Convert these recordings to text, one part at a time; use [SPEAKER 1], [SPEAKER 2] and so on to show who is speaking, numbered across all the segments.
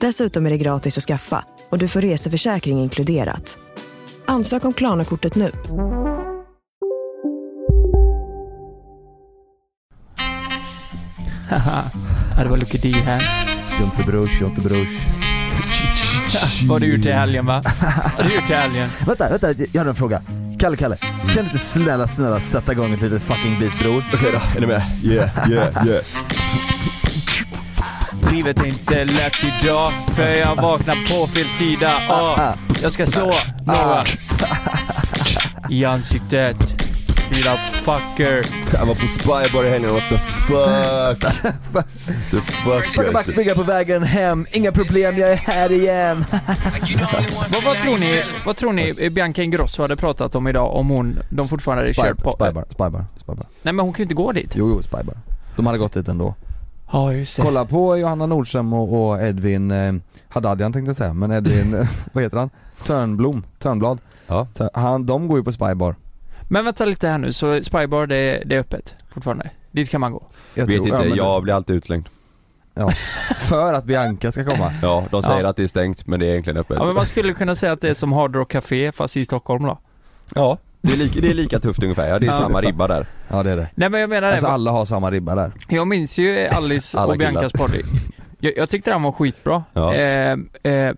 [SPEAKER 1] Dessutom är det gratis att skaffa och du får reseförsäkring inkluderat. Ansök om Klarna-kortet nu.
[SPEAKER 2] Haha, ja, det var Lucky D här.
[SPEAKER 3] Jonte Brush, Jonte Brush.
[SPEAKER 2] Vad har du gjort i helgen va? Vad har du gjort i helgen?
[SPEAKER 3] Vänta, vänta, jag hade en fråga. Kalle, Kalle. Kan du inte snälla, snälla sätta igång ett litet fucking beat bror?
[SPEAKER 4] Okej då, är ni med? Yeah, yeah, yeah.
[SPEAKER 2] Livet är inte lätt idag för jag vaknar på fel sida av. Jag ska slå några i ansiktet. Lilla fucker.
[SPEAKER 4] Jag var på spybar i helgen, what the fuck? the fuck
[SPEAKER 3] Packa Max
[SPEAKER 4] guys.
[SPEAKER 3] brygga på vägen hem, inga problem, jag är här igen.
[SPEAKER 2] Vad, vad tror ni, vad tror ni Bianca Ingrosso hade pratat om idag om hon, de fortfarande hade kört på?
[SPEAKER 3] Spybar, spybar, spybar.
[SPEAKER 2] Nej men hon kan ju inte gå dit.
[SPEAKER 3] Jo, jo, spybar. De hade gått dit ändå.
[SPEAKER 2] Ja just det.
[SPEAKER 3] Kolla på Johanna Nordström och, och Edvin eh, Haddadian tänkte jag säga, men Edvin, eh, vad heter han? Törnblom, Törnblad.
[SPEAKER 4] Ja.
[SPEAKER 3] Tör- Han, de går ju på spybar.
[SPEAKER 2] Men vänta lite här nu, så Spybar det, är- det är öppet fortfarande? Dit kan man gå?
[SPEAKER 3] Jag
[SPEAKER 4] Vet
[SPEAKER 3] tror- ja,
[SPEAKER 4] inte,
[SPEAKER 3] men-
[SPEAKER 4] jag blir alltid utslängd.
[SPEAKER 3] För att Bianca ska komma.
[SPEAKER 4] Ja, de säger
[SPEAKER 2] Ja.
[SPEAKER 4] att det är stängt men det är egentligen öppet.
[SPEAKER 2] Ja men man skulle kunna säga att det är som Hard Rock Café fast i Stockholm då.
[SPEAKER 4] Ja, det är, lika, det är lika tufft ungefär. Ja, det är
[SPEAKER 2] Ja.
[SPEAKER 4] samma ribba där.
[SPEAKER 3] Ja det är det.
[SPEAKER 2] Nej men jag menar det,
[SPEAKER 3] Alltså alla har samma ribba där.
[SPEAKER 2] jag minns ju Alice
[SPEAKER 4] Alla
[SPEAKER 2] och Biancas party. Jag, jag tyckte den var skitbra.
[SPEAKER 4] Ja.
[SPEAKER 2] Eh, eh,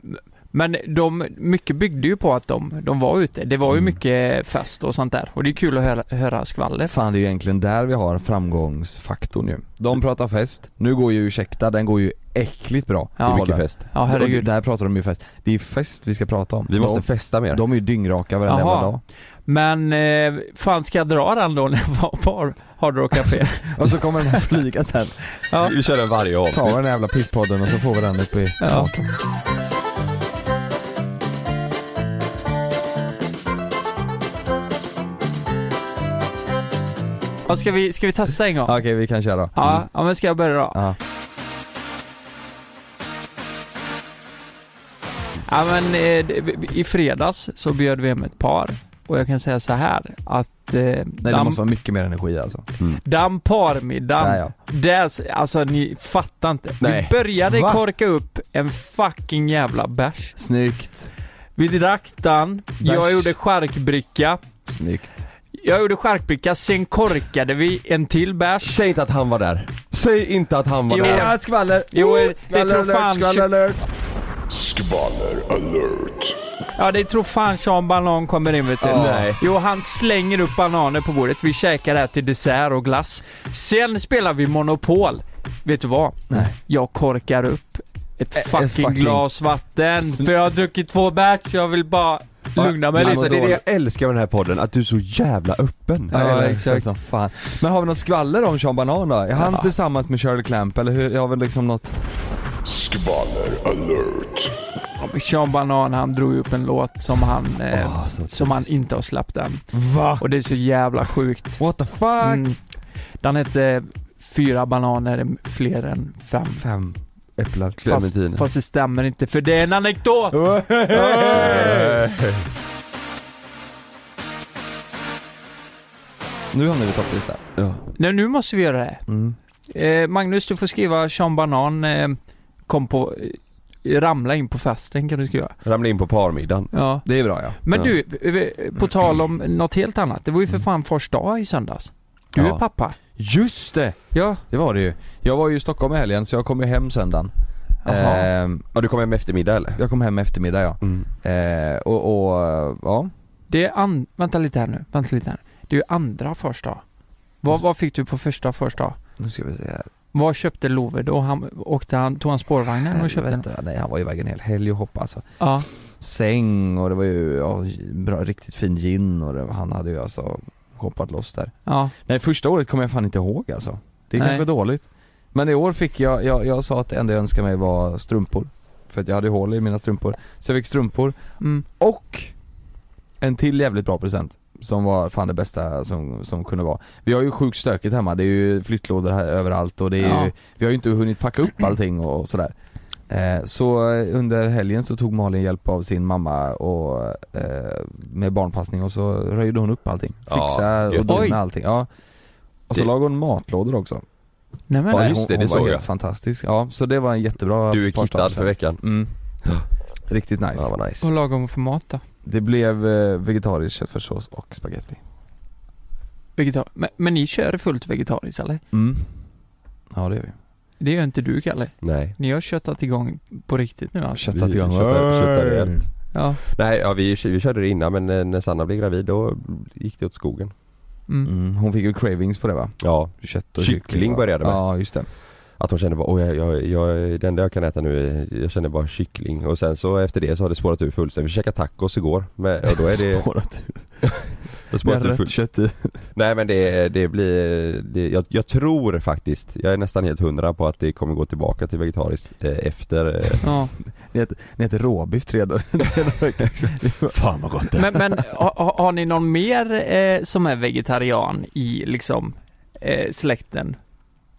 [SPEAKER 2] men de, mycket byggde ju på att de, de var ute. Det var
[SPEAKER 4] Mm.
[SPEAKER 2] ju mycket fest och sånt där. Och det är kul att höra, höra skvaller.
[SPEAKER 3] Fan det är ju egentligen där vi har framgångsfaktorn ju. De pratar fest, nu går ju Ursäkta, den går ju äckligt bra.
[SPEAKER 2] Ja.
[SPEAKER 4] Det är
[SPEAKER 2] Håller.
[SPEAKER 4] mycket fest.
[SPEAKER 2] Ja
[SPEAKER 3] Och
[SPEAKER 2] herregud.
[SPEAKER 3] Där pratar de ju fest. Det är fest vi ska prata om.
[SPEAKER 4] Vi måste
[SPEAKER 3] de,
[SPEAKER 4] festa mer.
[SPEAKER 3] de är ju dyngraka varenda
[SPEAKER 2] Jaha.
[SPEAKER 3] jävla dag.
[SPEAKER 2] Men eh, fan ska jag dra den då när jag var på Hard Rock Café?
[SPEAKER 3] Och så kommer den här flyga sen.
[SPEAKER 2] Ja.
[SPEAKER 4] Vi kör den varje år.
[SPEAKER 3] Tar vi den här jävla pisspodden och så får vi den uppe i
[SPEAKER 2] Ja.
[SPEAKER 3] taket.
[SPEAKER 2] Ja, ska, vi, ska vi testa en gång?
[SPEAKER 3] Okej vi kan köra. Mm.
[SPEAKER 2] Ja, ja men ska jag börja då?
[SPEAKER 3] Ja.
[SPEAKER 2] Ja men eh, det- i fredags så bjöd vi hem ett par och jag kan säga så här att eh,
[SPEAKER 3] Nej det
[SPEAKER 2] dam,
[SPEAKER 3] måste vara mycket mer energi alltså.
[SPEAKER 2] dam parmiddagen,
[SPEAKER 3] Där,
[SPEAKER 2] där,
[SPEAKER 3] ja.
[SPEAKER 2] s- alltså ni fattar inte.
[SPEAKER 4] Nej.
[SPEAKER 2] Vi började
[SPEAKER 3] Va?
[SPEAKER 2] korka upp en fucking jävla bärs.
[SPEAKER 3] Snyggt.
[SPEAKER 2] Vi drack den, jag
[SPEAKER 3] Bärs.
[SPEAKER 2] gjorde charkbricka,
[SPEAKER 3] Snyggt.
[SPEAKER 2] jag gjorde charkbricka, sen korkade vi en till bärs.
[SPEAKER 4] Säg inte att han var där. Säg inte att han var
[SPEAKER 2] Jo.
[SPEAKER 4] där.
[SPEAKER 2] Ja,
[SPEAKER 3] skvaller!
[SPEAKER 2] Jo, Oh, det tror fan
[SPEAKER 3] alert!
[SPEAKER 2] Ja det tror fan Sean Banan kommer in vet du.
[SPEAKER 3] Ja. Nej.
[SPEAKER 2] Jo han slänger upp bananer på bordet, vi käkar det här till dessert och glass. Sen spelar vi Monopol. Vet du vad?
[SPEAKER 3] Nej.
[SPEAKER 2] Jag korkar upp ett
[SPEAKER 3] ett
[SPEAKER 2] fucking,
[SPEAKER 3] fucking-
[SPEAKER 2] glas vatten
[SPEAKER 3] Sn-
[SPEAKER 2] för jag har druckit två bärs jag vill bara lugna mig
[SPEAKER 3] men
[SPEAKER 2] lite.
[SPEAKER 4] Alltså det är det
[SPEAKER 3] dåligt.
[SPEAKER 4] jag älskar med den här podden, att du är så jävla öppen.
[SPEAKER 3] Ja,
[SPEAKER 2] Ja,
[SPEAKER 3] ja
[SPEAKER 2] exakt.
[SPEAKER 3] exakt. Som fan. Men har vi något skvaller om Sean Banan då? Är han tillsammans med Shirley Clamp eller hur? Har vi liksom något?
[SPEAKER 2] Sean Banan han drog upp en låt som han, eh,
[SPEAKER 3] Ah, så-
[SPEAKER 2] som han inte har släppt än.
[SPEAKER 3] Va?
[SPEAKER 2] Och det är så jävla sjukt.
[SPEAKER 3] What the fuck?
[SPEAKER 2] Mm. Den hette Fyra bananer är fler än fem.
[SPEAKER 3] Fem äpplen.
[SPEAKER 2] Fast,
[SPEAKER 4] Clementine.
[SPEAKER 2] fast det stämmer inte för det är en anekdot!
[SPEAKER 3] Nu hamnar vi i topplistan.
[SPEAKER 4] Ja.
[SPEAKER 2] Nej, nu måste vi göra det.
[SPEAKER 3] Mm.
[SPEAKER 2] Eh, Magnus, du får skriva Sean Banan eh, kom på, eh, ramla in på festen kan du skriva.
[SPEAKER 4] Ramla in på parmiddagen.
[SPEAKER 2] Ja.
[SPEAKER 3] Det är bra ja.
[SPEAKER 2] Men
[SPEAKER 4] Ja.
[SPEAKER 2] du, eh, på tal om något helt annat. Det var ju för fan fars dag i söndags. Du
[SPEAKER 4] Ja.
[SPEAKER 2] är pappa.
[SPEAKER 3] Just det!
[SPEAKER 2] Ja.
[SPEAKER 3] Det var det ju. Jag var ju i Stockholm i helgen så jag kom ju hem söndagen.
[SPEAKER 2] Jaha.
[SPEAKER 4] Eh.
[SPEAKER 3] Ehm,
[SPEAKER 4] Ja, du kommer hem eftermiddag eller?
[SPEAKER 3] jag kom hem eftermiddag ja.
[SPEAKER 4] Mm.
[SPEAKER 3] Ehm, och, och ja.
[SPEAKER 2] Det är an- vänta lite här nu, vänta lite här. Det är ju andra fars dag. Vad, vad fick du på första fars dag?
[SPEAKER 3] Nu ska vi se här.
[SPEAKER 2] Var köpte Love då? Han, åkte han, tog han spårvagnen och köpte den?
[SPEAKER 3] Helvete, nej han var iväg en hel helg och hoppade alltså.
[SPEAKER 2] Ja.
[SPEAKER 3] Säng och det var ju, ja, bra, riktigt fin gin och det, han hade ju alltså hoppat loss där.
[SPEAKER 2] Ja.
[SPEAKER 3] Nej första året kommer jag fan inte ihåg alltså. Det är
[SPEAKER 2] Nej.
[SPEAKER 3] kanske dåligt. Men i år fick jag, jag, jag sa att det enda jag önskade mig var strumpor. För att jag hade hål i mina strumpor. Så jag fick strumpor
[SPEAKER 2] Mm.
[SPEAKER 3] och en till jävligt bra present. Som var fan det bästa som, som kunde vara. Vi har ju sjukt stökigt hemma, det är ju flyttlådor här överallt och det är
[SPEAKER 2] Ja.
[SPEAKER 3] ju, vi har ju inte hunnit packa upp allting och sådär. Eh, så eh, under helgen så tog Malin hjälp av sin mamma och, eh, med barnpassning och så röjde hon upp allting.
[SPEAKER 4] Ja,
[SPEAKER 3] Fixar och
[SPEAKER 4] gött.
[SPEAKER 3] donar
[SPEAKER 2] Oj.
[SPEAKER 3] med allting. Ja. Och så
[SPEAKER 4] Det-
[SPEAKER 3] lagade hon matlådor också.
[SPEAKER 2] Nej men,
[SPEAKER 4] Ja,
[SPEAKER 3] Nej,
[SPEAKER 4] just
[SPEAKER 3] hon,
[SPEAKER 4] det, det
[SPEAKER 3] hon var
[SPEAKER 4] såg
[SPEAKER 3] helt
[SPEAKER 4] jag.
[SPEAKER 3] fantastisk. Ja, så det var en jättebra
[SPEAKER 4] Du är
[SPEAKER 3] partnerskap.
[SPEAKER 4] kittad för veckan.
[SPEAKER 3] Mm.
[SPEAKER 4] Ja.
[SPEAKER 3] Riktigt nice.
[SPEAKER 4] Ja, vad nice.
[SPEAKER 2] vad lagom hon för mat då?
[SPEAKER 3] Det blev eh, vegetarisk köttfärssås och spaghetti.
[SPEAKER 2] Vegetar- men, men ni kör fullt vegetariskt eller?
[SPEAKER 3] Mm. Ja det gör vi.
[SPEAKER 2] Det gör inte du Kalle.
[SPEAKER 4] Nej.
[SPEAKER 2] Ni har köttat igång på riktigt nu alltså?
[SPEAKER 3] Köttat
[SPEAKER 4] Vi
[SPEAKER 3] igång.
[SPEAKER 4] köttar- köttar
[SPEAKER 3] Hey!
[SPEAKER 4] rejält.
[SPEAKER 2] Ja.
[SPEAKER 4] Nej, ja, vi, vi körde det innan men eh, när Sanna blev gravid då gick det åt skogen.
[SPEAKER 2] Mm.
[SPEAKER 3] Mm, hon fick ju cravings på det va?
[SPEAKER 4] Ja,
[SPEAKER 3] Kött och
[SPEAKER 4] Kyckling
[SPEAKER 3] va?
[SPEAKER 4] började med.
[SPEAKER 3] Ja just det.
[SPEAKER 4] att hon kände bara åh jag, jag, jag, det enda jag kan äta nu är, jag känner bara kyckling och sen så efter det så har det spårat ur fullständigt. Vi käkade tacos igår men, och då är det,
[SPEAKER 3] Spårat ur.
[SPEAKER 4] det spårat ur fullständigt.
[SPEAKER 3] kött i.
[SPEAKER 4] Nej men det, det blir, det, jag, jag tror faktiskt, jag är nästan helt hundra på att det kommer gå tillbaka till vegetariskt eh, efter eh,
[SPEAKER 2] ja.
[SPEAKER 3] Ni äter råbiff tre dagar tre dagar i veckan. Fan vad gott
[SPEAKER 2] Men, men har, har- har ni någon mer eh, som är vegetarian i liksom eh, släkten?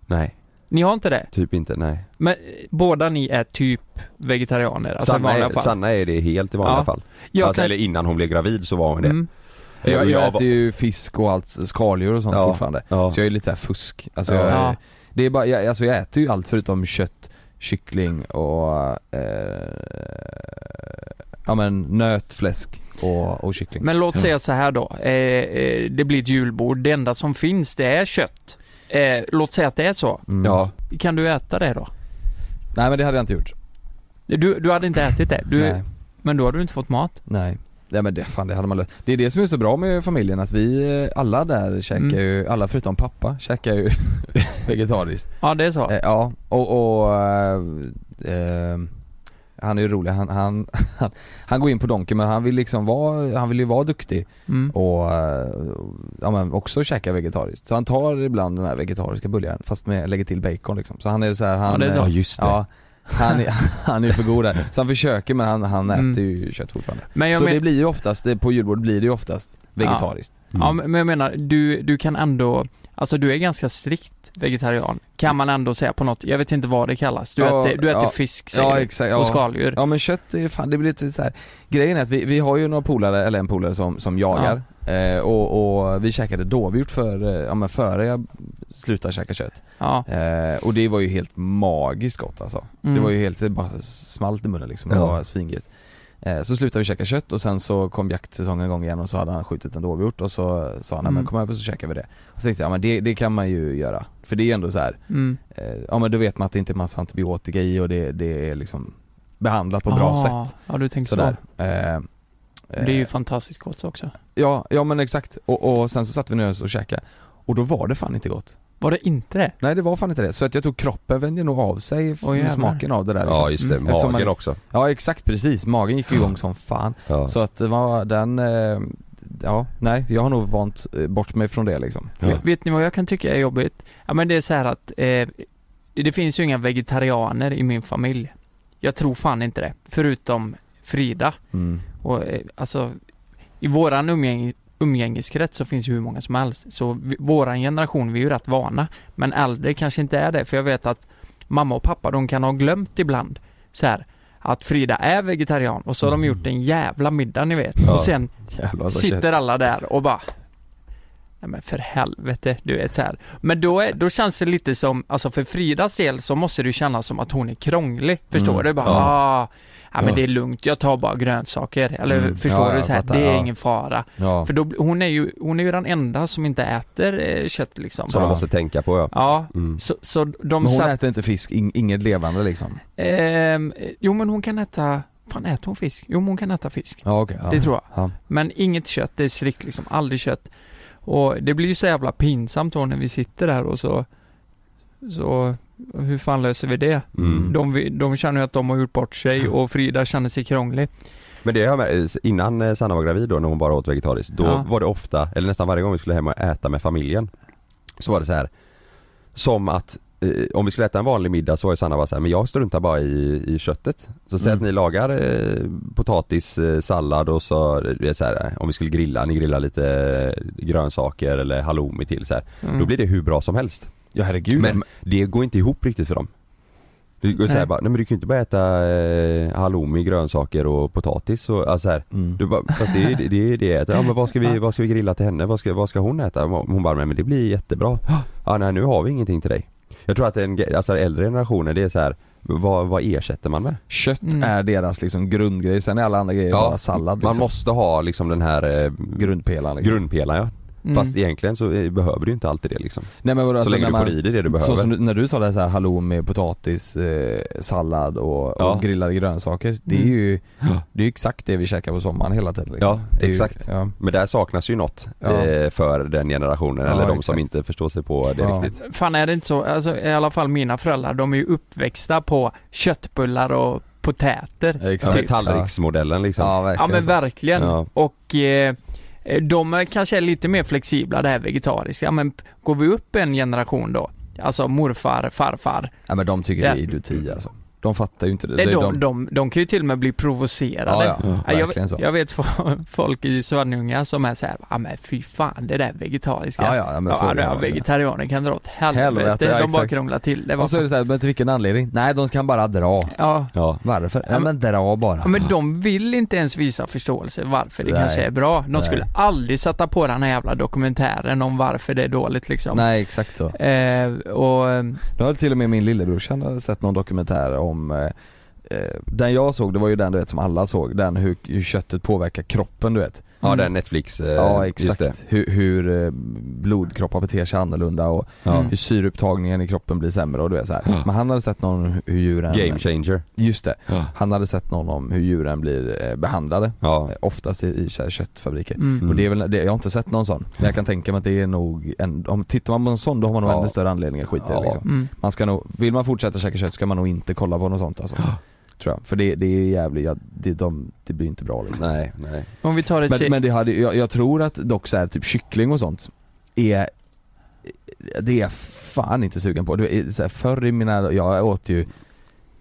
[SPEAKER 4] Nej,
[SPEAKER 2] Ni har inte det?
[SPEAKER 4] typ inte, nej.
[SPEAKER 2] Men eh, båda ni är typ vegetarianer? Alltså i
[SPEAKER 4] Sanna,
[SPEAKER 2] vanliga
[SPEAKER 4] är,
[SPEAKER 2] fall?
[SPEAKER 4] Sanna är det helt i vanliga
[SPEAKER 2] Ja.
[SPEAKER 4] fall.
[SPEAKER 2] Jag
[SPEAKER 4] Alltså,
[SPEAKER 2] kan-
[SPEAKER 4] Eller innan hon blev gravid så var hon det.
[SPEAKER 2] Mm.
[SPEAKER 4] Eh, och
[SPEAKER 3] Jag, jag
[SPEAKER 4] var-
[SPEAKER 3] äter ju fisk och allt, skaldjur och sånt
[SPEAKER 4] Ja.
[SPEAKER 3] fortfarande.
[SPEAKER 4] Ja.
[SPEAKER 3] Så jag är lite såhär fusk. Alltså,
[SPEAKER 4] Ja.
[SPEAKER 3] jag,
[SPEAKER 2] Ja.
[SPEAKER 3] Det är bara, jag, alltså jag äter ju allt förutom kött, kyckling och eh, ja men nöt, fläsk och, och kyckling.
[SPEAKER 2] Men låt säga så här då, eh, eh, det blir ett julbord, det enda som finns det är kött. Eh, låt säga att det är så,
[SPEAKER 3] Mm.
[SPEAKER 4] Ja,
[SPEAKER 2] kan du äta det då?
[SPEAKER 3] Nej men det hade jag inte gjort.
[SPEAKER 2] Du, du hade inte ätit det, du,
[SPEAKER 3] Nej.
[SPEAKER 2] men då hade du inte fått mat.
[SPEAKER 3] Nej. Nej men det, fan det hade man löst. Det är det som är så bra med familjen att vi eh, alla där käkar
[SPEAKER 2] Mm.
[SPEAKER 3] ju, alla förutom pappa käkar ju vegetariskt.
[SPEAKER 2] Ja det är så.
[SPEAKER 3] Eh, ja, och, och eh, eh, han är ju rolig, han, han, han, han går in på Donken men han vill liksom vara, han vill ju vara duktig
[SPEAKER 2] Mm.
[SPEAKER 3] och eh, ja, men också käka vegetariskt. Så han tar ibland den här vegetariska buljaren fast med, lägger till bacon liksom. Så han är så här, han,
[SPEAKER 2] Ja, det är så.
[SPEAKER 3] eh,
[SPEAKER 4] ja just det.
[SPEAKER 3] Ja, han, är- han är för god där. Så han försöker men han, han äter
[SPEAKER 2] Mm.
[SPEAKER 3] ju kött fortfarande.
[SPEAKER 2] Men jag,
[SPEAKER 3] Så det
[SPEAKER 2] men,
[SPEAKER 3] blir ju oftast, det- på julbord blir det ju oftast vegetariskt.
[SPEAKER 4] Mm.
[SPEAKER 2] ja,
[SPEAKER 3] Mm.
[SPEAKER 2] men men jag menar, du, du kan ändå, alltså du är ganska strikt vegetarian. Kan man ändå säga på något, jag vet inte vad det kallas. Du
[SPEAKER 3] Ja,
[SPEAKER 2] äter, du äter
[SPEAKER 3] ja.
[SPEAKER 2] fisk
[SPEAKER 3] Ja,
[SPEAKER 2] säger du,
[SPEAKER 3] exakt, ja.
[SPEAKER 2] och skaldjur.
[SPEAKER 3] Ja men kött är ju fan, det blir lite så här. grejen är att vi, vi har ju några polare, eller en polare som, som jagar eh, och, och vi käkade dovhjort för, eh, ja men före jag slutade käka kött.
[SPEAKER 2] Ja.
[SPEAKER 3] Eh, och det var ju helt magiskt gott alltså.
[SPEAKER 2] Mm.
[SPEAKER 3] Det var ju helt, det bara smalt i munnen liksom, det
[SPEAKER 4] Ja.
[SPEAKER 3] var svingött. Eh, så slutade vi käka kött och sen så kom jaktsäsongen igång igen och så hade han skjutit en dovhjort och så sa han nej
[SPEAKER 2] Mm.
[SPEAKER 3] men kom över så käkar vi det. Och så tänkte jag, ja men det, det kan man ju göra. För det är ju ändå så här
[SPEAKER 2] Mm.
[SPEAKER 3] Eh, Ja men då vet man att det inte är massa antibiotika i och det, det är liksom behandlat på bra
[SPEAKER 2] Ah,
[SPEAKER 3] sätt.
[SPEAKER 2] Ja du tänker
[SPEAKER 3] Sådär.
[SPEAKER 2] så.
[SPEAKER 3] Eh, eh,
[SPEAKER 2] Det är ju fantastiskt gott också.
[SPEAKER 3] ja, ja men exakt. Och, och sen så satt vi ner och käkade. Och då var det fan inte gott.
[SPEAKER 2] Var det inte det?
[SPEAKER 3] Nej det var fan inte det. Så att jag tror kroppen vände nog av sig f-
[SPEAKER 2] Åh,
[SPEAKER 3] med
[SPEAKER 2] jävlar.
[SPEAKER 3] smaken av det där
[SPEAKER 4] Ja
[SPEAKER 3] liksom.
[SPEAKER 4] just det,
[SPEAKER 2] Mm.
[SPEAKER 4] magen
[SPEAKER 3] Eftersom man-
[SPEAKER 4] också.
[SPEAKER 3] ja exakt precis, magen gick ju igång som fan.
[SPEAKER 4] Ja.
[SPEAKER 3] Så att det var den, eh, ja nej jag har nog vant eh, bort mig från det liksom.
[SPEAKER 4] Ja.
[SPEAKER 2] Vet- Vet ni vad jag kan tycka är jobbigt? Ja men det är så här att eh, det finns ju inga vegetarianer i min familj. Jag tror fan inte det. Förutom Frida.
[SPEAKER 3] Mm.
[SPEAKER 2] Och eh, alltså i våran umgäng, umgängeskrets så finns ju hur många som helst. Så vi, våran generation, vi är ju rätt vana. Men äldre kanske inte är det. För jag vet att mamma och pappa, de kan ha glömt ibland så här att Frida är vegetarian och så har de gjort en jävla middag ni vet.
[SPEAKER 4] Ja.
[SPEAKER 2] Och sen
[SPEAKER 3] Jävlar vad
[SPEAKER 2] sitter
[SPEAKER 3] kött.
[SPEAKER 2] alla där och bara Nej men för helvete, du vet så här. Men då, är, då känns det lite som, alltså för Fridas del så måste det ju kännas som att hon är krånglig. Förstår
[SPEAKER 3] Mm,
[SPEAKER 2] du? Bara,
[SPEAKER 3] ja.
[SPEAKER 2] ah, ja men
[SPEAKER 4] Ja.
[SPEAKER 2] det är lugnt, jag tar bara grönsaker. Eller
[SPEAKER 3] Mm,
[SPEAKER 2] förstår
[SPEAKER 3] ja,
[SPEAKER 2] du?
[SPEAKER 3] jag
[SPEAKER 2] Så här,
[SPEAKER 3] fattar,
[SPEAKER 2] det är
[SPEAKER 3] ja.
[SPEAKER 2] ingen fara.
[SPEAKER 3] Ja.
[SPEAKER 2] För då, blir- hon är ju, hon är ju den enda som inte äter eh, kött liksom.
[SPEAKER 4] Som man måste tänka på ja.
[SPEAKER 2] Ja,
[SPEAKER 4] Mm.
[SPEAKER 2] så, så de
[SPEAKER 3] Men hon
[SPEAKER 2] satt,
[SPEAKER 3] äter inte fisk, in, inget levande liksom?
[SPEAKER 2] ehm, jo men hon kan äta, fan äter hon fisk? Jo men hon kan äta fisk.
[SPEAKER 3] Ja okej. ja.
[SPEAKER 2] Det tror jag.
[SPEAKER 3] Ja.
[SPEAKER 2] Men inget kött, det är strikt liksom, aldrig kött. Och det blir ju så jävla pinsamt då när vi sitter där och så, så hur fan löser vi det?
[SPEAKER 4] Mm.
[SPEAKER 2] De, vi- de känner ju att de har gjort bort sig och Frida känner sig krånglig.
[SPEAKER 4] Men det har jag märkt, innan eh, Sanna var gravid då när hon bara åt vegetariskt, då
[SPEAKER 2] Ja.
[SPEAKER 4] var det ofta, eller nästan varje gång vi skulle hem och äta med familjen Så var det så här Som att eh, om vi skulle äta en vanlig middag så var ju Sanna bara så här, men jag struntar bara i, i köttet Så säg
[SPEAKER 3] Mm.
[SPEAKER 4] att ni lagar eh, potatis, eh, sallad och så, eh, du vet, så här, eh, om vi skulle grilla, ni grillar lite eh, grönsaker eller halloumi till så här.
[SPEAKER 2] Mm.
[SPEAKER 4] Då blir det hur bra som helst
[SPEAKER 3] Ja herregud.
[SPEAKER 4] Men det går inte ihop riktigt för dem Du går såhär
[SPEAKER 2] Nej.
[SPEAKER 4] bara, nej men du kan ju inte bara äta eh, halloumi, grönsaker och potatis och alltså här
[SPEAKER 3] mm.
[SPEAKER 4] du bara, fast det är det, är det jag äter. Ja men vad ska vi, vad ska vi grilla till henne? Vad ska, vad ska hon äta? Hon bara, "Nej, men det blir jättebra. Ja nej nu har vi ingenting till dig. Jag tror att en, ge- alltså äldre generationer det är så här. Vad, vad ersätter man med?
[SPEAKER 3] Kött
[SPEAKER 2] Mm.
[SPEAKER 3] är deras liksom grundgrej, sen är alla andra grejer bara sallad
[SPEAKER 4] Man
[SPEAKER 3] liksom.
[SPEAKER 4] måste ha liksom den här eh,
[SPEAKER 3] Grundpelaren liksom.
[SPEAKER 4] grundpelaren ja.
[SPEAKER 2] Mm.
[SPEAKER 4] Fast egentligen så eh, behöver du inte alltid det liksom.
[SPEAKER 3] Nej men vadå,
[SPEAKER 4] Så
[SPEAKER 3] alltså,
[SPEAKER 4] länge
[SPEAKER 3] när
[SPEAKER 4] du
[SPEAKER 3] man,
[SPEAKER 4] får i dig det du behöver.
[SPEAKER 3] Så som du, när du sa det här, så här halloumi, potatis, eh, sallad och,
[SPEAKER 4] Ja.
[SPEAKER 3] och grillade grönsaker. Det är
[SPEAKER 2] Mm.
[SPEAKER 3] ju, det är ju exakt det vi käkar på sommaren hela tiden liksom.
[SPEAKER 4] Ja,
[SPEAKER 3] det är
[SPEAKER 4] exakt.
[SPEAKER 3] Ju, ja.
[SPEAKER 4] Men där saknas ju något
[SPEAKER 3] Ja.
[SPEAKER 4] eh, för den generationen
[SPEAKER 3] Ja,
[SPEAKER 4] eller de som
[SPEAKER 3] exakt.
[SPEAKER 4] inte förstår sig på det
[SPEAKER 3] Ja.
[SPEAKER 4] riktigt.
[SPEAKER 2] Fan är det inte så, alltså, i alla fall mina föräldrar, de är ju uppväxta på köttbullar och potäter. Typ.
[SPEAKER 4] Ja,
[SPEAKER 3] Exakt.
[SPEAKER 4] med tallriksmodellen liksom.
[SPEAKER 3] Ja,
[SPEAKER 2] Ja
[SPEAKER 3] verkligen.
[SPEAKER 2] men
[SPEAKER 3] så.
[SPEAKER 2] verkligen.
[SPEAKER 4] Ja.
[SPEAKER 2] Och eh, de är kanske är lite mer flexibla det här vegetariska, men går vi upp en generation då, alltså morfar, farfar,
[SPEAKER 3] ja, men de tycker
[SPEAKER 2] Ja.
[SPEAKER 3] det är idioti alltså. De fattar ju inte det.
[SPEAKER 2] det,
[SPEAKER 3] Det är
[SPEAKER 2] de, de, de kan ju till och med bli provocerade.
[SPEAKER 3] ja, ja,
[SPEAKER 2] Ja, jag,
[SPEAKER 3] verkligen så.
[SPEAKER 2] vet- jag vet fo- folk i Svanunga som är så här, ja men fy fan det där vegetariska.
[SPEAKER 3] Ja, ja, ja, men så är
[SPEAKER 2] ja,
[SPEAKER 3] det
[SPEAKER 2] ja,
[SPEAKER 3] verkligen.
[SPEAKER 2] vegetarianer kan dra åt helvete,
[SPEAKER 3] Helvete, ja,
[SPEAKER 2] de bara
[SPEAKER 3] exakt.
[SPEAKER 2] krånglar till det.
[SPEAKER 3] Och så är det såhär, men till vilken anledning? Nej de kan bara dra.
[SPEAKER 2] ja.
[SPEAKER 3] Ja. Varför? Ja,
[SPEAKER 2] Ja,
[SPEAKER 3] men dra bara.
[SPEAKER 2] Ja, men de vill inte ens visa förståelse varför det
[SPEAKER 3] Nej.
[SPEAKER 2] kanske är bra. De
[SPEAKER 3] Nej.
[SPEAKER 2] skulle aldrig sätta på den här jävla dokumentären om varför det är dåligt liksom.
[SPEAKER 3] Nej exakt så.
[SPEAKER 2] Eh, och, eh,
[SPEAKER 3] Nu hade till och med min lillebrorsa han hade sett någon dokumentär om eh, eh, den jag såg, det var ju den du vet som alla såg, den hur, hur köttet påverkar kroppen du vet.
[SPEAKER 4] Ja
[SPEAKER 2] Mm.
[SPEAKER 4] den Netflix, eh,
[SPEAKER 3] ja
[SPEAKER 4] just
[SPEAKER 3] exakt,
[SPEAKER 4] det.
[SPEAKER 3] hur, hur eh, blodkroppar beter sig annorlunda och
[SPEAKER 4] Ja.
[SPEAKER 2] Mm.
[SPEAKER 3] hur syreupptagningen i kroppen blir sämre och du vet så här.
[SPEAKER 4] Ja.
[SPEAKER 3] Men han hade sett någon om hur djuren...
[SPEAKER 4] Game changer.
[SPEAKER 3] Just det,
[SPEAKER 4] Ja.
[SPEAKER 3] han hade sett någon om hur djuren blir eh, behandlade,
[SPEAKER 4] Ja.
[SPEAKER 3] eh, oftast i, i så här, köttfabriker.
[SPEAKER 2] mm.
[SPEAKER 3] Och det är väl, det, jag har inte sett någon sån, men jag kan tänka mig att det är nog, en, om tittar man på en sån då har man nog
[SPEAKER 4] Ja.
[SPEAKER 3] ännu större anledning att skita i
[SPEAKER 4] Ja.
[SPEAKER 3] det liksom.
[SPEAKER 2] Mm.
[SPEAKER 3] Man ska nog, vill man fortsätta käka kött ska man nog inte kolla på något sånt alltså. Tror jag. För det, det är jävligt, ja, det, de, det blir inte bra liksom.
[SPEAKER 4] Nej, nej.
[SPEAKER 2] Om vi tar ett
[SPEAKER 3] Men,
[SPEAKER 2] men,
[SPEAKER 3] men det hade, jag, jag tror att dock så här, typ kyckling och sånt är det är jag fan inte sugen på. Du vet, så här, förr i mina, jag åt ju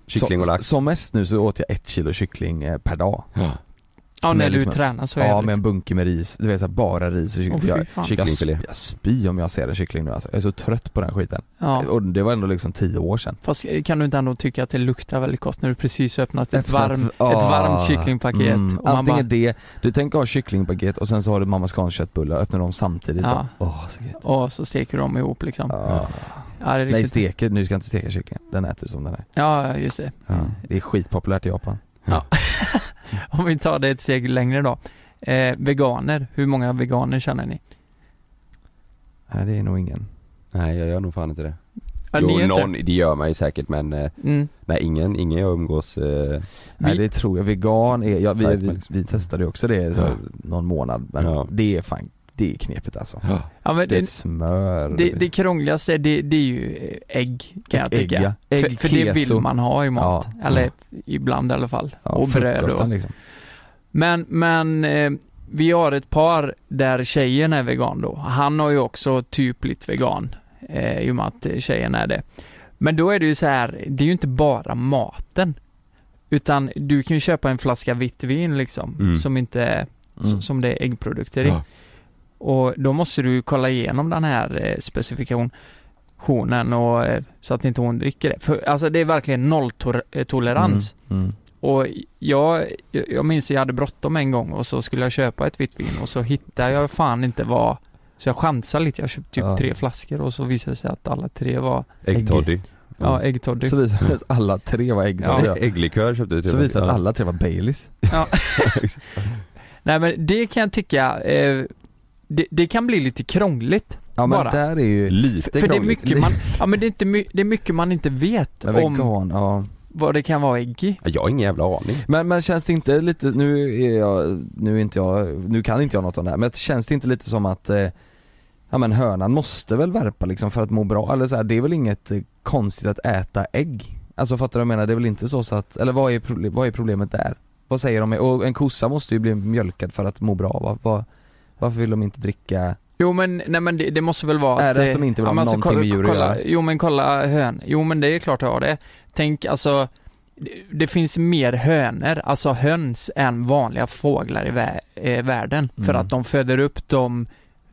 [SPEAKER 4] Kyckling och
[SPEAKER 3] som,
[SPEAKER 4] lax.
[SPEAKER 3] som mest nu så åt jag ett kilo kyckling eh, per dag.
[SPEAKER 2] ja, när
[SPEAKER 3] men
[SPEAKER 2] du
[SPEAKER 3] liksom-
[SPEAKER 2] tränar så är
[SPEAKER 3] Ja
[SPEAKER 2] det. liksom-
[SPEAKER 3] med en bunke med ris, du vet så här, bara ris och kyckling.
[SPEAKER 2] Åh, fy
[SPEAKER 3] jag,
[SPEAKER 2] fan.
[SPEAKER 3] jag,
[SPEAKER 4] Kycklingfilé.
[SPEAKER 3] jag spyr om jag ser en kyckling nu alltså. Jag är så trött på den skiten.
[SPEAKER 2] ja.
[SPEAKER 3] Och det var ändå liksom tio år sedan.
[SPEAKER 2] Fast eh, kan du inte ändå tycka att det luktar väldigt gott när du precis öppnat ett,
[SPEAKER 3] Öppnat-
[SPEAKER 2] varm,
[SPEAKER 3] ah.
[SPEAKER 2] ett varmt kycklingpaket?
[SPEAKER 3] Mm.
[SPEAKER 2] Och man
[SPEAKER 3] Antingen
[SPEAKER 2] bara,
[SPEAKER 3] det, du tänker ha kycklingpaket och sen så har du mamma Scans köttbullar, öppnar dem samtidigt
[SPEAKER 2] Ja.
[SPEAKER 3] så, åh så gött.
[SPEAKER 2] och så steker de ihop liksom. Ja,
[SPEAKER 3] Ja.
[SPEAKER 2] det är
[SPEAKER 3] Nej
[SPEAKER 2] riktigt.
[SPEAKER 3] steker, nu ska jag inte steka kycklingen, den äter du som den är.
[SPEAKER 2] ja just det.
[SPEAKER 3] Ja. Det är skitpopulärt i Japan.
[SPEAKER 2] Om vi tar det ett steg längre då. Eh, veganer, hur många veganer känner ni?
[SPEAKER 3] Nej det är nog ingen.
[SPEAKER 4] Nej jag gör nog fan inte det.
[SPEAKER 2] Ja, ni
[SPEAKER 4] jo
[SPEAKER 2] är inte-
[SPEAKER 4] någon, det gör man ju säkert men eh,
[SPEAKER 2] Mm.
[SPEAKER 4] nej ingen, ingen jag umgås eh,
[SPEAKER 3] Nej
[SPEAKER 2] Vi-
[SPEAKER 3] det tror jag, vegan är, ja, vi,
[SPEAKER 4] Nej,
[SPEAKER 3] vi,
[SPEAKER 4] men-
[SPEAKER 3] vi testade ju också det så,
[SPEAKER 4] Ja.
[SPEAKER 3] någon månad men
[SPEAKER 4] Ja.
[SPEAKER 3] det är fan, det är knepigt alltså.
[SPEAKER 2] Ja, men
[SPEAKER 3] Det är
[SPEAKER 2] det,
[SPEAKER 3] smör.
[SPEAKER 2] det, det krångligaste det, det är ju eh, ägg kan jag
[SPEAKER 3] Ägg,
[SPEAKER 2] tycka.
[SPEAKER 3] ja. Ägg,
[SPEAKER 2] för, för det vill
[SPEAKER 3] keso.
[SPEAKER 2] man ha i mat.
[SPEAKER 3] Ja.
[SPEAKER 2] Eller
[SPEAKER 3] Ja.
[SPEAKER 2] ibland i alla fall.
[SPEAKER 3] ja,
[SPEAKER 2] och bröd
[SPEAKER 3] frukosten
[SPEAKER 2] och.
[SPEAKER 3] liksom.
[SPEAKER 2] Men, men eh, vi har ett par där tjejen är vegan då. Han har ju också typ blivit vegan. Eh, I och med att eh, tjejen är det. Men då är det ju så här, det är ju inte bara maten. Utan du kan ju köpa en flaska vitt vin liksom.
[SPEAKER 4] Mm.
[SPEAKER 2] Som inte är,
[SPEAKER 3] Mm.
[SPEAKER 2] som- som det är äggprodukter i.
[SPEAKER 4] Ja.
[SPEAKER 2] Och då måste du ju kolla igenom den här eh, specifikationen och eh, så att inte hon dricker det. För alltså det är verkligen nolltolerans.
[SPEAKER 3] Mm. Mm.
[SPEAKER 2] Och jag, jag minns att jag hade bråttom en gång och så skulle jag köpa ett vitt vin och så hittade jag fan inte vad Så jag chansade lite, jag köpte typ
[SPEAKER 3] Ja.
[SPEAKER 2] tre flaskor och så visade det sig att alla tre var
[SPEAKER 4] äggtoddy.
[SPEAKER 2] Ja, äggtoddy.
[SPEAKER 3] Mm. Så visade det sig att Alltså, alla tre var äggtoddy.
[SPEAKER 4] Ja. Ägglikör köpte du till
[SPEAKER 3] Så visade
[SPEAKER 4] mig.
[SPEAKER 3] det sig
[SPEAKER 4] Ja.
[SPEAKER 3] att alla tre var Baileys.
[SPEAKER 2] Nej men det kan jag tycka, eh, det, det kan bli lite krångligt.
[SPEAKER 3] Ja men
[SPEAKER 2] Bara.
[SPEAKER 3] där är ju
[SPEAKER 4] Lite
[SPEAKER 2] för det är
[SPEAKER 4] krångligt.
[SPEAKER 2] mycket man, ja men det är, inte my, det är mycket man inte vet
[SPEAKER 3] Men
[SPEAKER 2] om
[SPEAKER 3] vegan, ja.
[SPEAKER 2] vad det kan vara ägg i.
[SPEAKER 4] Ja, Jag har ingen jävla aning.
[SPEAKER 3] Men, men känns det inte lite, nu är jag, nu är inte jag, nu kan inte jag något om det här, men känns det inte lite som att eh, ja men hönan måste väl värpa liksom för att må bra, eller så här, det är väl inget eh, konstigt att äta ägg? Alltså fattar du vad jag menar? Det är väl inte så, så att, eller vad är, proble- vad är problemet där? Vad säger de? Och en kossa måste ju bli mjölkad för att må bra, va? Va- varför vill de inte dricka?
[SPEAKER 2] Jo men, nej men det, det måste väl vara
[SPEAKER 3] Är det
[SPEAKER 2] eh,
[SPEAKER 3] att de inte vill ha
[SPEAKER 2] men
[SPEAKER 3] någonting
[SPEAKER 2] kolla-
[SPEAKER 3] med djur att
[SPEAKER 2] kolla,
[SPEAKER 3] göra?
[SPEAKER 2] Jo men kolla hön. Jo men det är klart att ha det. Tänk alltså, det, det finns mer hönor, alltså höns, än vanliga fåglar i vä- eh, världen. För
[SPEAKER 3] Mm.
[SPEAKER 2] att de föder upp dem,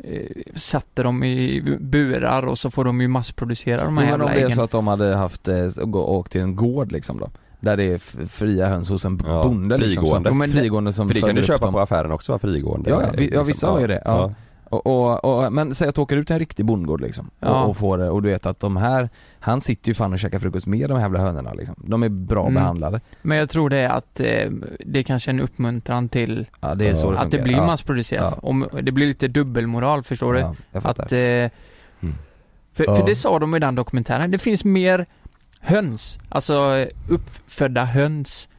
[SPEAKER 2] eh, sätter dem i burar och så får de ju massproducera de här
[SPEAKER 3] Men
[SPEAKER 2] jävla
[SPEAKER 3] om det är
[SPEAKER 2] äggen.
[SPEAKER 3] så att de hade haft, eh, gå- åkt till en gård liksom då? Där det är f- fria höns hos en
[SPEAKER 4] Ja,
[SPEAKER 3] bonde liksom,
[SPEAKER 4] frigående.
[SPEAKER 3] som,
[SPEAKER 2] Jo, men det-
[SPEAKER 3] frigående som
[SPEAKER 4] För det kan
[SPEAKER 3] föder
[SPEAKER 4] du
[SPEAKER 3] upp
[SPEAKER 4] köpa
[SPEAKER 3] dem.
[SPEAKER 4] på affären också va? Frigående
[SPEAKER 3] liksom- Ja, ja, vi- ja,
[SPEAKER 4] liksom.
[SPEAKER 3] vissa har ju det, ja. Och, och, och, men säg att du åker ut till en riktig bondgård liksom
[SPEAKER 2] Ja.
[SPEAKER 3] och, och får det och du vet att de här, han sitter ju fan och käkar frukost med de här jävla hönorna liksom. De är bra
[SPEAKER 2] Mm.
[SPEAKER 3] behandlade.
[SPEAKER 2] Men jag tror det är att eh, det kanske är en uppmuntran till
[SPEAKER 3] Ja det är så det
[SPEAKER 2] att det
[SPEAKER 3] fungerar.
[SPEAKER 2] blir
[SPEAKER 3] ja.
[SPEAKER 2] massproducerat.
[SPEAKER 3] Ja.
[SPEAKER 2] Om, det blir lite dubbelmoral, förstår du?
[SPEAKER 3] Ja, jag fattar.
[SPEAKER 2] Att, eh,
[SPEAKER 4] Mm.
[SPEAKER 2] för,
[SPEAKER 3] Ja.
[SPEAKER 2] för det sa de i den dokumentären, det finns mer höns, alltså uppfödda höns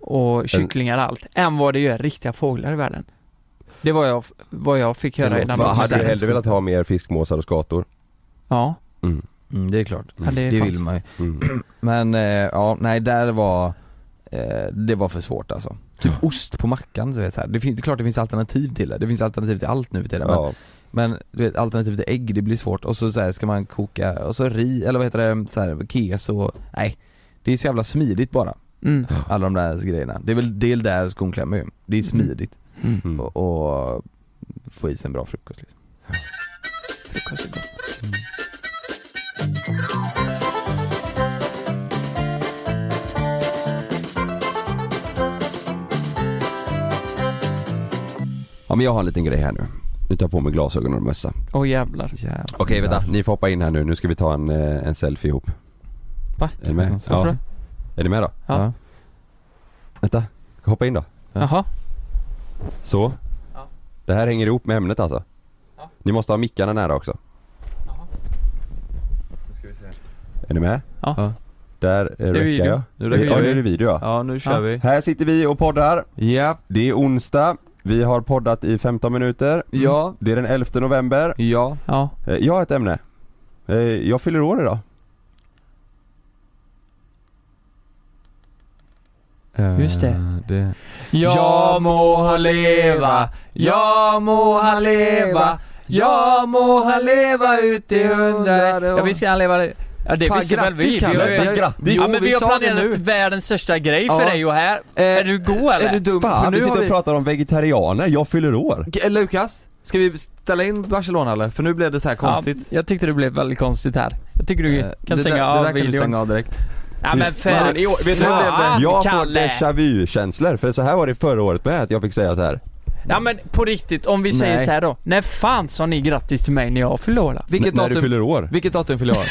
[SPEAKER 2] och kycklingar och allt, än vad det gör riktiga fåglar i världen. Det var jag, vad jag fick höra i
[SPEAKER 4] Det
[SPEAKER 2] den
[SPEAKER 4] låter- hade du
[SPEAKER 2] dokumentären.
[SPEAKER 4] hellre velat ha mer fiskmåsar och skator?
[SPEAKER 2] Ja,
[SPEAKER 4] Mm.
[SPEAKER 3] mm, det är klart.
[SPEAKER 2] ja, det,
[SPEAKER 3] Det
[SPEAKER 2] fanns.
[SPEAKER 3] vill man ju.
[SPEAKER 4] Mm.
[SPEAKER 3] Men eh, ja, nej där var, eh, det var för svårt alltså. Typ ost på mackan du vet så här. Det, finns, det är klart det finns alternativ till det. Det finns alternativ till allt nu för tiden. Men
[SPEAKER 4] Ja.
[SPEAKER 3] Men du vet alternativet är ägg, det blir svårt och så, så här, ska man koka, och så ri, eller vad heter det, så här, keso, nej Det är så jävla smidigt bara,
[SPEAKER 2] Mm.
[SPEAKER 3] alla de där grejerna. Det är väl det är där skon klämmer ju. Det är smidigt
[SPEAKER 4] Mm.
[SPEAKER 3] och, och få i sig en bra frukost liksom.
[SPEAKER 2] Frukost är gott.
[SPEAKER 4] Mm. ja men jag har en liten grej här nu. Nu tar jag på mig glasögon och mössa.
[SPEAKER 2] Åh jävlar.
[SPEAKER 3] Jävlar.
[SPEAKER 4] Okej vänta, ni får hoppa in här nu. Nu ska vi ta en, eh, en selfie ihop.
[SPEAKER 2] Va?
[SPEAKER 4] Är ni med?
[SPEAKER 3] Varför
[SPEAKER 4] Ja.
[SPEAKER 2] då?
[SPEAKER 4] Är ni med då?
[SPEAKER 2] Ja.
[SPEAKER 3] Ja.
[SPEAKER 4] Vänta, hoppa in då.
[SPEAKER 2] Jaha.
[SPEAKER 4] Så.
[SPEAKER 2] Ja.
[SPEAKER 4] Det här hänger ihop med ämnet alltså.
[SPEAKER 2] Ja.
[SPEAKER 4] Ni måste ha mickarna nära också.
[SPEAKER 2] Jaha.
[SPEAKER 4] Är ni med?
[SPEAKER 2] Ja.
[SPEAKER 3] Ja.
[SPEAKER 4] Där eh, räcker
[SPEAKER 2] video.
[SPEAKER 4] jag.
[SPEAKER 3] Nu
[SPEAKER 2] räcker
[SPEAKER 4] ja,
[SPEAKER 2] vi.
[SPEAKER 4] nu är det video ja.
[SPEAKER 3] Ja nu kör
[SPEAKER 2] Ja.
[SPEAKER 3] vi.
[SPEAKER 4] Här sitter vi och poddar.
[SPEAKER 3] Ja,
[SPEAKER 4] Det är onsdag. Vi har poddat i 15 minuter.
[SPEAKER 3] Mm. ja,
[SPEAKER 4] Det är den 11 november.
[SPEAKER 3] ja.
[SPEAKER 2] Ja.
[SPEAKER 4] Eh, Jag har ett ämne. Eh, Jag fyller år idag.
[SPEAKER 2] Just det.
[SPEAKER 3] Eh, det.
[SPEAKER 2] Jag må han leva, jag må han leva, jag må han leva ut i hundrade år. Ja visst ska han leva Ja det
[SPEAKER 3] Fan,
[SPEAKER 2] visste väl vi?
[SPEAKER 3] grattis, Kalle.
[SPEAKER 2] vi
[SPEAKER 3] Tack, grattis.
[SPEAKER 2] ja, men
[SPEAKER 3] Jo, vi
[SPEAKER 2] vi har
[SPEAKER 3] sa det
[SPEAKER 2] planerat
[SPEAKER 3] nu.
[SPEAKER 2] världens största grej för
[SPEAKER 3] Ja.
[SPEAKER 2] dig och här.
[SPEAKER 3] Eh,
[SPEAKER 2] är du god eller?
[SPEAKER 3] Är du dum? För
[SPEAKER 4] Fan,
[SPEAKER 3] nu
[SPEAKER 4] vi
[SPEAKER 3] har
[SPEAKER 4] sitter och
[SPEAKER 3] vi...
[SPEAKER 4] pratar om vegetarianer. Jag fyller år.
[SPEAKER 3] G- Lukas, ska vi ställa in Barcelona eller? För nu blev det så här konstigt.
[SPEAKER 2] Ja, jag tyckte det blev väldigt konstigt här. Jag tycker du
[SPEAKER 3] Eh,
[SPEAKER 2] kan
[SPEAKER 3] det
[SPEAKER 2] stänga
[SPEAKER 3] där,
[SPEAKER 2] av
[SPEAKER 3] det där kan du
[SPEAKER 2] videon.
[SPEAKER 3] stänga av direkt.
[SPEAKER 2] Ja men för
[SPEAKER 3] fan, i år- vet du vad det blev?
[SPEAKER 2] fan
[SPEAKER 4] Jag får
[SPEAKER 2] Kalle!
[SPEAKER 4] déjà vu-känslor, för så här var det förra året med att jag fick säga så här.
[SPEAKER 2] Ja men på riktigt, om vi säger
[SPEAKER 3] Nej.
[SPEAKER 2] så här då. När fan sa ni grattis till mig när jag fyllde år? då?
[SPEAKER 3] Vilket
[SPEAKER 4] N- när du
[SPEAKER 3] datum?
[SPEAKER 4] fyller år.
[SPEAKER 3] Vilket datum fyller jag år?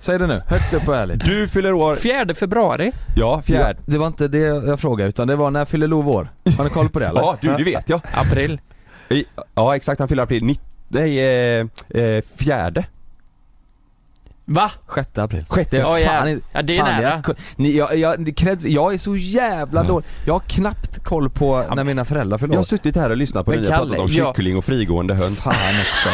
[SPEAKER 3] Säg det nu, högt upp och ärligt.
[SPEAKER 4] Du fyller år,
[SPEAKER 2] Fjärde februari?
[SPEAKER 4] ja
[SPEAKER 3] Ja,
[SPEAKER 4] fjärde.
[SPEAKER 3] det var inte det jag frågade utan det var när fyller Love år? Har ni koll på det eller?
[SPEAKER 4] Ja du, det vet jag.
[SPEAKER 2] April?
[SPEAKER 4] I- Ja exakt, han fyller april, nitt... nej eh, eh, fjärde.
[SPEAKER 2] Va?
[SPEAKER 3] 6 april. 6 april.
[SPEAKER 2] Ja,
[SPEAKER 3] fan,
[SPEAKER 2] ja.
[SPEAKER 3] inte-
[SPEAKER 2] Ja, det är
[SPEAKER 3] fan,
[SPEAKER 2] nära.
[SPEAKER 3] Jag, ni, jag, jag, ni- cred, jag är så jävla dålig. Jag har knappt koll på när mina föräldrar
[SPEAKER 4] Jag
[SPEAKER 3] fyller
[SPEAKER 4] har
[SPEAKER 3] år.
[SPEAKER 4] suttit här och lyssnat på
[SPEAKER 2] Men
[SPEAKER 4] när ni har pratat
[SPEAKER 2] Kalle,
[SPEAKER 4] om
[SPEAKER 2] ja.
[SPEAKER 4] kyckling och frigående höns.
[SPEAKER 3] Fan också.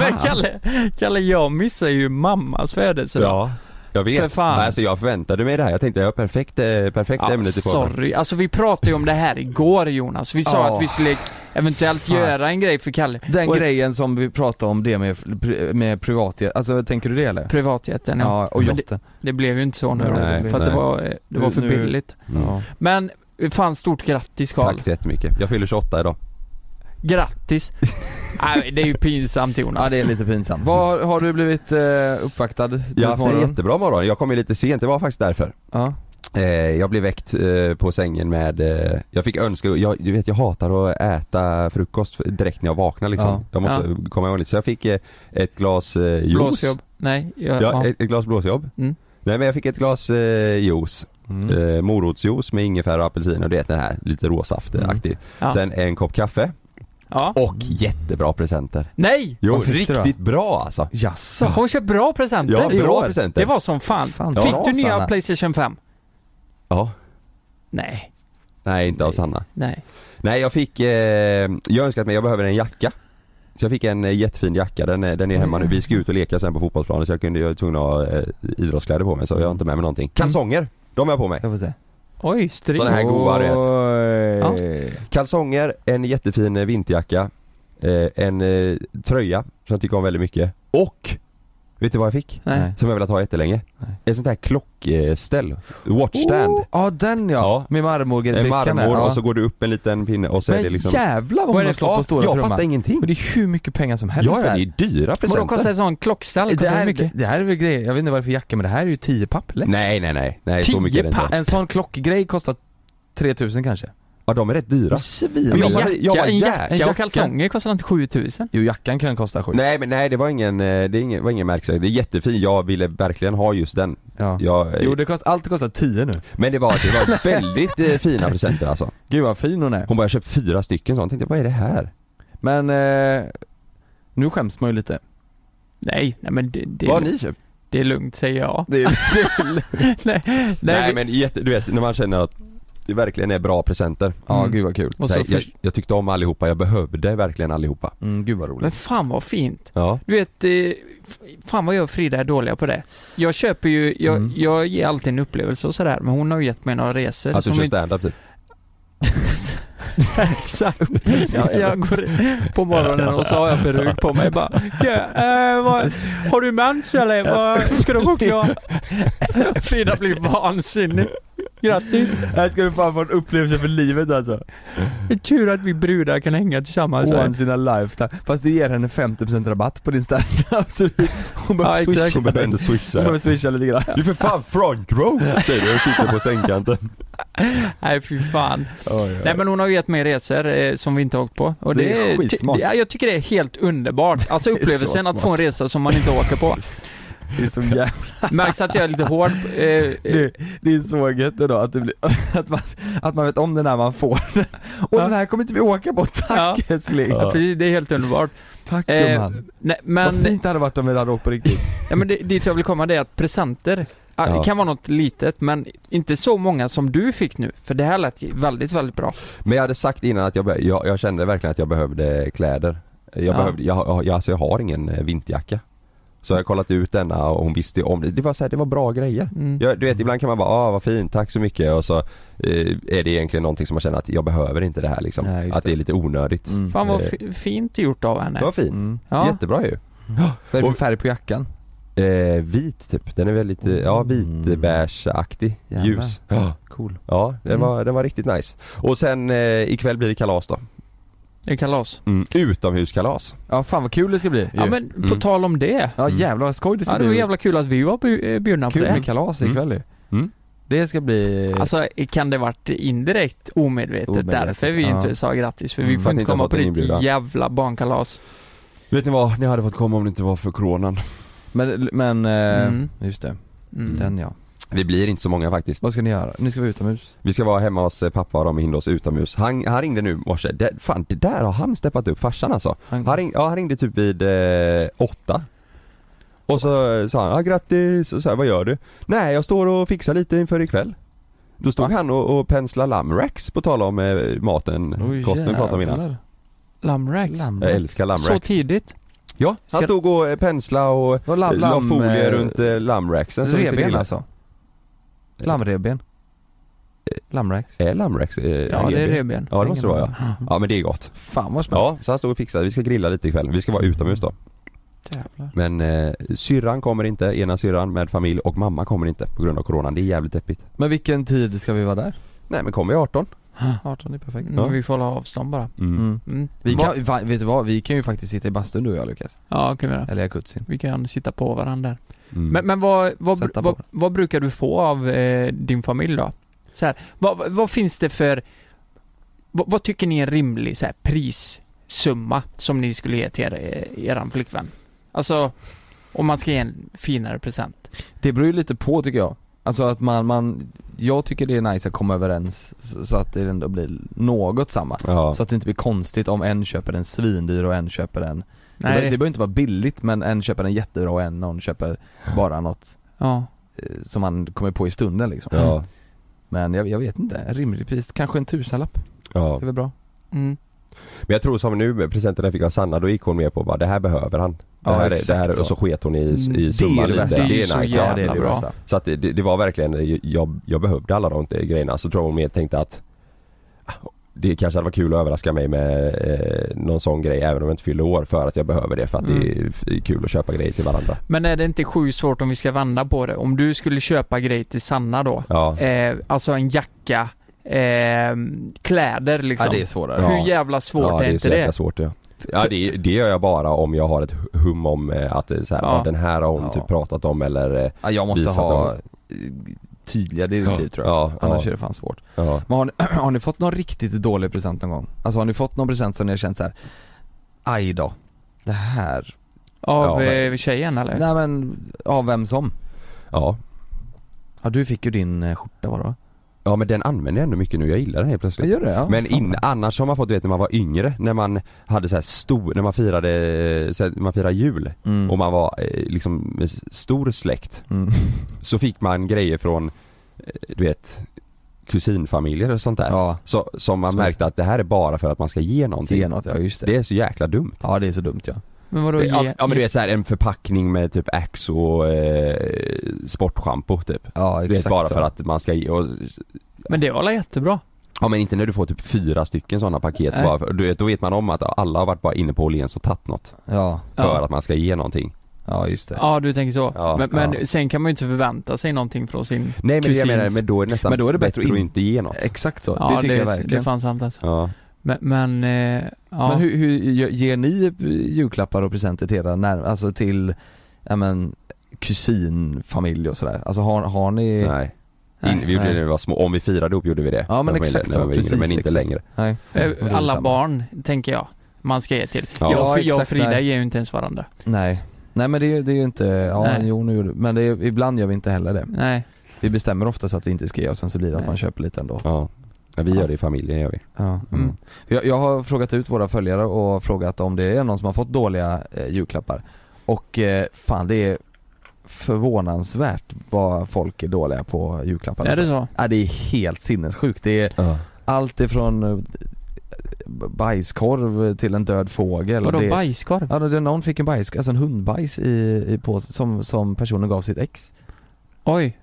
[SPEAKER 2] Men Kalle, Kalle jag missar ju mammas födelsedag.
[SPEAKER 4] Ja, jag vet.
[SPEAKER 2] För fan.
[SPEAKER 4] Nej, Alltså jag förväntade mig det här, jag tänkte jag har perfekt, eh, perfekt
[SPEAKER 2] Ja,
[SPEAKER 4] ämne till podden.
[SPEAKER 2] sorry, alltså vi pratade ju om det här igår Jonas. Vi sa
[SPEAKER 3] Ja.
[SPEAKER 2] att vi skulle eventuellt
[SPEAKER 3] Fan.
[SPEAKER 2] göra en grej för Kalle.
[SPEAKER 3] Den
[SPEAKER 2] Och-
[SPEAKER 3] grejen som vi pratade om det med, med privat, alltså tänker du det eller?
[SPEAKER 2] Privatjeten ja.
[SPEAKER 3] Ja, och
[SPEAKER 2] Men
[SPEAKER 3] jotten.
[SPEAKER 4] Mm.
[SPEAKER 2] Det blev ju inte så nu
[SPEAKER 4] Nej,
[SPEAKER 2] då, för att det
[SPEAKER 4] nej.
[SPEAKER 2] var, eh, det var för
[SPEAKER 3] Nu-
[SPEAKER 2] billigt.
[SPEAKER 4] Mm.
[SPEAKER 3] Ja.
[SPEAKER 2] Men fan stort grattis Karl.
[SPEAKER 4] Tack så jättemycket. Jag fyller 28 idag.
[SPEAKER 2] Grattis. Nej det är ju pinsamt Jonas.
[SPEAKER 3] ja, det är lite
[SPEAKER 4] Mm.
[SPEAKER 3] pinsamt. Vad, har du blivit eh, uppvaktad?
[SPEAKER 4] Jag har haft en jättebra morgon, jag kom ju lite sent, det var faktiskt därför.
[SPEAKER 3] Ja.
[SPEAKER 4] Eh, jag blev väckt eh, på sängen med, eh, jag fick önska, jag, du vet jag hatar att äta frukost för- direkt när jag vaknar liksom.
[SPEAKER 3] Ja.
[SPEAKER 4] Jag måste komma ihåg lite. Så jag fick eh, ett glas eh, juice.
[SPEAKER 2] Blåsjobb. Nej, jag,
[SPEAKER 4] Ja,
[SPEAKER 2] ja.
[SPEAKER 4] ett, ett glas blåsjobb.
[SPEAKER 2] Mm.
[SPEAKER 4] Nej men jag fick ett glas eh, juice.
[SPEAKER 3] Mm.
[SPEAKER 4] Eh, morotsjuice med ingefära och apelsin och du vet den här lite råsaftaktig.
[SPEAKER 2] Ja.
[SPEAKER 4] Sen en kopp kaffe
[SPEAKER 2] ja.
[SPEAKER 4] och jättebra presenter.
[SPEAKER 2] Nej!
[SPEAKER 4] Jo,
[SPEAKER 3] Vad fick du då?
[SPEAKER 4] riktigt bra alltså.
[SPEAKER 3] Jaså?
[SPEAKER 2] Hon köpte bra presenter
[SPEAKER 4] Ja,
[SPEAKER 2] i
[SPEAKER 4] bra
[SPEAKER 2] år.
[SPEAKER 4] presenter.
[SPEAKER 2] Det var som fan.
[SPEAKER 3] Fan,
[SPEAKER 2] Fick
[SPEAKER 3] bra,
[SPEAKER 2] du nya
[SPEAKER 3] Sanna.
[SPEAKER 2] Playstation 5?
[SPEAKER 4] Ja.
[SPEAKER 2] Nej,
[SPEAKER 4] Nej inte av Sanna.
[SPEAKER 2] nej.
[SPEAKER 4] Nej jag fick, eh, jag önskar att mig, jag behöver en jacka. Så jag fick en eh, jättefin jacka, den är, den är hemma nu. Vi ska ut och leka sen på fotbollsplanen så jag kunde, jag var tvungen att ha eh, idrottskläder på mig så jag har inte med mig någonting. Kalsonger! De har jag på mig.
[SPEAKER 3] Jag får se.
[SPEAKER 2] Oj, strid.
[SPEAKER 4] Sådana här goa, du vet.
[SPEAKER 3] Ja.
[SPEAKER 4] Kalsonger, en jättefin eh, vinterjacka, eh, en eh, tröja som jag tycker om väldigt mycket och Vet du vad jag fick?
[SPEAKER 2] Nej.
[SPEAKER 4] Som jag velat ha jättelänge?
[SPEAKER 3] Nej.
[SPEAKER 4] Ett sånt här klockställ, watchstand.
[SPEAKER 3] Oh, Ja den ja,
[SPEAKER 4] Ja.
[SPEAKER 3] med
[SPEAKER 4] En
[SPEAKER 3] marmorbrickan där,
[SPEAKER 4] marmor
[SPEAKER 3] ja.
[SPEAKER 4] och så går det upp en liten pinne och så
[SPEAKER 3] Men
[SPEAKER 4] är det liksom
[SPEAKER 3] jävlar vad
[SPEAKER 2] Vad är
[SPEAKER 3] hon har
[SPEAKER 2] det?
[SPEAKER 3] slagit på stora
[SPEAKER 4] Jag
[SPEAKER 3] trumman.
[SPEAKER 4] fattar ingenting.
[SPEAKER 3] Men det är hur mycket pengar som helst
[SPEAKER 4] Ja, ja,
[SPEAKER 3] där.
[SPEAKER 4] det är dyra
[SPEAKER 2] Men då
[SPEAKER 4] presenter.
[SPEAKER 2] kostar en sån klockstall,
[SPEAKER 3] det,
[SPEAKER 2] kostar hur
[SPEAKER 3] här,
[SPEAKER 2] mycket?
[SPEAKER 3] det här är väl grejer, jag vet inte varför jacka men det här är ju 10 papp lätt.
[SPEAKER 4] Nej, nej, nej. nej så
[SPEAKER 2] Tio
[SPEAKER 4] mycket är det inte.
[SPEAKER 2] papp.
[SPEAKER 3] En sån klockgrej kostar 3000 kanske.
[SPEAKER 4] Ja, de är rätt dyra.
[SPEAKER 3] Svin.
[SPEAKER 4] Men
[SPEAKER 2] En
[SPEAKER 4] jag var-
[SPEAKER 2] jacka,
[SPEAKER 4] jag var
[SPEAKER 2] en
[SPEAKER 4] jäkla-
[SPEAKER 2] jacka
[SPEAKER 3] jacka.
[SPEAKER 2] och kalsonger kostar inte 7000?
[SPEAKER 3] Jo jackan kan kosta sju.
[SPEAKER 4] Nej, men nej, det var ingen, eh, det är ingen, var ingen märksäker. Det är jättefin. Jag ville verkligen ha just den.
[SPEAKER 3] Ja.
[SPEAKER 4] Jag,
[SPEAKER 3] Jo det kost, allt kostar 10 nu.
[SPEAKER 4] Men det var, det var väldigt eh, fina presenter alltså.
[SPEAKER 3] Gud vad fin hon är.
[SPEAKER 4] Hon bara, jag köpt fyra stycken sånt. Tänkte, vad är det här?
[SPEAKER 3] Men eh, nu skäms man ju lite.
[SPEAKER 2] Nej, nej men det, det,
[SPEAKER 4] vad har
[SPEAKER 2] är,
[SPEAKER 4] ni
[SPEAKER 2] lugnt.
[SPEAKER 4] köpt?
[SPEAKER 2] det är lugnt säger jag.
[SPEAKER 4] Det är,
[SPEAKER 2] nej, nej,
[SPEAKER 4] nej,
[SPEAKER 2] vi-
[SPEAKER 4] men jätte, du vet, när man känner att det verkligen är bra presenter.
[SPEAKER 3] Ja
[SPEAKER 2] Mm.
[SPEAKER 3] gud vad kul.
[SPEAKER 2] och
[SPEAKER 4] Så
[SPEAKER 2] så
[SPEAKER 4] här, jag,
[SPEAKER 2] först-
[SPEAKER 4] jag tyckte om allihopa, jag behövde verkligen allihopa.
[SPEAKER 3] Mm, gud vad
[SPEAKER 2] Men
[SPEAKER 3] roligt.
[SPEAKER 2] fan vad fint.
[SPEAKER 4] Ja.
[SPEAKER 2] Du vet, eh, f- fan vad jag och Frida är dåliga på det. Jag köper ju, jag,
[SPEAKER 3] Mm.
[SPEAKER 2] jag ger alltid en upplevelse och sådär, men hon har ju gett mig några resor.
[SPEAKER 4] Att du
[SPEAKER 2] som
[SPEAKER 4] kör
[SPEAKER 2] inte-
[SPEAKER 4] standup typ.
[SPEAKER 2] Exakt. Jag, jag går på morgonen och så har jag peruk på mig bara. "Ja, eh, vad, har du mens eller? Vad, ska du ha choklad? Frida blir vansinnig. Grattis!
[SPEAKER 3] Här ska du fan få en upplevelse för livet alltså.
[SPEAKER 2] Det är tur att vi brudar kan hänga tillsammans. här.
[SPEAKER 3] Once in a lifetime. Fast du ger henne 50% rabatt på din standup så du- hon behöver
[SPEAKER 2] Ja, exakt.
[SPEAKER 3] swisha.
[SPEAKER 4] Hon behöver ändå
[SPEAKER 3] Hon
[SPEAKER 4] swisha.
[SPEAKER 3] behöver swisha lite grann.
[SPEAKER 4] Du är för fan front row! Oh, Säger du och sitter på sängkanten.
[SPEAKER 2] Nej fy fan. Nej men hon har ju gett mig resor eh, som vi inte har åkt på. Och
[SPEAKER 3] Det
[SPEAKER 2] det,
[SPEAKER 3] är
[SPEAKER 2] ty-
[SPEAKER 3] skitsmart.
[SPEAKER 2] det- ja, jag tycker det är helt underbart. Alltså
[SPEAKER 3] Det är så
[SPEAKER 2] upplevelsen att få en resa som man inte åker på.
[SPEAKER 3] Det är så jävla...
[SPEAKER 2] Märks att jag är lite hård. eh, Eh,
[SPEAKER 3] Du, det är så gött ändå att, det blir, att, man, att man vet om den här man får. Och
[SPEAKER 2] Ja.
[SPEAKER 3] den här kommer inte vi åka på. Tack älskling.
[SPEAKER 2] ja, precis, det är helt underbart.
[SPEAKER 3] Tack
[SPEAKER 2] Eh,
[SPEAKER 3] gumman.
[SPEAKER 2] Nej,
[SPEAKER 3] Vad
[SPEAKER 2] men,
[SPEAKER 3] fint det hade varit om vi hade åkt på riktigt.
[SPEAKER 2] ja, men det, dit jag vill komma det är att presenter, ah,
[SPEAKER 4] Ja.
[SPEAKER 2] det kan vara något litet men inte så många som du fick nu. För det här lät ju väldigt, väldigt bra.
[SPEAKER 4] Men jag hade sagt innan att jag, be- jag, jag kände verkligen att jag behövde kläder. Jag,
[SPEAKER 2] Ja.
[SPEAKER 4] behövde, jag, jag, alltså jag har ingen eh, vinterjacka. Så jag har kollat ut denna och hon visste ju om det. Det var, så här, det var bra grejer.
[SPEAKER 2] Mm.
[SPEAKER 4] Jag, du vet ibland kan man bara, ah vad fint, tack så mycket och så eh, är det egentligen någonting som man känner att jag behöver inte det här liksom.
[SPEAKER 3] Nej, just
[SPEAKER 4] att det är
[SPEAKER 3] det.
[SPEAKER 4] lite onödigt.
[SPEAKER 3] Mm.
[SPEAKER 2] Fan vad
[SPEAKER 4] Eh.
[SPEAKER 2] fi- fint gjort av
[SPEAKER 4] Det
[SPEAKER 2] henne.
[SPEAKER 4] var fint.
[SPEAKER 3] Mm.
[SPEAKER 2] Ja.
[SPEAKER 4] Jättebra ju.
[SPEAKER 3] Vad är det
[SPEAKER 4] Mm. Och-
[SPEAKER 3] för färg på jackan?
[SPEAKER 4] Eh, vit typ, den är väldigt, eh, ja vitbärsaktig,
[SPEAKER 3] Jävlar.
[SPEAKER 4] ljus. Ja,
[SPEAKER 3] Cool.
[SPEAKER 4] ja den,
[SPEAKER 2] Mm.
[SPEAKER 4] var, den var riktigt nice. Och sen eh, ikväll blir det kalas då.
[SPEAKER 2] Det är kalas.
[SPEAKER 4] Mm. Utomhuskalas.
[SPEAKER 3] Ja fan vad kul det ska bli.
[SPEAKER 2] Ja
[SPEAKER 3] ju.
[SPEAKER 2] men på
[SPEAKER 4] Mm.
[SPEAKER 2] tal om det.
[SPEAKER 3] ja
[SPEAKER 4] Mm.
[SPEAKER 3] jävlar vad skoj det ska
[SPEAKER 2] Ja, det
[SPEAKER 3] bli.
[SPEAKER 2] var jävla kul att vi var bu- eh, bjudna på
[SPEAKER 3] Kul
[SPEAKER 2] det.
[SPEAKER 3] med kalas
[SPEAKER 4] Mm.
[SPEAKER 3] ikväll ju.
[SPEAKER 4] Mm.
[SPEAKER 3] Det ska bli...
[SPEAKER 2] Alltså kan det varit indirekt omedvetet,
[SPEAKER 3] Omedvetet,
[SPEAKER 2] därför vi
[SPEAKER 3] ja.
[SPEAKER 2] inte sa grattis för vi
[SPEAKER 3] Mm,
[SPEAKER 2] får
[SPEAKER 4] att ni
[SPEAKER 2] inte
[SPEAKER 4] inte har
[SPEAKER 2] komma
[SPEAKER 4] fått
[SPEAKER 2] på
[SPEAKER 4] en
[SPEAKER 2] ditt
[SPEAKER 4] inbjudan.
[SPEAKER 2] jävla barnkalas.
[SPEAKER 4] Vet ni vad, ni hade fått komma om det inte var för coronan.
[SPEAKER 3] Men, men eh,
[SPEAKER 2] Mm.
[SPEAKER 3] just det.
[SPEAKER 2] Mm.
[SPEAKER 3] Den ja.
[SPEAKER 4] Vi blir inte så många faktiskt.
[SPEAKER 3] Vad ska ni göra? Nu ska vi utomhus.
[SPEAKER 4] Vi ska vara hemma hos eh, pappa och de hinner oss utomhus. Han, han ringde nu i morse, det, fan det där har han steppat upp, farsan alltså.
[SPEAKER 3] Han-
[SPEAKER 4] Han, ring, ja, han ringde typ vid eh, åtta. Och så eh, sa han, ah, grattis, och så här, vad gör du? Nej jag står och fixar lite inför ikväll. Då stod han och, och penslade lammracks på tal om eh, maten,
[SPEAKER 3] Oj,
[SPEAKER 4] kosten vi pratade om innan.
[SPEAKER 3] jävlar.
[SPEAKER 2] Lammracks.
[SPEAKER 3] Lammracks.
[SPEAKER 4] Jag älskar
[SPEAKER 2] Så
[SPEAKER 4] lammracks.
[SPEAKER 2] tidigt?
[SPEAKER 4] Ja, han
[SPEAKER 3] Ska-
[SPEAKER 4] stod och eh, pensla och
[SPEAKER 3] Vad
[SPEAKER 4] la
[SPEAKER 3] lam, lam,
[SPEAKER 4] folie
[SPEAKER 3] eh,
[SPEAKER 4] runt eh, lammracksen. som vi ska
[SPEAKER 3] Revben
[SPEAKER 4] grilla.
[SPEAKER 3] alltså? Lammrevben? Lammrax?
[SPEAKER 4] Är lammracks eh,
[SPEAKER 2] Ja, det är
[SPEAKER 4] revben?
[SPEAKER 2] revben.
[SPEAKER 4] Ja det måste det vara ja.
[SPEAKER 2] Ja.
[SPEAKER 4] Ja men det är gott.
[SPEAKER 3] Fan vad smält.
[SPEAKER 4] Ja, så han stod och fixade. Vi ska grilla lite ikväll. Vi ska vara utomhus då.
[SPEAKER 2] Jävlar.
[SPEAKER 4] Men eh, syrran kommer inte, ena syrran med familj och mamma kommer inte på grund av coronan. Det är jävligt deppigt.
[SPEAKER 3] Men vilken tid ska vi vara där?
[SPEAKER 4] Nej men kommer vi 18?
[SPEAKER 3] 18 är perfekt.
[SPEAKER 2] Nu Vi får hålla avstånd bara.
[SPEAKER 4] Mm.
[SPEAKER 3] Mm.
[SPEAKER 2] Mm.
[SPEAKER 3] Vi
[SPEAKER 2] Va-
[SPEAKER 3] kan, va, vet du vad? Vi kan ju faktiskt sitta i bastun du och jag Lukas.
[SPEAKER 2] Ja, kan vi göra.
[SPEAKER 3] Eller jacuzzi.
[SPEAKER 2] Vi kan sitta på varandra. där.
[SPEAKER 4] Mm.
[SPEAKER 2] Men, men vad, vad,
[SPEAKER 3] Sätta
[SPEAKER 2] vad,
[SPEAKER 3] på
[SPEAKER 2] vad, brukar du få av eh, din familj då? Så här, vad, vad finns det för... Vad, vad tycker ni är en rimlig så här, prissumma som ni skulle ge till er, eh, eran flickvän? Alltså, om man ska ge en finare present.
[SPEAKER 3] Det beror ju lite på tycker jag. Alltså att man, man, jag tycker det är nice att komma överens så, så att det ändå blir något samma.
[SPEAKER 4] ja.
[SPEAKER 3] Så att det inte blir konstigt om en köper en svindyr och en köper en
[SPEAKER 2] Nej,
[SPEAKER 3] Det behöver- Det behöver inte vara billigt men en köper en jättebra och en någon köper bara något
[SPEAKER 2] ja.
[SPEAKER 3] eh, som man kommer på i stunden liksom.
[SPEAKER 4] Ja.
[SPEAKER 3] Men jag, jag vet inte, en rimlig pris, kanske en tusenlapp,
[SPEAKER 4] Ja.
[SPEAKER 3] det är väl bra?
[SPEAKER 2] Mm.
[SPEAKER 4] Men jag tror som nu, presenten jag fick av Sanna, då gick hon med på bara det här behöver han. Det
[SPEAKER 3] Ja,
[SPEAKER 4] här, är-
[SPEAKER 3] exakt
[SPEAKER 4] det här,
[SPEAKER 3] så.
[SPEAKER 4] och så sket hon i, i
[SPEAKER 3] det
[SPEAKER 4] summan
[SPEAKER 3] är det
[SPEAKER 4] lite.
[SPEAKER 3] bästa.
[SPEAKER 2] Mm, Det är ju så
[SPEAKER 4] nice. Ja,
[SPEAKER 2] jävla bra.
[SPEAKER 4] Så att det, det var verkligen, eh, jag, jag behövde alla de grejerna. Så tror jag hon mer tänkte att ah, det kanske hade varit kul att överraska mig med eh, någon sån grej även om jag inte fyller år för att jag behöver det för att
[SPEAKER 2] Mm.
[SPEAKER 4] det är f- kul att köpa grejer till varandra.
[SPEAKER 2] Men är det inte sjukt svårt om vi ska vända på det? Om du skulle köpa grejer till Sanna då?
[SPEAKER 4] Ja.
[SPEAKER 2] Eh, alltså en jacka, eh, kläder liksom.
[SPEAKER 3] Ja det är svårare.
[SPEAKER 4] Ja.
[SPEAKER 2] Hur jävla svårt
[SPEAKER 4] ja,
[SPEAKER 2] är,
[SPEAKER 4] det är
[SPEAKER 2] inte
[SPEAKER 4] så jäkla
[SPEAKER 2] det?
[SPEAKER 4] svårt ja. Ja det, det gör jag bara om jag har ett hum om eh, att det är så här,
[SPEAKER 2] Ja.
[SPEAKER 4] ja. den här har hon
[SPEAKER 3] Ja.
[SPEAKER 4] typ pratat om eller eh,
[SPEAKER 3] Ja, jag måste
[SPEAKER 4] Visat
[SPEAKER 3] ha
[SPEAKER 4] dem.
[SPEAKER 3] eh, tydliga direktiv
[SPEAKER 4] Ja.
[SPEAKER 3] tror jag.
[SPEAKER 4] Ja,
[SPEAKER 3] Annars
[SPEAKER 4] ja.
[SPEAKER 3] är det fan svårt.
[SPEAKER 4] ja.
[SPEAKER 3] Men har ni, har ni fått någon riktigt dålig present någon gång? Alltså har ni fått någon present som ni har känt så här. aj då, det här,
[SPEAKER 2] Av
[SPEAKER 4] Ja,
[SPEAKER 2] eh, tjejen eller?
[SPEAKER 3] nej men, av vem som?
[SPEAKER 4] ja.
[SPEAKER 3] Ja du fick ju din eh, skjorta var det va?
[SPEAKER 4] Ja men den använder jag ändå mycket nu, jag gillar den helt plötsligt.
[SPEAKER 3] Jag gör det ja.
[SPEAKER 4] Men
[SPEAKER 3] Fan.
[SPEAKER 4] in, annars har man fått, du vet när man var yngre, när man hade så här stor, när man firade, eh, så här, man firade jul
[SPEAKER 3] Mm.
[SPEAKER 4] och man var eh, liksom med s- stor släkt
[SPEAKER 3] Mm.
[SPEAKER 4] så fick man grejer från, eh, du vet, kusinfamiljer och sånt där.
[SPEAKER 3] Ja,
[SPEAKER 4] Så, som man
[SPEAKER 3] Så-
[SPEAKER 4] märkte att det här är bara för att man ska ge någonting.
[SPEAKER 3] ge något, ja just det.
[SPEAKER 4] Det är så jäkla dumt.
[SPEAKER 3] Ja det är så dumt ja.
[SPEAKER 2] Men vadå ge?
[SPEAKER 4] Ja, ja men du vet såhär en förpackning med typ Axe och eh, sportschampo typ.
[SPEAKER 3] Ja
[SPEAKER 4] Du vet
[SPEAKER 3] exakt
[SPEAKER 4] bara
[SPEAKER 3] så.
[SPEAKER 4] för att man ska ge, och,
[SPEAKER 2] Men det var väl jättebra?
[SPEAKER 4] ja men inte när du får typ fyra stycken sådana paket
[SPEAKER 2] Nej.
[SPEAKER 4] bara för, du vet, då vet man om att alla har varit bara inne på Åhléns och tagit något.
[SPEAKER 3] Ja,
[SPEAKER 4] För
[SPEAKER 2] Ja.
[SPEAKER 4] att man ska ge någonting.
[SPEAKER 3] ja just det.
[SPEAKER 2] Ja du tänker så.
[SPEAKER 4] Ja,
[SPEAKER 2] men men
[SPEAKER 3] ja.
[SPEAKER 2] sen kan man ju inte förvänta sig någonting från sin
[SPEAKER 4] Nej men det jag
[SPEAKER 2] kusins-
[SPEAKER 4] menar, men då är det nästan
[SPEAKER 3] Men då är det bättre att
[SPEAKER 4] att
[SPEAKER 3] in-
[SPEAKER 4] inte ge något.
[SPEAKER 3] Exakt så,
[SPEAKER 2] Ja,
[SPEAKER 3] det tycker jag
[SPEAKER 2] det
[SPEAKER 3] verkligen.
[SPEAKER 2] fanns sant alltså.
[SPEAKER 4] Ja.
[SPEAKER 2] Men, men eh, ja.
[SPEAKER 3] Men hur, hur, ge- ger ni eh, julklappar och presenter till era när, alltså till, ja men, kusin, familj och sådär? Alltså har, har ni?
[SPEAKER 4] Nej.
[SPEAKER 2] Nej.
[SPEAKER 4] In, vi gjorde det när vi var små, om vi firade ihop gjorde vi det.
[SPEAKER 3] Ja, men
[SPEAKER 4] När vi var-
[SPEAKER 3] exakt
[SPEAKER 4] när
[SPEAKER 3] så,
[SPEAKER 4] vi var yngre,
[SPEAKER 3] precis,
[SPEAKER 4] Men inte
[SPEAKER 3] exakt.
[SPEAKER 4] längre.
[SPEAKER 3] Nej.
[SPEAKER 2] Eh,
[SPEAKER 3] Och det är
[SPEAKER 2] Alla
[SPEAKER 3] samma.
[SPEAKER 2] barn, tänker jag, man ska ge till.
[SPEAKER 4] Ja.
[SPEAKER 2] jag, och Fri-
[SPEAKER 3] Ja,
[SPEAKER 2] jag och
[SPEAKER 3] exakt,
[SPEAKER 2] Frida
[SPEAKER 3] nej.
[SPEAKER 2] ger ju inte ens varandra.
[SPEAKER 3] Nej. Nej men det, är- det är ju inte, ja
[SPEAKER 2] Nej.
[SPEAKER 3] jo nu gjorde men det är, ibland gör vi inte heller det.
[SPEAKER 2] Nej.
[SPEAKER 3] Vi bestämmer oftast att vi inte ska ge och sen så blir det att
[SPEAKER 2] Nej.
[SPEAKER 3] man köper lite ändå.
[SPEAKER 4] Ja. ja. Vi gör det i familjen gör vi.
[SPEAKER 3] Ja.
[SPEAKER 2] Mm.
[SPEAKER 3] Jag, jag har frågat ut våra följare och frågat om det är någon som har fått dåliga eh, julklappar. Och eh, fan det är förvånansvärt vad folk är dåliga på julklappar.
[SPEAKER 2] Är
[SPEAKER 3] alltså.
[SPEAKER 2] det så?
[SPEAKER 3] Ja, det är helt sinnessjukt. Det är
[SPEAKER 4] Ja.
[SPEAKER 3] allt ifrån eh, bajskorv till en död fågel.
[SPEAKER 2] Vadå
[SPEAKER 3] det...
[SPEAKER 2] bajskorv?
[SPEAKER 3] Ja, det- någon fick en bajs, alltså en hundbajs i, i på, som, som personen gav sitt ex.
[SPEAKER 2] Oj.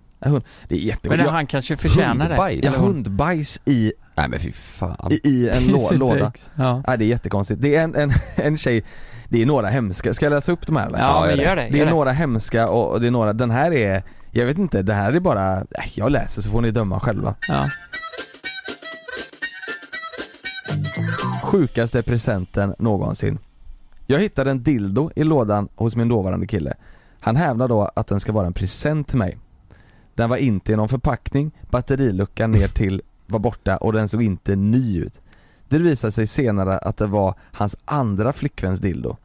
[SPEAKER 3] Det är jätteweird.
[SPEAKER 2] Men
[SPEAKER 3] Jag-
[SPEAKER 2] han kanske förtjänar det.
[SPEAKER 4] Hundbajs?
[SPEAKER 3] Ja, hundbajs i,
[SPEAKER 4] Nej men fy fan.
[SPEAKER 3] i, i en
[SPEAKER 2] Till
[SPEAKER 3] lå,
[SPEAKER 2] sitt
[SPEAKER 3] låda.
[SPEAKER 2] ex. Ja.
[SPEAKER 3] Nej, det är jättekonstigt. Det är en, en, en tjej, det är några hemska, ska jag läsa upp de här eller?
[SPEAKER 2] Ja,
[SPEAKER 4] gör
[SPEAKER 2] men
[SPEAKER 4] det.
[SPEAKER 2] gör det.
[SPEAKER 3] Det
[SPEAKER 2] gör
[SPEAKER 3] är några hemska och och det är några, den här är, jag vet inte, det här är bara, äh, jag läser så får ni döma själva.
[SPEAKER 2] Ja.
[SPEAKER 3] Sjukaste presenten någonsin. Jag hittade en dildo i lådan hos min dåvarande kille. Han hävdar då att den ska vara en present till mig. Den var inte i någon förpackning, batteriluckan ner till var borta och den såg inte ny ut. Det visade sig senare att det var hans andra flickväns dildo.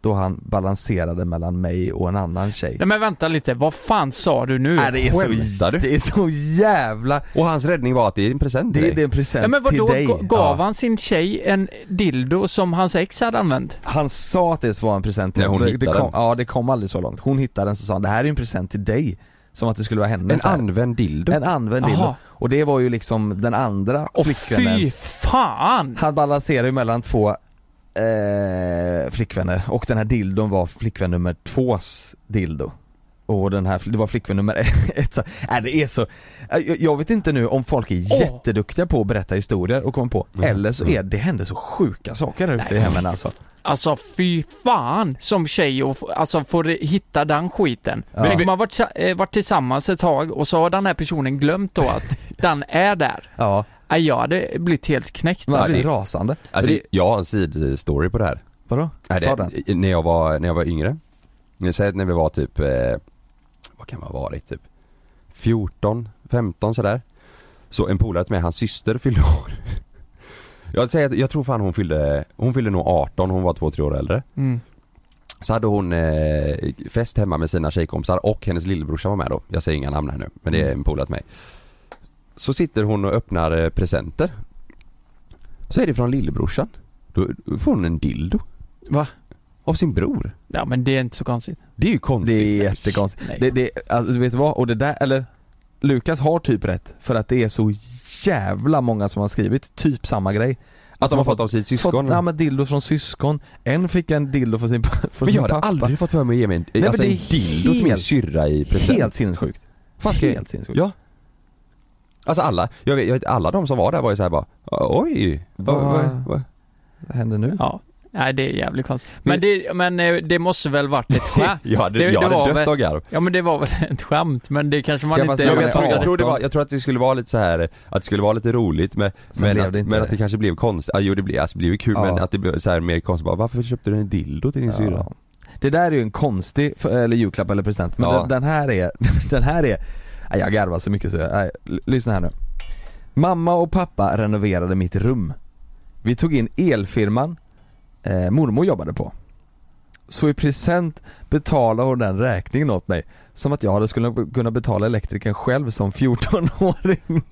[SPEAKER 3] Då han balanserade mellan mig och en annan tjej.
[SPEAKER 2] Nej men vänta lite, vad fan sa du nu?
[SPEAKER 3] Nej, det, är så,
[SPEAKER 4] skämtar du?
[SPEAKER 3] det är så jävla...
[SPEAKER 4] Och hans räddning var att det är en present till
[SPEAKER 3] Det,
[SPEAKER 4] dig.
[SPEAKER 3] det är en present
[SPEAKER 2] Ja, men vadå,
[SPEAKER 3] till dig.
[SPEAKER 2] ga- gav han sin tjej en dildo som hans ex hade använt?
[SPEAKER 3] Han sa att det var en present till
[SPEAKER 4] Nej, hon
[SPEAKER 3] det, det
[SPEAKER 4] hittade
[SPEAKER 3] kom,
[SPEAKER 4] den.
[SPEAKER 3] Ja det kom aldrig så långt. Hon hittade den så sa han, det här är en present till dig. Som att det skulle vara
[SPEAKER 4] En
[SPEAKER 3] hennes. här.
[SPEAKER 4] använd dildo?
[SPEAKER 3] en använd dildo.
[SPEAKER 2] Jaha.
[SPEAKER 3] Och det var ju liksom den andra
[SPEAKER 2] Åh fy
[SPEAKER 3] flickvännens.
[SPEAKER 2] fan!
[SPEAKER 3] Han balanserade ju mellan två eh, flickvänner och den här dildon var flickvän nummer tvås dildo. Och den här, det var flickvän nummer ett. Så, äh, det är så, äh, jag, jag vet inte nu om folk är
[SPEAKER 2] Åh.
[SPEAKER 3] jätteduktiga på att berätta historier och komma på,
[SPEAKER 4] Mm.
[SPEAKER 3] eller så är det händer så sjuka saker där ute i hemmen alltså.
[SPEAKER 2] Alltså fy fan som tjej och f- alltså får det- hitta den skiten.
[SPEAKER 3] Ja.
[SPEAKER 2] Tänk om man varit, sa- eh, varit tillsammans ett tag och så har den här personen glömt då att den är där.
[SPEAKER 3] Ja.
[SPEAKER 2] Nej, jag hade blivit helt knäckt
[SPEAKER 3] Man
[SPEAKER 2] alltså.
[SPEAKER 3] blir rasande.
[SPEAKER 4] Alltså
[SPEAKER 3] det-
[SPEAKER 4] jag har en sidostory på det här.
[SPEAKER 3] Vadå?
[SPEAKER 4] Nej, det,
[SPEAKER 3] Ta den.
[SPEAKER 4] När jag var, när jag var yngre. Nu säger jag när vi var typ, eh, vad kan man ha varit typ 14, 15 sådär. Så en polare till mig, hans syster fyllde år. Jag säger att jag tror fan hon fyllde, hon fyllde nog 18, hon var 2-3 år äldre.
[SPEAKER 2] Mm.
[SPEAKER 4] Så hade hon eh, fest hemma med sina tjejkompisar och hennes lillebrorsa var med då. Jag säger inga namn här nu, men det är
[SPEAKER 3] Mm.
[SPEAKER 4] en polare till mig. Så sitter hon och öppnar eh, presenter. Så är det från lillebrorsan. Då får hon en dildo.
[SPEAKER 2] Va?
[SPEAKER 4] Av sin bror.
[SPEAKER 2] Ja men det är inte så konstigt.
[SPEAKER 4] Det är ju
[SPEAKER 3] Det
[SPEAKER 4] konstigt.
[SPEAKER 3] är jättekonstigt.
[SPEAKER 2] Nej.
[SPEAKER 3] Det, det, alltså, du vet vad? Och det där, eller Lukas har typ rätt, för att det är så jävla många som har skrivit typ samma grej.
[SPEAKER 4] Att de har fått av sitt
[SPEAKER 3] Fått,
[SPEAKER 4] syskon?
[SPEAKER 3] nej men dildo från syskon, en fick en dildo från sin, från
[SPEAKER 4] men
[SPEAKER 3] sin
[SPEAKER 4] jag hade
[SPEAKER 3] pappa.
[SPEAKER 4] aldrig fått för mig att ge mig en,
[SPEAKER 3] men
[SPEAKER 4] alltså
[SPEAKER 3] det är
[SPEAKER 4] en dildo till min
[SPEAKER 3] helt-
[SPEAKER 4] syrra i present.
[SPEAKER 3] Helt sinnessjukt.
[SPEAKER 4] Fan, ska jag-
[SPEAKER 3] Helt sinnessjukt.
[SPEAKER 4] Ja. Alltså alla, jag vet, jag vet, alla de som var där var ju såhär bara Oj! Vad,
[SPEAKER 3] Vad-
[SPEAKER 4] vad, vad?
[SPEAKER 3] Vad händer nu?
[SPEAKER 2] Ja. Nej det är jävligt konstigt. Men det, men eh, det måste väl varit ett skämt?
[SPEAKER 4] Jag hade,
[SPEAKER 2] Det- det
[SPEAKER 4] jag hade
[SPEAKER 2] var
[SPEAKER 4] dött
[SPEAKER 2] väl-
[SPEAKER 4] av garv.
[SPEAKER 2] Ja men det var väl ett skämt men det kanske man
[SPEAKER 3] Ja, fast
[SPEAKER 2] inte...
[SPEAKER 3] det
[SPEAKER 4] Ja,
[SPEAKER 3] var
[SPEAKER 4] men jag, tror, jag,
[SPEAKER 3] arton.
[SPEAKER 4] tror det var, jag tror att det skulle vara lite så här att det skulle vara lite roligt men,
[SPEAKER 3] Sen
[SPEAKER 4] men,
[SPEAKER 3] blev
[SPEAKER 4] att,
[SPEAKER 3] det inte
[SPEAKER 4] men
[SPEAKER 3] det.
[SPEAKER 4] att det kanske blev konstigt, ja, jo det blev, alltså, det blev ju kul
[SPEAKER 3] Ja.
[SPEAKER 4] men att det blev så här mer konstigt bara, varför köpte du en dildo till din syrra?
[SPEAKER 3] Ja. Det där är ju en konstig, f- eller julklapp eller present, men
[SPEAKER 4] Ja.
[SPEAKER 3] den, den här är, den här är, nej, jag garvar så mycket så jag, nej, l- lyssna här nu Mamma och pappa renoverade mitt rum Vi tog in elfirman eh, mormor jobbade på Så i present betalade hon den räkningen åt mig Som att jag hade skulle kunna betala elektrikern själv som 14-åring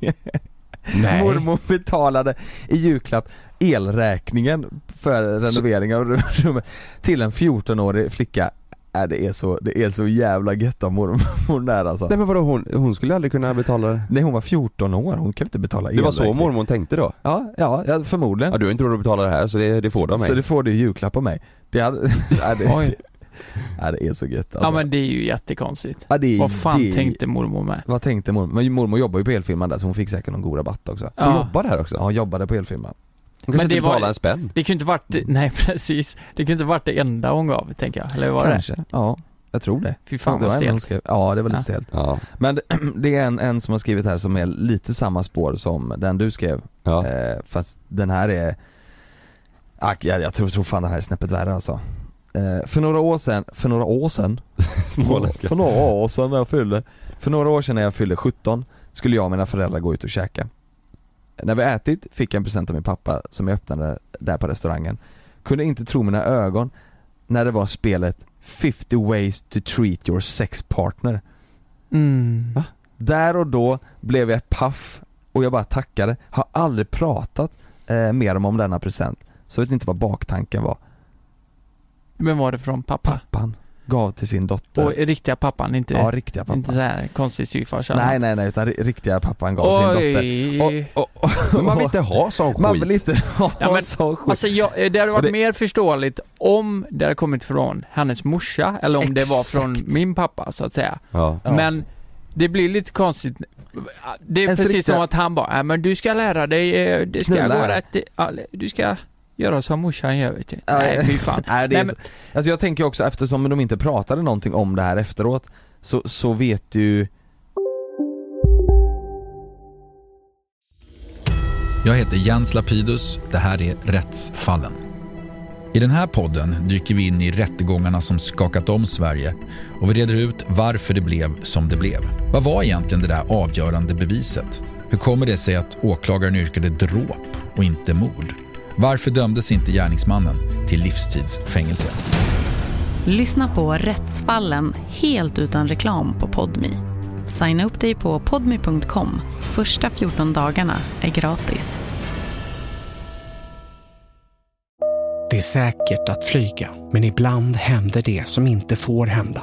[SPEAKER 3] Mormor betalade i julklapp elräkningen för renoveringen av rummet till en 14-årig flicka. Äh, det, är så, det är så jävla gött av mormor där alltså.
[SPEAKER 4] Nej men vadå hon, hon skulle aldrig kunna betala det?
[SPEAKER 3] Nej hon var 14 år, hon kan inte betala
[SPEAKER 4] Det var så
[SPEAKER 3] elräkning.
[SPEAKER 4] mormor tänkte då?
[SPEAKER 3] Ja, ja, ja förmodligen.
[SPEAKER 4] Ja du har inte råd att betala det här så det, det får du av mig.
[SPEAKER 3] Så det får du i julklapp av mig. Det, hade, nej, det,
[SPEAKER 2] Oj.
[SPEAKER 3] det, nej, det är så gött alltså.
[SPEAKER 2] Ja men det är ju jättekonstigt.
[SPEAKER 3] Ja, det är-
[SPEAKER 2] Vad fan
[SPEAKER 3] det är-
[SPEAKER 2] tänkte mormor med?
[SPEAKER 3] Vad tänkte mormor? Men mormor jobbar ju på elfirman där så hon fick säkert någon god rabatt också.
[SPEAKER 2] Ja.
[SPEAKER 4] Hon jobbar där också?
[SPEAKER 3] Ja, hon jobbade på elfirman.
[SPEAKER 4] Hon kanske
[SPEAKER 2] Men det
[SPEAKER 4] inte betalar
[SPEAKER 2] var-
[SPEAKER 4] en spänn?
[SPEAKER 2] Det kan ju inte varit, nej precis. Det kan ju inte varit det enda hon gav tänker jag. Eller var det?
[SPEAKER 3] Kanske. Ja, jag tror det.
[SPEAKER 2] Fy fan vad
[SPEAKER 3] Det var en hon
[SPEAKER 2] stelt.
[SPEAKER 3] skrev. Ja, det var lite
[SPEAKER 2] Ja.
[SPEAKER 3] stelt.
[SPEAKER 4] Ja,
[SPEAKER 3] Men det är en, en som har skrivit här som är lite samma spår som den du skrev,
[SPEAKER 4] ja.
[SPEAKER 3] eh, fast den här är Ack, jag, jag tror, tror fan den här är snäppet värre alltså eh, För några år sedan, för några år sedan?
[SPEAKER 4] Småländska.
[SPEAKER 3] För några år sedan när jag fyllde, för några år sedan när jag fyllde 17 skulle jag och mina föräldrar gå ut och käka När vi ätit fick jag en present av min pappa som jag öppnade där på restaurangen Kunde inte tro mina ögon när det var spelet 50 ways to treat your sex partner
[SPEAKER 2] Mm.
[SPEAKER 3] där och då blev jag paff och jag bara tackade, har aldrig pratat eh, mer om, om denna present. Så vet inte vad baktanken var.
[SPEAKER 2] Men var det från pappa?
[SPEAKER 3] Pappan gav till sin dotter.
[SPEAKER 2] Och riktiga pappan, inte,
[SPEAKER 3] ja, riktiga pappan.
[SPEAKER 2] inte så här konstig styvfarsa?
[SPEAKER 3] nej, nej, nej, utan ri- riktiga pappan gav sin dotter.
[SPEAKER 2] Oj.
[SPEAKER 3] Och, och, och,
[SPEAKER 4] Men man vill inte ha sån skit.
[SPEAKER 3] man vill inte ha
[SPEAKER 2] Ja, men-
[SPEAKER 3] sån skit.
[SPEAKER 2] Alltså jag, eh, det hade varit
[SPEAKER 3] Och det-
[SPEAKER 2] mer förståeligt om det hade kommit från hennes morsa eller om det var
[SPEAKER 3] Exakt.
[SPEAKER 2] från min pappa så att säga.
[SPEAKER 4] Ja.
[SPEAKER 3] Ja.
[SPEAKER 2] Men det blir lite konstigt. Det är
[SPEAKER 3] Ens
[SPEAKER 2] precis
[SPEAKER 3] riktiga-
[SPEAKER 2] som att han bara, "Nej, men du ska lära dig, eh, det ska
[SPEAKER 3] Knulla.
[SPEAKER 2] gå rätt, i- ja, du ska göra som morsan gör vet du.
[SPEAKER 3] Ja,
[SPEAKER 2] Nej fy fan.
[SPEAKER 3] Nej, det är
[SPEAKER 2] Nej, men-
[SPEAKER 3] så, alltså jag tänker också eftersom de inte pratade någonting om det här efteråt så, så vet ju
[SPEAKER 5] Jag heter Jens Lapidus. Det här är Rättsfallen. I den här podden dyker vi in i rättegångarna som skakat om Sverige och vi reder ut varför det blev som det blev. Vad var egentligen det där avgörande beviset? Hur kommer det sig att åklagaren yrkade dråp och inte mord? Varför dömdes inte gärningsmannen till livstidsfängelse?
[SPEAKER 6] Lyssna på Rättsfallen helt utan reklam på Podmi. Signa upp dig på podmi.com. Första 14 dagarna är gratis.
[SPEAKER 7] Det är säkert att flyga, men ibland händer det som inte får hända.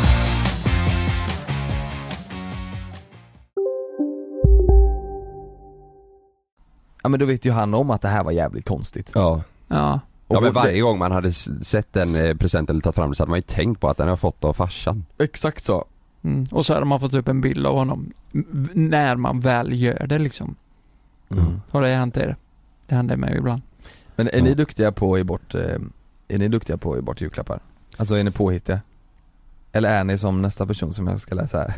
[SPEAKER 3] Ja men då vet ju han om att det här var jävligt konstigt.
[SPEAKER 4] Ja.
[SPEAKER 2] Ja.
[SPEAKER 4] Ja
[SPEAKER 3] Och-
[SPEAKER 4] men varje gång man hade s- sett den eh, presenten eller tagit fram den så hade man ju tänkt på att den har jag fått av farsan.
[SPEAKER 3] Exakt så.
[SPEAKER 2] Mm. Och så hade man fått upp en bild av honom m- när man väl gör det liksom.
[SPEAKER 3] Mm.
[SPEAKER 2] Har det hänt er? Det händer mig ibland.
[SPEAKER 3] Men är
[SPEAKER 4] Ja.
[SPEAKER 3] ni duktiga på att ge bort, eh, är ni duktiga på att ge bort julklappar? Alltså är ni påhittiga? Eller är ni som nästa person som jag ska läsa här?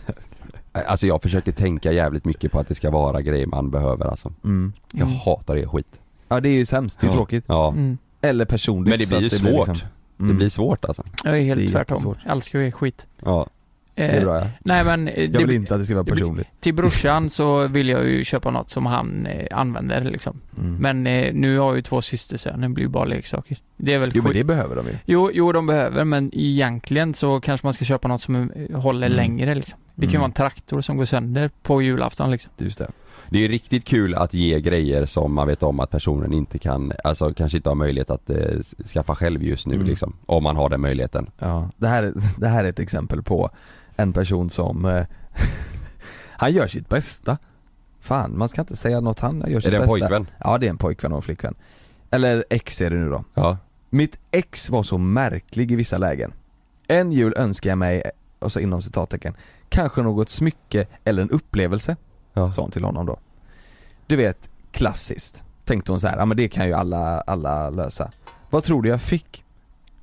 [SPEAKER 4] Alltså jag försöker tänka jävligt mycket på att det ska vara grejer man behöver alltså.
[SPEAKER 3] Mm.
[SPEAKER 4] Jag
[SPEAKER 3] Mm.
[SPEAKER 4] hatar er skit.
[SPEAKER 3] Ja det är ju sämst, det är
[SPEAKER 4] Ja.
[SPEAKER 3] tråkigt.
[SPEAKER 4] Ja.
[SPEAKER 2] Mm.
[SPEAKER 3] Eller personligt
[SPEAKER 4] Men det blir ju
[SPEAKER 3] så att
[SPEAKER 4] svårt.
[SPEAKER 3] liksom-
[SPEAKER 4] Det blir svårt alltså.
[SPEAKER 2] Jag är helt
[SPEAKER 3] Det är
[SPEAKER 2] tvärtom.
[SPEAKER 3] jättesvårt.
[SPEAKER 2] Jag älskar ju er skit.
[SPEAKER 4] Ja.
[SPEAKER 3] Det är bra, ja.
[SPEAKER 2] Nej men... eh,
[SPEAKER 3] Jag vill inte att det ska vara personligt.
[SPEAKER 2] Till brorsan så vill jag ju köpa något som han eh, använder liksom.
[SPEAKER 3] Mm.
[SPEAKER 2] Men eh, nu har jag ju två systersöner, det blir ju bara leksaker. Det är väl
[SPEAKER 3] Jo men
[SPEAKER 2] skit-
[SPEAKER 3] det behöver de ju.
[SPEAKER 2] Jo, jo, de behöver, men egentligen så kanske man ska köpa något som eh, håller
[SPEAKER 3] Mm.
[SPEAKER 2] längre liksom. Det kan ju
[SPEAKER 4] Mm.
[SPEAKER 2] vara en traktor som går sönder på julafton liksom.
[SPEAKER 3] Just det.
[SPEAKER 4] Det är ju riktigt kul att ge grejer som man vet om att personen inte kan, alltså kanske inte har möjlighet att eh, skaffa själv just nu
[SPEAKER 3] Mm.
[SPEAKER 4] liksom. Om man har den möjligheten.
[SPEAKER 3] Ja, det här, det här är ett exempel på en person som eh, Han gör sitt bästa Fan, man ska inte säga något han gör sitt
[SPEAKER 4] det en
[SPEAKER 3] bästa
[SPEAKER 4] pojkvän?
[SPEAKER 3] Ja det är en pojkvän och en flickvän Eller ex är det nu då
[SPEAKER 4] Ja.
[SPEAKER 3] Mitt ex var så märklig i vissa lägen En jul önskar jag mig, och så inom citattecken Kanske något smycke eller en upplevelse Sa hon till honom då Du vet, klassiskt Tänkte hon så här, ja men det kan ju alla, alla lösa Vad tror du jag fick?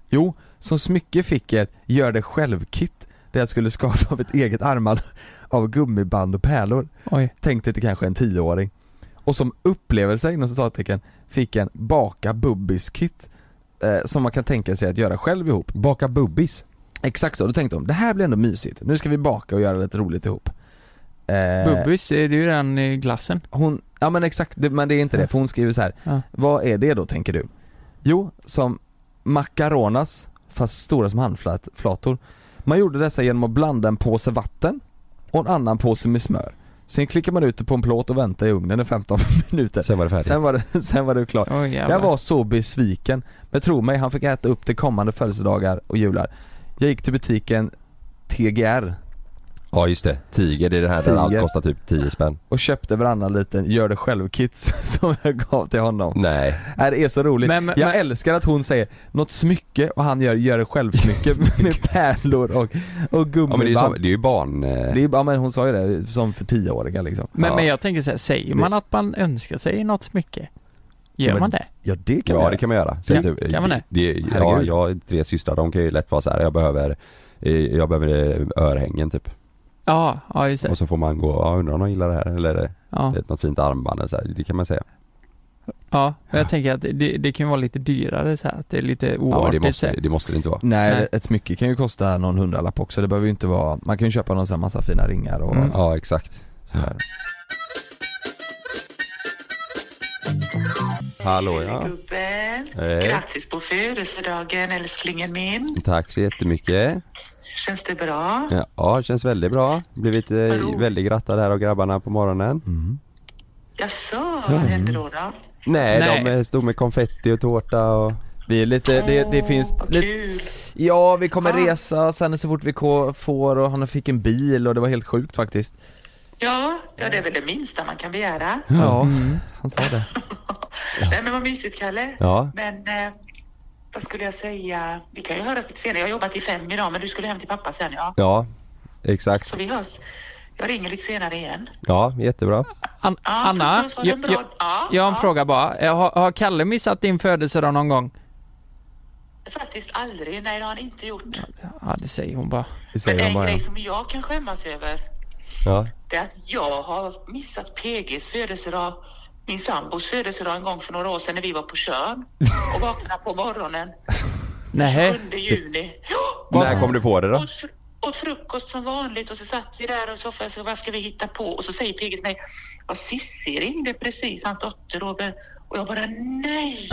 [SPEAKER 3] Jo, som smycke fick jag ett gör det själv-kit där jag skulle skapa av ett eget armband av gummiband och pärlor.
[SPEAKER 2] Oj.
[SPEAKER 3] Tänkte till kanske en tioåring. Och som upplevelse inom citattecken fick jag en baka bubbis-kit eh, som man kan tänka sig att göra själv ihop.
[SPEAKER 4] Baka bubbis?
[SPEAKER 3] Exakt så, då tänkte de det här blir ändå mysigt. Nu ska vi baka och göra lite roligt ihop. Eh,
[SPEAKER 2] Bubbis, eh, det är ju den eh, glassen.
[SPEAKER 3] hon, ja men exakt, det, men det är inte det, för hon skriver så här.
[SPEAKER 2] Ja.
[SPEAKER 3] Vad är det då tänker du? Jo, som macaronas, fast stora som handflator. Man gjorde dessa genom att blanda en påse vatten och en annan påse med smör. Sen klickar man ut det på en plåt och väntar i ugnen i 15 minuter.
[SPEAKER 4] Sen var det färdigt.
[SPEAKER 3] Sen var det, sen var det klart.
[SPEAKER 2] Oj, jävlar.
[SPEAKER 3] jag var så besviken. Men tro mig, han fick äta upp till kommande födelsedagar och jular. Jag gick till butiken TGR
[SPEAKER 4] Ja just det, tiger det är det här
[SPEAKER 3] Tiger.
[SPEAKER 4] där allt kostar typ 10 spänn.
[SPEAKER 3] och köpte varannan liten gör det själv-kit som jag gav till honom.
[SPEAKER 4] Nej.
[SPEAKER 3] Nej, det är så roligt.
[SPEAKER 2] Men- men-
[SPEAKER 3] jag
[SPEAKER 2] men-
[SPEAKER 3] älskar att hon säger något smycke och han gör, gör det själv-smycke med pärlor och, och
[SPEAKER 4] Ja men det är ju, så,
[SPEAKER 3] gummiband.
[SPEAKER 4] det är ju barn... eh,
[SPEAKER 3] det är, ja men hon sa ju det, som för tioåringar liksom.
[SPEAKER 2] Men,
[SPEAKER 4] Ja.
[SPEAKER 2] men jag tänker så här, säger man att man önskar sig något smycke? Gör
[SPEAKER 3] men-
[SPEAKER 2] man det?
[SPEAKER 3] Ja det kan
[SPEAKER 4] ja
[SPEAKER 3] vi göra.
[SPEAKER 4] det kan man göra. Så
[SPEAKER 2] Kan-
[SPEAKER 4] typ,
[SPEAKER 2] kan man det?
[SPEAKER 4] det ja,
[SPEAKER 3] Herregud.
[SPEAKER 4] jag har tre systrar, de kan ju lätt vara så här. jag behöver eh, jag behöver eh, örhängen typ.
[SPEAKER 2] Ja, ja just det.
[SPEAKER 4] Och så får man gå, ja undrar om de gillar det här eller
[SPEAKER 2] Ja,
[SPEAKER 4] ett, något fint armband eller så här. det kan man säga.
[SPEAKER 2] ja. Men jag tänker att det, det kan ju vara lite dyrare så här, att det är lite
[SPEAKER 4] Ja men
[SPEAKER 2] oartigt
[SPEAKER 4] det
[SPEAKER 2] så
[SPEAKER 4] måste,
[SPEAKER 2] här.
[SPEAKER 4] det måste det inte vara.
[SPEAKER 3] Nej,
[SPEAKER 2] Nej.
[SPEAKER 3] ett smycke kan ju kosta någon hundralapp också, det behöver ju inte vara, man kan ju köpa någon sån här massa fina ringar och
[SPEAKER 2] Mm.
[SPEAKER 4] Ja exakt.
[SPEAKER 3] sådär.
[SPEAKER 4] Hallå ja.
[SPEAKER 8] Gubben,
[SPEAKER 4] Hej.
[SPEAKER 8] grattis på födelsedagen älsklingen min.
[SPEAKER 4] Tack så jättemycket.
[SPEAKER 8] Känns det bra?
[SPEAKER 4] Ja, ja det känns väldigt bra. Blivit eh, väldigt grattad här av grabbarna på morgonen.
[SPEAKER 3] Mm.
[SPEAKER 4] Mm.
[SPEAKER 8] Jaså, vad hände då? då?
[SPEAKER 4] Nej,
[SPEAKER 2] Nej.
[SPEAKER 4] de eh, stod med konfetti och tårta och...
[SPEAKER 3] Vi är lite, det, det finns
[SPEAKER 8] Vad
[SPEAKER 3] lite,
[SPEAKER 8] kul!
[SPEAKER 3] ja vi kommer resa sen så fort vi ko- får och han fick en bil och det var helt sjukt faktiskt.
[SPEAKER 8] Ja, ja, det är väl det minsta man kan begära.
[SPEAKER 3] Ja,
[SPEAKER 2] Mm.
[SPEAKER 3] han sa det.
[SPEAKER 8] Nej, men vad mysigt, Kalle.
[SPEAKER 4] Ja.
[SPEAKER 8] Men eh, vad skulle jag säga? Vi kan ju höras lite senare. Jag har jobbat till fem idag, men du skulle hem till pappa sen, ja.
[SPEAKER 4] Ja, exakt.
[SPEAKER 8] Så vi hörs. Jag ringer lite senare igen.
[SPEAKER 4] Ja, jättebra.
[SPEAKER 2] An Anna,
[SPEAKER 8] puss, puss, ha det
[SPEAKER 2] jag,
[SPEAKER 8] bra.
[SPEAKER 2] jag,
[SPEAKER 8] Ja,
[SPEAKER 2] jag har en
[SPEAKER 8] ja.
[SPEAKER 2] fråga bara. Eh, Har, har Kalle missat din födelsedag någon gång?
[SPEAKER 8] Faktiskt aldrig. Nej, det har han inte gjort.
[SPEAKER 2] Ja, det säger hon bara.
[SPEAKER 3] Vi
[SPEAKER 8] Men
[SPEAKER 3] säger han
[SPEAKER 8] en
[SPEAKER 3] bara.
[SPEAKER 8] grej som jag kan skämmas över,
[SPEAKER 4] Ja.
[SPEAKER 8] det är att jag har missat PGs födelsedag, min sambos födelsedag en gång för några år sedan när vi var på Tjörn och vaknade på morgonen
[SPEAKER 2] Nej.
[SPEAKER 8] 7 juni. Ja,
[SPEAKER 4] När kom du på det då?
[SPEAKER 8] åt, fr- åt frukost som vanligt och så satt vi där och soffan så vad ska vi hitta på? Och så säger PG till mig, ja Cissi ringde precis, hans dotter Robert. Och jag bara nej!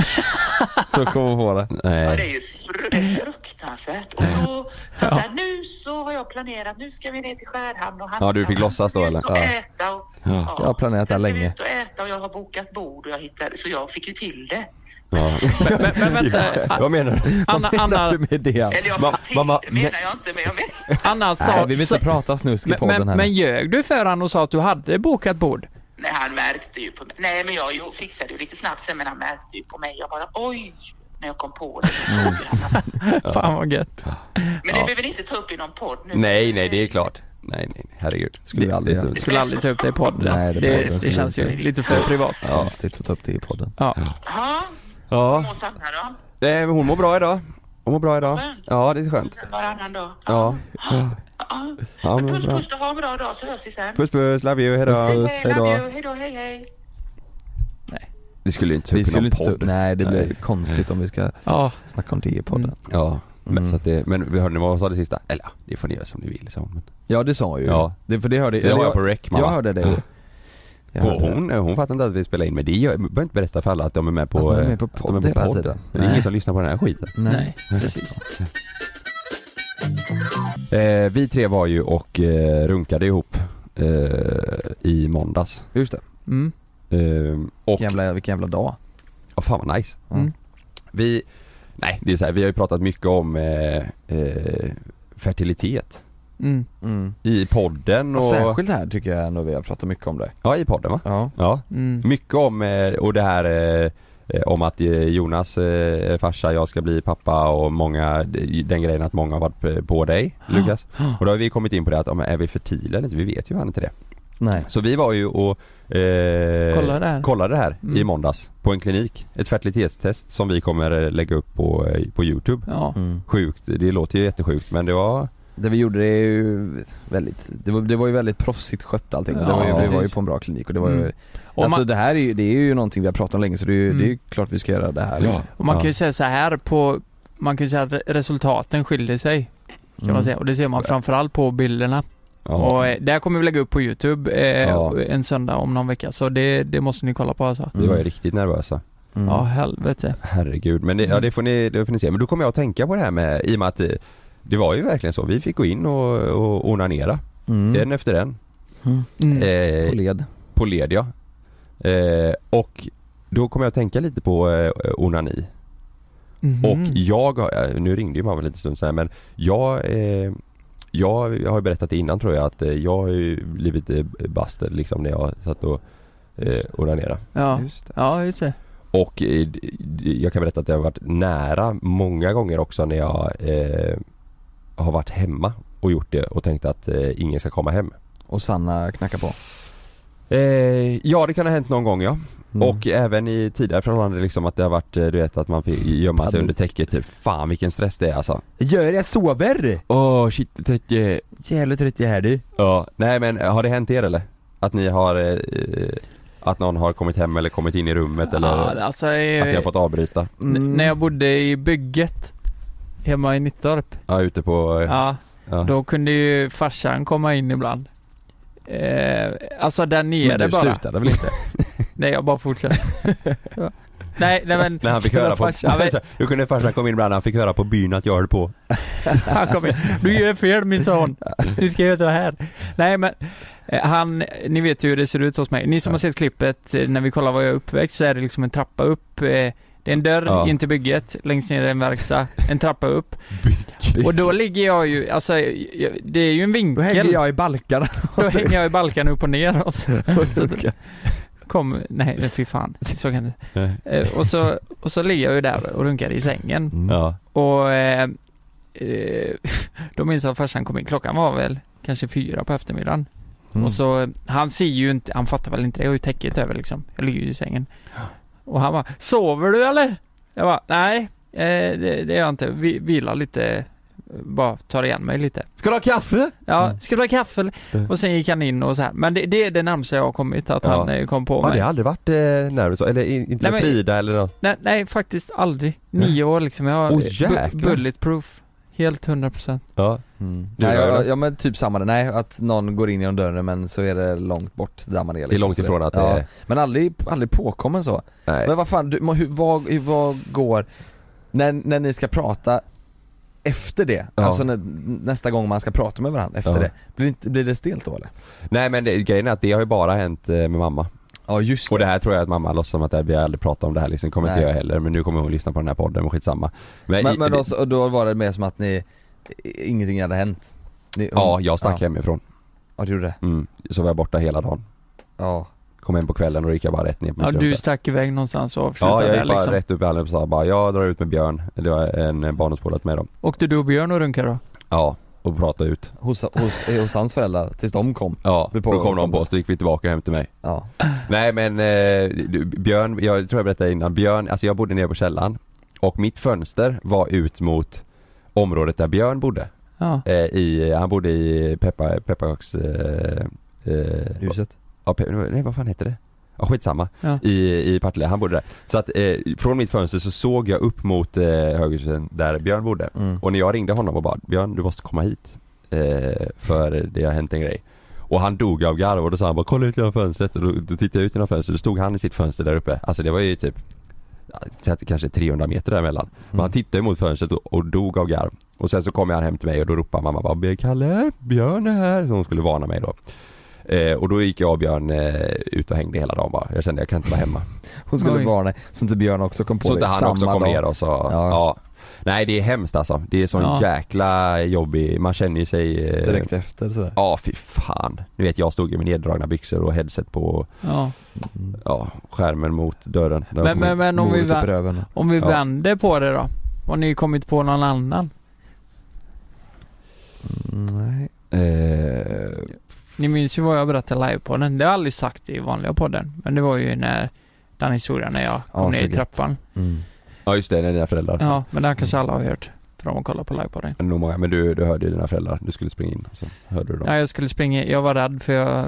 [SPEAKER 3] Så kommer vi på det.
[SPEAKER 8] Ja,
[SPEAKER 4] Nej.
[SPEAKER 8] det är ju fru- det är fruktansvärt. Och då sa jag så här, nu så har jag planerat, nu ska vi ner till Skärhamn och handla.
[SPEAKER 4] Ja, du fick låtsas då, eller?
[SPEAKER 8] Ut och
[SPEAKER 4] Ja.
[SPEAKER 8] äta och,
[SPEAKER 4] Ja.
[SPEAKER 3] Jag har planerat det här
[SPEAKER 8] Sen ska vi
[SPEAKER 3] länge.
[SPEAKER 8] ut och äta och jag har bokat bord och jag hittade, så jag fick ju till det.
[SPEAKER 4] Ja.
[SPEAKER 2] Men, men vänta,
[SPEAKER 4] Vad menar du?
[SPEAKER 2] Anna,
[SPEAKER 3] Menar
[SPEAKER 2] Anna,
[SPEAKER 3] du med det?
[SPEAKER 8] Eller jag
[SPEAKER 4] Ma-
[SPEAKER 8] fick till
[SPEAKER 4] mamma,
[SPEAKER 8] det menar
[SPEAKER 4] nej.
[SPEAKER 8] jag inte, men jag menar...
[SPEAKER 2] Anna sa...
[SPEAKER 3] Nej, vi vill
[SPEAKER 2] sa-
[SPEAKER 3] inte prata snusk i
[SPEAKER 2] men,
[SPEAKER 3] podden
[SPEAKER 2] men,
[SPEAKER 3] här.
[SPEAKER 2] men ljög du för han och sa att du hade bokat bord?
[SPEAKER 8] Nej, han märkte ju på mig. Nej, men jag jo, fixade ju lite snabbt sen, men han märkte ju på mig. Jag bara oj, när jag kom på det.
[SPEAKER 2] Fan vad gött.
[SPEAKER 8] Men det behöver ni inte ta upp i någon podd nu.
[SPEAKER 4] Nej, nej, det är klart. Nej, nej, herregud.
[SPEAKER 3] Skulle vi aldrig göra.
[SPEAKER 2] Jag skulle aldrig ta upp det i podden.
[SPEAKER 3] Nej,
[SPEAKER 2] det,
[SPEAKER 3] det
[SPEAKER 2] det,
[SPEAKER 3] podden skulle
[SPEAKER 2] känns
[SPEAKER 3] vi
[SPEAKER 2] ju
[SPEAKER 3] inte.
[SPEAKER 2] lite för privat. Ja.
[SPEAKER 3] Konstigt att ta upp det i podden.
[SPEAKER 2] Ja.
[SPEAKER 8] Ja,
[SPEAKER 4] Ja,
[SPEAKER 8] och Sanna då?
[SPEAKER 4] nej, men hon mår bra idag. Jag mår bra idag.
[SPEAKER 8] Skönt.
[SPEAKER 4] Ja, det är skönt.
[SPEAKER 8] Varannan dag.
[SPEAKER 4] Ja.
[SPEAKER 8] Ja.
[SPEAKER 4] Ja, men
[SPEAKER 8] Puss
[SPEAKER 4] bra.
[SPEAKER 8] puss och ha en bra dag så hörs vi sen.
[SPEAKER 4] Puss puss, love you, hejdå.
[SPEAKER 8] Hej, love you. Hej då, hej hej.
[SPEAKER 4] Vi skulle ju inte
[SPEAKER 3] Vi skulle inte ta upp-
[SPEAKER 4] Typ podd.
[SPEAKER 3] nej, det blir
[SPEAKER 4] konstigt om vi ska
[SPEAKER 3] Ja.
[SPEAKER 4] snacka om det i podden. Ja, men
[SPEAKER 3] Mm.
[SPEAKER 4] så att det, men hörde ni vad hon sa det sista? Eller ja, det får ni göra som ni vill, sa hon.
[SPEAKER 3] Ja det sa hon ju.
[SPEAKER 4] Ja.
[SPEAKER 3] Det, för det hörde
[SPEAKER 4] Det var
[SPEAKER 3] eller
[SPEAKER 4] jag på rec, mamma.
[SPEAKER 3] Jag hörde det ju. Jag
[SPEAKER 4] Och
[SPEAKER 3] hörde
[SPEAKER 4] hon, hon fattar inte att vi spelar in, men det gör, behöver inte berätta för alla att de är med på,
[SPEAKER 3] Att de är med
[SPEAKER 4] eh,
[SPEAKER 3] på
[SPEAKER 4] att
[SPEAKER 3] podd hela
[SPEAKER 4] podd.
[SPEAKER 3] tiden.
[SPEAKER 4] Det är
[SPEAKER 3] Nej.
[SPEAKER 4] ingen som lyssnar på den här skiten.
[SPEAKER 3] Nej,
[SPEAKER 4] precis. Eh, vi tre var ju och eh, runkade ihop eh, i måndags. Just det.
[SPEAKER 2] Mm.
[SPEAKER 4] Ehm, och jävla, vilken jävla dag. Ja fan vad nice.
[SPEAKER 2] Mm.
[SPEAKER 4] Vi, nej det är så här, vi har ju pratat mycket om eh, eh, fertilitet.
[SPEAKER 2] Mm.
[SPEAKER 4] I podden och...
[SPEAKER 3] Och särskilt här tycker jag ändå vi har pratat mycket om det.
[SPEAKER 4] Ja i podden va? Ja.
[SPEAKER 2] Mm.
[SPEAKER 4] Mycket om, eh, och det här eh, eh, om att eh, Jonas eh, farsa, jag ska bli pappa och många, den grejen att många har varit p- på dig
[SPEAKER 2] Ah.
[SPEAKER 4] Lukas. Och då har vi kommit in på det att, ja, men är vi fertila eller inte? Vi vet ju fan inte det.
[SPEAKER 3] Nej.
[SPEAKER 4] Så vi var ju och eh,
[SPEAKER 2] Kollade det här.
[SPEAKER 4] kollade det här i
[SPEAKER 2] Mm.
[SPEAKER 4] måndags på en klinik. Ett fertilitetstest som vi kommer eh, lägga upp på, eh, på Youtube.
[SPEAKER 2] Ja.
[SPEAKER 3] Mm.
[SPEAKER 4] Sjukt, det låter ju jättesjukt men det var
[SPEAKER 3] Det vi gjorde det är ju väldigt, det var, det var ju väldigt proffsigt skött allting och det var ju,
[SPEAKER 4] Ja,
[SPEAKER 3] vi var ju
[SPEAKER 4] precis.
[SPEAKER 3] på en bra klinik och det var ju
[SPEAKER 4] Mm.
[SPEAKER 2] Och
[SPEAKER 3] Alltså
[SPEAKER 2] man-
[SPEAKER 3] det här är ju, det är ju någonting vi har pratat om länge så det är ju,
[SPEAKER 2] Mm.
[SPEAKER 3] det är ju klart vi ska göra det här liksom.
[SPEAKER 2] Och man kan ju säga så här på, man kan ju säga att resultaten skiljer sig. Kan
[SPEAKER 3] Mm.
[SPEAKER 2] man säga. Och det ser man framförallt på bilderna.
[SPEAKER 4] Ja.
[SPEAKER 2] Och eh, där kommer vi lägga upp på Youtube eh,
[SPEAKER 4] Ja.
[SPEAKER 2] en söndag om någon vecka. Så det, det måste ni kolla på
[SPEAKER 3] Mm.
[SPEAKER 2] alltså.
[SPEAKER 4] Vi var ju riktigt nervösa.
[SPEAKER 2] Ja, helvete.
[SPEAKER 4] Herregud, men det,
[SPEAKER 3] Mm.
[SPEAKER 4] ja, det, får ni, det får ni se. Men då kommer jag att tänka på det här med, i och med att eh, det var ju verkligen så. Vi fick gå in och, och onanera.
[SPEAKER 3] Mm.
[SPEAKER 4] En efter en.
[SPEAKER 3] Mm.
[SPEAKER 4] Eh,
[SPEAKER 3] På led.
[SPEAKER 4] På led ja. Eh, och då kommer jag att tänka lite på eh, onani.
[SPEAKER 2] Mhm.
[SPEAKER 3] Mm.
[SPEAKER 4] Och jag, har- eh, nu ringde ju mamma lite stund sen men jag, eh, jag, jag har ju berättat det innan tror jag att eh, jag har ju blivit eh, bastad liksom när jag satt och eh, onanerade.
[SPEAKER 2] Ja, ja just det.
[SPEAKER 4] Och eh, d- d- jag kan berätta att jag har varit nära många gånger också när jag eh, har varit hemma och gjort det och tänkt att eh, ingen ska komma hem.
[SPEAKER 3] Och Sanna knackar på.
[SPEAKER 4] Eh, ja det kan ha hänt någon gång ja.
[SPEAKER 3] Mm.
[SPEAKER 4] Och även i tidigare förhållanden liksom att det har varit, eh, du vet att man fick gömma sig
[SPEAKER 3] Panik.
[SPEAKER 4] under täcket typ. Fan vilken stress det är alltså.
[SPEAKER 3] Gör jag sover?
[SPEAKER 4] Åh oh, shit, 30
[SPEAKER 3] Jävligt trött jag är du.
[SPEAKER 4] Ja, nej men eh, har det hänt er eller? Att ni har, eh, att någon har kommit hem eller kommit in i rummet eller
[SPEAKER 2] Ja, alltså, eh,
[SPEAKER 4] att ni har fått Mm. avbryta?
[SPEAKER 3] Mm.
[SPEAKER 2] N- när jag bodde i bygget hemma i Nittorp.
[SPEAKER 4] Ja ute på... eh,
[SPEAKER 2] Ja,
[SPEAKER 4] ja.
[SPEAKER 2] då kunde ju farsan komma in ibland. Eh, alltså där nere
[SPEAKER 3] Men du
[SPEAKER 2] bara.
[SPEAKER 3] slutade väl inte?
[SPEAKER 2] nej, jag bara fortsatte. Ja. nej, nej men.
[SPEAKER 4] När han fick höra på,
[SPEAKER 2] Farsan,
[SPEAKER 4] så, då kunde farsan komma in ibland, han fick höra på byn att jag höll på
[SPEAKER 2] Han kom in. Du gör fel min son. Du ska göra så här. Nej men, eh, han, ni vet ju hur det ser ut hos mig. Ni som har sett klippet, eh, när vi kollar var jag är uppväxt så är det liksom en trappa upp. eh, Det är en dörr
[SPEAKER 4] Ja.
[SPEAKER 2] in till bygget, längst ner är en verkstad, en trappa upp. Och då ligger jag ju, alltså jag- det är ju en vinkel.
[SPEAKER 3] Då hänger jag i balkarna.
[SPEAKER 2] Då hänger jag i balkan upp och ner och så, så kom, nej fy fan, så kan det
[SPEAKER 4] Nej.
[SPEAKER 2] Eh, Och så, och så ligger jag ju där och runkar i sängen.
[SPEAKER 4] Ja,
[SPEAKER 2] Och eh, eh, då minns jag att farsan kom in, klockan var väl kanske fyra på eftermiddagen.
[SPEAKER 3] Mm.
[SPEAKER 2] Och så, han ser ju inte, han fattar väl inte det, jag har ju täcket över liksom. Jag ligger ju i sängen. Och han bara, sover du eller? Jag bara, nej, eh, det, det gör jag inte. Vi, vilar lite, bara tar igen mig lite.
[SPEAKER 4] Ska du ha kaffe?
[SPEAKER 2] Ja, ska du ha kaffe? eller?
[SPEAKER 4] Mm.
[SPEAKER 2] Och sen gick han in och så här. Men det, det är det närmsta jag har kommit, att han eh, kom på
[SPEAKER 4] ja,
[SPEAKER 2] mig.
[SPEAKER 4] det har aldrig varit eh, närmare så, eller in- inte
[SPEAKER 2] Nej,
[SPEAKER 4] med
[SPEAKER 2] men-
[SPEAKER 4] Frida eller något
[SPEAKER 2] Nej, nej, faktiskt aldrig. Nio år liksom. Jag har
[SPEAKER 4] Åh,
[SPEAKER 2] bu-
[SPEAKER 4] jäklar.
[SPEAKER 2] bulletproof. Helt 100%.
[SPEAKER 4] Ja Du
[SPEAKER 3] Mm. Nej,
[SPEAKER 4] då,
[SPEAKER 3] jag,
[SPEAKER 4] eller?
[SPEAKER 3] ja men typ samma, nej att någon går in genom dörren men så är det långt bort där man är liksom.
[SPEAKER 4] Det är långt
[SPEAKER 3] Så
[SPEAKER 4] ifrån att det
[SPEAKER 3] ja.
[SPEAKER 4] är-
[SPEAKER 3] Men aldrig, aldrig påkommen så.
[SPEAKER 4] Eh.
[SPEAKER 3] Men vad fan, du, må- hur, vad, hur, vad går, när, när ni ska prata efter det,
[SPEAKER 4] Ja.
[SPEAKER 3] alltså när, nästa gång man ska prata med varandra efter
[SPEAKER 4] Ja.
[SPEAKER 3] det, blir det, inte, blir det stelt då eller?
[SPEAKER 4] Nej men det, grejen är att det har ju bara hänt eh, med mamma
[SPEAKER 3] Ja just
[SPEAKER 4] Och det här tror jag att mamma låtsas som att det här- vi har aldrig pratat om det här liksom, kommer
[SPEAKER 3] Nej.
[SPEAKER 4] inte jag heller men nu kommer hon lyssna på den här podden och skitsamma
[SPEAKER 3] Men, men,
[SPEAKER 4] i-
[SPEAKER 3] då, så- och då var det mer som att ni, i- ingenting hade hänt? Ni,
[SPEAKER 4] Ja, jag stack
[SPEAKER 3] ja.
[SPEAKER 4] hemifrån
[SPEAKER 3] Ja du gjorde det?
[SPEAKER 4] mm. Så var jag borta hela dagen
[SPEAKER 3] Ja
[SPEAKER 4] Kom hem på kvällen och då gick jag bara rätt ner på
[SPEAKER 2] Ja,
[SPEAKER 4] mitt rum
[SPEAKER 2] du
[SPEAKER 4] där.
[SPEAKER 2] stack iväg någonstans och
[SPEAKER 4] Ja,
[SPEAKER 2] avslutade
[SPEAKER 4] jag
[SPEAKER 2] där
[SPEAKER 4] gick bara
[SPEAKER 2] liksom.
[SPEAKER 4] rätt upp i hallen och sa bara jag drar ut med Björn, det var en eh, barndomspolare med dem
[SPEAKER 2] Åkte du och Björn och runkade då?
[SPEAKER 4] Ja, och pratade ut
[SPEAKER 3] Hos, hos, eh, hos hans föräldrar, tills de kom?
[SPEAKER 4] Ja,
[SPEAKER 3] Blev
[SPEAKER 4] då
[SPEAKER 3] påkomna.
[SPEAKER 4] kom någon på oss, då gick vi tillbaka hem till mig
[SPEAKER 3] Ja
[SPEAKER 4] Nej men eh, du, Björn, jag tror jag berättade innan, Björn, alltså jag bodde nere på källaren Och mitt fönster var ut mot området där Björn bodde.
[SPEAKER 2] Ja.
[SPEAKER 4] Eh, i, han bodde i peppa, pepparkaks... Eh, eh,
[SPEAKER 3] Huset?
[SPEAKER 4] Ja, pe- nej vad fan heter det? Ja skitsamma,
[SPEAKER 2] Ja.
[SPEAKER 4] I, i Partille, han bodde där. Så att eh, från mitt fönster så såg jag upp mot eh, högersidan där Björn bodde.
[SPEAKER 3] Mm.
[SPEAKER 4] Och när jag ringde honom och bara Björn du måste komma hit. Eh, för det har hänt en grej. Och han dog av garv och då sa han bara kolla ut genom fönstret och då, då tittade jag ut genom fönstret och då stod han i sitt fönster där uppe. Alltså det var ju typ ja, så att det kanske är 300 meter däremellan. Men han tittade ju mot fönstret och, och dog av garv. Och sen så kom han hem till mig och då ropade mamma bara "Björn, Kalle, Björn är här. Så hon skulle varna mig då. Eh, och då gick jag och Björn eh, ut och hängde hela dagen bara. Jag kände jag kan inte vara hemma.
[SPEAKER 3] Hon skulle varna så inte Björn också kom på
[SPEAKER 4] Så
[SPEAKER 3] det
[SPEAKER 4] inte han
[SPEAKER 3] samma
[SPEAKER 4] också kom
[SPEAKER 3] dag.
[SPEAKER 4] ner och sa, ja. Nej det är hemskt alltså. Det är sån
[SPEAKER 3] Ja.
[SPEAKER 4] jäkla jobbig, man känner ju sig eh,
[SPEAKER 3] Direkt efter sådär.
[SPEAKER 4] Ja fy fan. Ni vet jag stod ju med neddragna byxor och headset på och,
[SPEAKER 2] Ja.
[SPEAKER 3] Mm.
[SPEAKER 4] ja, skärmen mot dörren. Där
[SPEAKER 2] Men, men, men om, vi
[SPEAKER 4] Modet upp
[SPEAKER 2] vä-
[SPEAKER 4] i röven.
[SPEAKER 2] om vi
[SPEAKER 4] Ja.
[SPEAKER 2] vänder på det då? Har ni kommit på någon annan?
[SPEAKER 3] Nej.
[SPEAKER 4] Eh,
[SPEAKER 2] Ni minns ju vad jag berättade i livepodden. Det har jag aldrig sagt i vanliga podden. Men det var ju när den historien när jag kom
[SPEAKER 4] Ja,
[SPEAKER 2] ner
[SPEAKER 4] så
[SPEAKER 2] i
[SPEAKER 4] gött.
[SPEAKER 2] trappan.
[SPEAKER 4] Mm. Ja just det, det är dina föräldrar.
[SPEAKER 2] Ja, men den kanske alla har hört. För de har kollat på livepodden.
[SPEAKER 4] Nog många, men du, du hörde ju dina föräldrar. Du skulle springa in och så hörde du dem.
[SPEAKER 2] Ja, jag skulle springa. Jag var rädd för jag,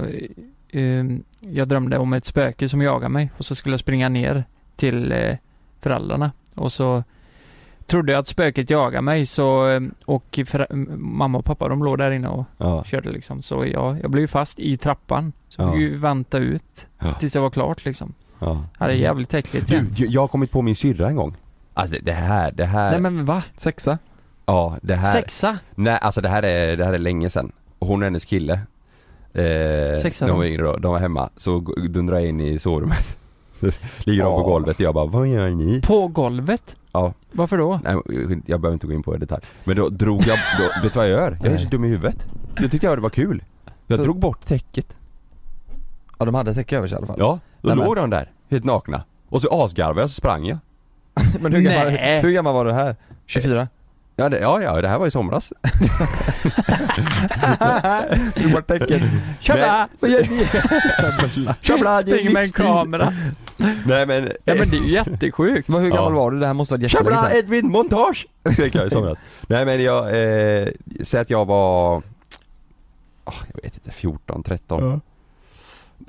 [SPEAKER 2] ehm, jag drömde om ett spöke som jagade mig och så skulle jag springa ner till eh, föräldrarna och så trodde jag att spöket jagade mig så ehm, och förä- m- mamma och pappa de låg där inne och
[SPEAKER 4] Ja.
[SPEAKER 2] körde liksom så jag, jag blev ju fast i trappan så jag
[SPEAKER 4] Ja.
[SPEAKER 2] fick ju vänta ut
[SPEAKER 4] Ja.
[SPEAKER 2] tills jag var klart liksom.
[SPEAKER 4] Ja.
[SPEAKER 2] Ja, det är jävligt äckligt
[SPEAKER 4] Du,
[SPEAKER 2] igen.
[SPEAKER 4] jag- jag har kommit på min syrra en gång. Alltså det- det här, det här.
[SPEAKER 2] Nej men va?
[SPEAKER 3] Sexa?
[SPEAKER 4] Ja, det här.
[SPEAKER 2] Sexa?
[SPEAKER 4] Nej, alltså det här är, det här är länge sedan. Och Hon och hennes kille. Eh,
[SPEAKER 2] Sexa,
[SPEAKER 4] de var
[SPEAKER 2] va?
[SPEAKER 4] yngre då, de var hemma. Så g- dundrade jag in i sovrummet. Ligger de på golvet och jag bara, vad gör ni?
[SPEAKER 2] På golvet?
[SPEAKER 4] Ja.
[SPEAKER 2] Varför då?
[SPEAKER 4] Nej, jag behöver inte gå in på det i detalj. Men då drog jag, då, vet du vad jag gör? Jag är så dum i huvudet. Jag tyckte jag det var kul. Jag drog bort täcket.
[SPEAKER 3] Ja de hade täcke över sig i alla fall.
[SPEAKER 4] Ja, då
[SPEAKER 3] Nej, men-
[SPEAKER 4] låg de där, helt nakna. Och så asgarvade jag och så sprang jag.
[SPEAKER 3] Men hur gammal,
[SPEAKER 4] Nej.
[SPEAKER 3] hur gammal var du här? 24?
[SPEAKER 4] Ja, det, ja, ja, det här var i somras.
[SPEAKER 3] Drog bort täcket.
[SPEAKER 2] Tjabla!
[SPEAKER 3] Vad gör ni?
[SPEAKER 2] Tjabla, det är Spring med en livsstil. kamera.
[SPEAKER 4] Nej men...
[SPEAKER 2] Ja men det är ju jättesjukt.
[SPEAKER 3] Hur gammal var du? Det här måste ha varit jättelänge
[SPEAKER 4] Tjabla,
[SPEAKER 3] sedan.
[SPEAKER 4] Edvin, montage! Skrek jag i somras. Nej men jag, eh, säg att jag var, ah, jag vet inte, 14, 13.
[SPEAKER 3] Ja.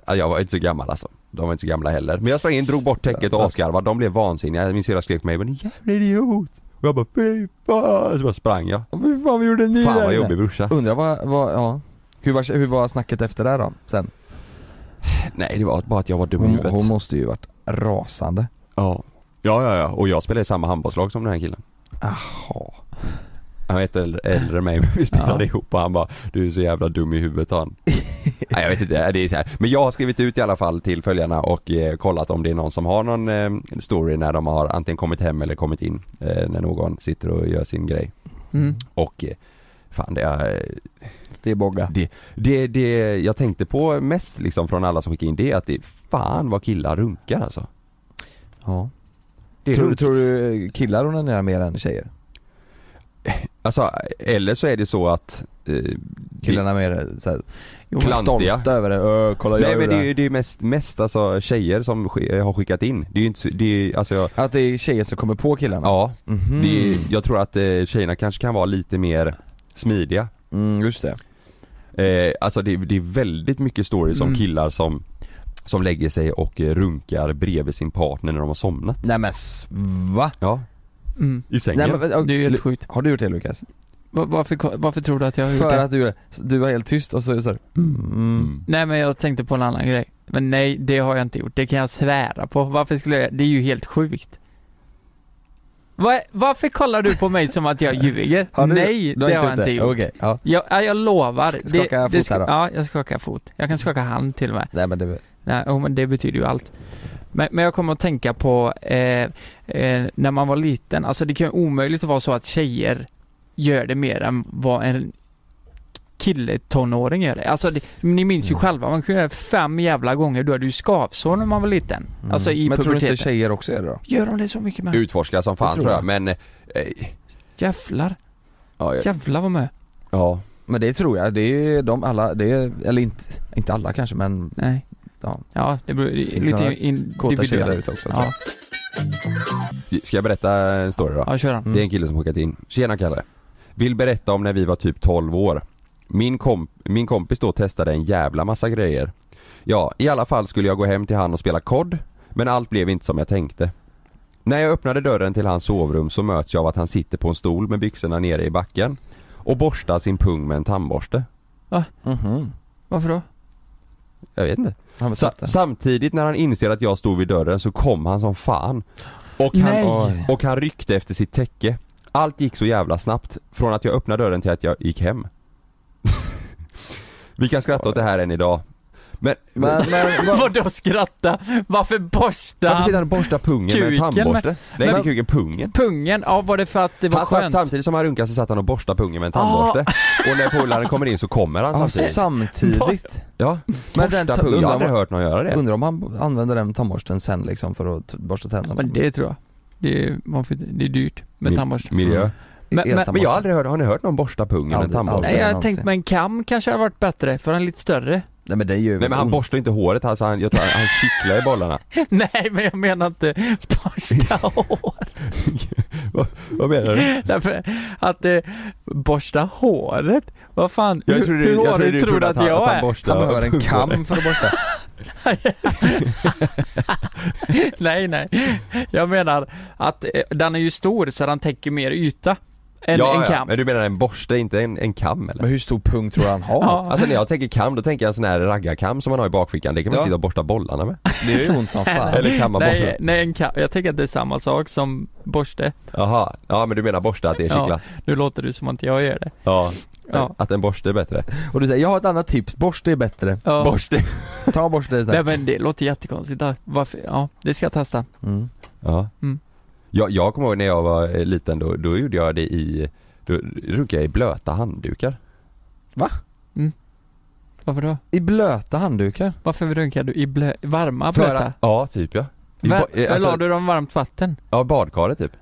[SPEAKER 4] Ja, Jag var inte så gammal alltså. De var inte så gamla heller. Men jag sprang in, drog bort täcket och asgarvade. De blev vansinniga. Min syrra skrek på mig 'Men jävla idiot' Och jag bara 'Fy fan' Så bara sprang jag.
[SPEAKER 3] Fy fan vad gjorde ni
[SPEAKER 4] Fan,
[SPEAKER 3] där
[SPEAKER 4] vad
[SPEAKER 3] inne?
[SPEAKER 4] jobbig brorsa.
[SPEAKER 3] Undrar vad, vad ja. Hur var, hur var snacket efter det här då? Sen?
[SPEAKER 4] Nej det var bara att jag var dum i
[SPEAKER 3] Hon-
[SPEAKER 4] huvudet.
[SPEAKER 3] hon måste ju varit rasande.
[SPEAKER 4] Ja. Ja, ja, ja. Och jag spelade i samma handbollslag som den här killen.
[SPEAKER 3] Jaha.
[SPEAKER 4] Han var ett äldre, äldre än mig men vi spelade ihop och han bara Du är så jävla dum i huvudet han. Nej jag vet inte, det är så här. Men jag har skrivit ut i alla fall till följarna och eh, kollat om det är någon som har någon eh, story när de har antingen kommit hem eller kommit in. Eh, när någon sitter och gör sin grej.
[SPEAKER 2] Mm.
[SPEAKER 4] Och eh, fan det är... eh,
[SPEAKER 3] Det är många.
[SPEAKER 4] Det, det, det jag tänkte på mest liksom från alla som skickade in det är att det fan vad killar runkar alltså.
[SPEAKER 3] Ja.
[SPEAKER 4] Det är
[SPEAKER 3] tror,
[SPEAKER 4] runt.
[SPEAKER 3] tror du killar onanerar mer än tjejer?
[SPEAKER 4] Alltså eller så är det så att eh,
[SPEAKER 3] Killarna mer såhär
[SPEAKER 4] Klantiga.
[SPEAKER 3] stolta över det, öh kolla jag
[SPEAKER 4] Nej men det är
[SPEAKER 3] det.
[SPEAKER 4] ju det är ju mest, mest alltså tjejer som sk- har skickat in. Det är ju inte, så- det är ju, alltså jag...
[SPEAKER 3] Att det är tjejer som kommer på killarna?
[SPEAKER 4] Ja.
[SPEAKER 3] Mhm.
[SPEAKER 4] Det är, ju- jag tror att eh, tjejerna kanske kan vara lite mer smidiga.
[SPEAKER 3] Mm, just det.
[SPEAKER 4] Eh, alltså det, är- det är väldigt mycket stories om
[SPEAKER 3] Mm.
[SPEAKER 4] killar som, som lägger sig och eh, runkar bredvid sin partner när de har somnat.
[SPEAKER 3] Nej men s- va?
[SPEAKER 4] Ja.
[SPEAKER 2] Mm.
[SPEAKER 4] I sängen.
[SPEAKER 3] Nej, men,
[SPEAKER 2] Det är ju helt sjukt.
[SPEAKER 3] Har du gjort det Lukas?
[SPEAKER 2] Va- Varför, varför tror du att jag har gjort
[SPEAKER 3] För
[SPEAKER 2] det?
[SPEAKER 3] att du, du var helt tyst och så, så här, mm.
[SPEAKER 2] Nej men jag tänkte på en annan grej. Men nej, det har jag inte gjort. Det kan jag svära på. Varför skulle jag Det är ju helt sjukt. Va, varför kollar du på mig som att jag ljuger?
[SPEAKER 3] Har du-
[SPEAKER 2] nej,
[SPEAKER 3] du har
[SPEAKER 2] det
[SPEAKER 3] inte
[SPEAKER 2] har jag
[SPEAKER 3] gjort
[SPEAKER 2] inte
[SPEAKER 3] det?
[SPEAKER 2] gjort.
[SPEAKER 3] Okej, ja.
[SPEAKER 2] jag, ja, jag lovar.
[SPEAKER 3] Sk- skaka
[SPEAKER 2] det,
[SPEAKER 3] fot
[SPEAKER 2] det, sk-
[SPEAKER 3] här då. Mm.
[SPEAKER 2] Ja, jag skakar fot. Jag kan skaka hand till och med.
[SPEAKER 3] Nej men det...
[SPEAKER 2] Nej, jo, men det betyder ju allt. Men, men jag kommer att tänka på eh, eh, när man var liten. Alltså det kan ju omöjligt att vara så att tjejer gör det mer än vad en kille tonåring gör det. Alltså det, ni minns ju själva, man kunde göra det fem jävla gånger. Då hade du skavsår när man var liten.
[SPEAKER 4] Mm.
[SPEAKER 2] Alltså i
[SPEAKER 4] Men tror du inte
[SPEAKER 2] puberteten.
[SPEAKER 3] tjejer också gör det då?
[SPEAKER 2] Gör de det så mycket med?
[SPEAKER 4] Utforska som fan
[SPEAKER 2] Jag tror
[SPEAKER 4] tror jag,
[SPEAKER 2] det.
[SPEAKER 4] men... Eh,
[SPEAKER 2] Jävlar.
[SPEAKER 4] ja, jag-
[SPEAKER 2] Jävlar vad med.
[SPEAKER 4] Ja.
[SPEAKER 3] Men det tror jag, det är de alla, det är, eller inte, inte alla kanske men
[SPEAKER 2] Nej.
[SPEAKER 3] Ja,
[SPEAKER 2] Ja, det beror
[SPEAKER 3] Finns
[SPEAKER 2] lite
[SPEAKER 3] några
[SPEAKER 2] in-
[SPEAKER 3] kåta tjejer där
[SPEAKER 2] individuellt.
[SPEAKER 3] ute också, tror
[SPEAKER 2] ja.
[SPEAKER 4] Ska jag berätta en story då?
[SPEAKER 2] Ja, kör den.
[SPEAKER 4] Det är en kille som skickat in. Tjena Kalle. Vill berätta om när vi var typ 12 år. Min, komp min kompis då testade en jävla massa grejer. Ja, i alla fall skulle jag gå hem till han och spela kod, men allt blev inte som jag tänkte. När jag öppnade dörren till hans sovrum så möts jag av att han sitter på en stol med byxorna nere i backen och borstar sin pung med en tandborste.
[SPEAKER 2] Va? Varför då?
[SPEAKER 4] Jag vet inte. Sa samtidigt när han inser att jag stod vid dörren så kom han som fan. Och han,
[SPEAKER 2] Nej.
[SPEAKER 4] och han ryckte efter sitt täcke. Allt gick så jävla snabbt, från att jag öppnade dörren till att jag gick hem. Vi kan skratta åt det här än idag. Men, men, men vad-
[SPEAKER 2] Vadå skratta? Varför borsta?
[SPEAKER 4] varför sitter han och borstar pungen med en
[SPEAKER 2] Kuken,
[SPEAKER 4] tandborste?
[SPEAKER 2] men-
[SPEAKER 4] Nej
[SPEAKER 2] men-
[SPEAKER 4] inte kuken, pungen.
[SPEAKER 2] Pungen, ja var det för att det var
[SPEAKER 4] Han satt,
[SPEAKER 2] skönt? Ah.
[SPEAKER 4] samtidigt som han runkade så satt han och borstade pungen med en tandborste. Och när polaren kommer in så kommer han
[SPEAKER 3] Ja,
[SPEAKER 4] samtidigt.
[SPEAKER 3] samtidigt.
[SPEAKER 4] Ja,
[SPEAKER 3] Men den
[SPEAKER 4] Ah, borsta
[SPEAKER 3] ta-
[SPEAKER 4] pungen. Jag
[SPEAKER 3] undrar
[SPEAKER 4] har aldrig
[SPEAKER 3] om-
[SPEAKER 4] hört någon göra det.
[SPEAKER 3] Undrar om han använder den tandborsten sen liksom för att t- borsta tänderna?
[SPEAKER 2] Men det tror jag. Det är, man får, inte- det är dyrt med
[SPEAKER 3] Mi-
[SPEAKER 2] tandborste. Mm.
[SPEAKER 4] miljö.
[SPEAKER 2] Men, men,
[SPEAKER 4] Men jag har aldrig hört, har ni hört någon borsta pungen med en tandborste?
[SPEAKER 2] Nej, jag tänkte med en kam kanske hade varit bättre, för den är lite större.
[SPEAKER 3] Nej men det är ju Mm.
[SPEAKER 4] Nej men han borstar ju inte håret, alltså han, jag tror han, han kittlar i bollarna.
[SPEAKER 2] Nej, men jag menar inte borsta hår.
[SPEAKER 4] vad, vad menar du?
[SPEAKER 2] Därför att eh, borsta håret? Vad fan,
[SPEAKER 4] Jag
[SPEAKER 2] hur,
[SPEAKER 4] trodde-
[SPEAKER 2] hur hårig
[SPEAKER 4] jag trodde du
[SPEAKER 2] tror
[SPEAKER 4] trodde
[SPEAKER 2] du
[SPEAKER 4] att
[SPEAKER 2] att
[SPEAKER 4] han-
[SPEAKER 2] jag
[SPEAKER 4] att han
[SPEAKER 2] är?
[SPEAKER 4] borstar Han behöver en kam för att borsta.
[SPEAKER 2] nej, nej. Jag menar att eh, den är ju stor så den täcker mer yta än
[SPEAKER 4] ja,
[SPEAKER 2] en
[SPEAKER 4] Ja,
[SPEAKER 2] kam.
[SPEAKER 4] men du menar en borste, inte en, en kam eller?
[SPEAKER 3] Men hur stor pung tror du han har?
[SPEAKER 2] Ja.
[SPEAKER 4] Alltså när jag tänker kam, då tänker jag en sån här raggarkam som man har i bakfickan, det kan man
[SPEAKER 2] Ja.
[SPEAKER 4] sitta och borsta bollarna med.
[SPEAKER 3] Det är ju ont som fan.
[SPEAKER 4] Eller kan man
[SPEAKER 2] nej,
[SPEAKER 4] borsta?
[SPEAKER 2] nej, en kam. Jag tänker att det är samma sak som borste.
[SPEAKER 4] Jaha, ja men du menar borsta, att det är kittlas?
[SPEAKER 2] nu låter du som att jag gör det.
[SPEAKER 4] Ja.
[SPEAKER 2] Ja.
[SPEAKER 4] Att en borste är bättre.
[SPEAKER 3] Och du säger, jag har ett annat tips, borste är bättre.
[SPEAKER 2] Ja.
[SPEAKER 4] Borste.
[SPEAKER 3] Ta borste
[SPEAKER 2] Nej
[SPEAKER 3] sen.
[SPEAKER 2] men det låter jättekonstigt. Där- Varför? Ja, det ska jag testa.
[SPEAKER 4] Ja.
[SPEAKER 2] Mm.
[SPEAKER 4] Jag, jag kommer ihåg när jag var eh, liten, då, då gjorde jag det i, då runkade jag i blöta handdukar.
[SPEAKER 3] Va?
[SPEAKER 2] Varför då?
[SPEAKER 3] I blöta handdukar?
[SPEAKER 2] Varför runkar du i blö... varma
[SPEAKER 4] För
[SPEAKER 2] blöta?
[SPEAKER 4] att- Ja, typ ja. I
[SPEAKER 2] Var...
[SPEAKER 4] ba- eh, alltså-
[SPEAKER 2] la du dem i varmt vatten?
[SPEAKER 4] Ja, badkaret typ.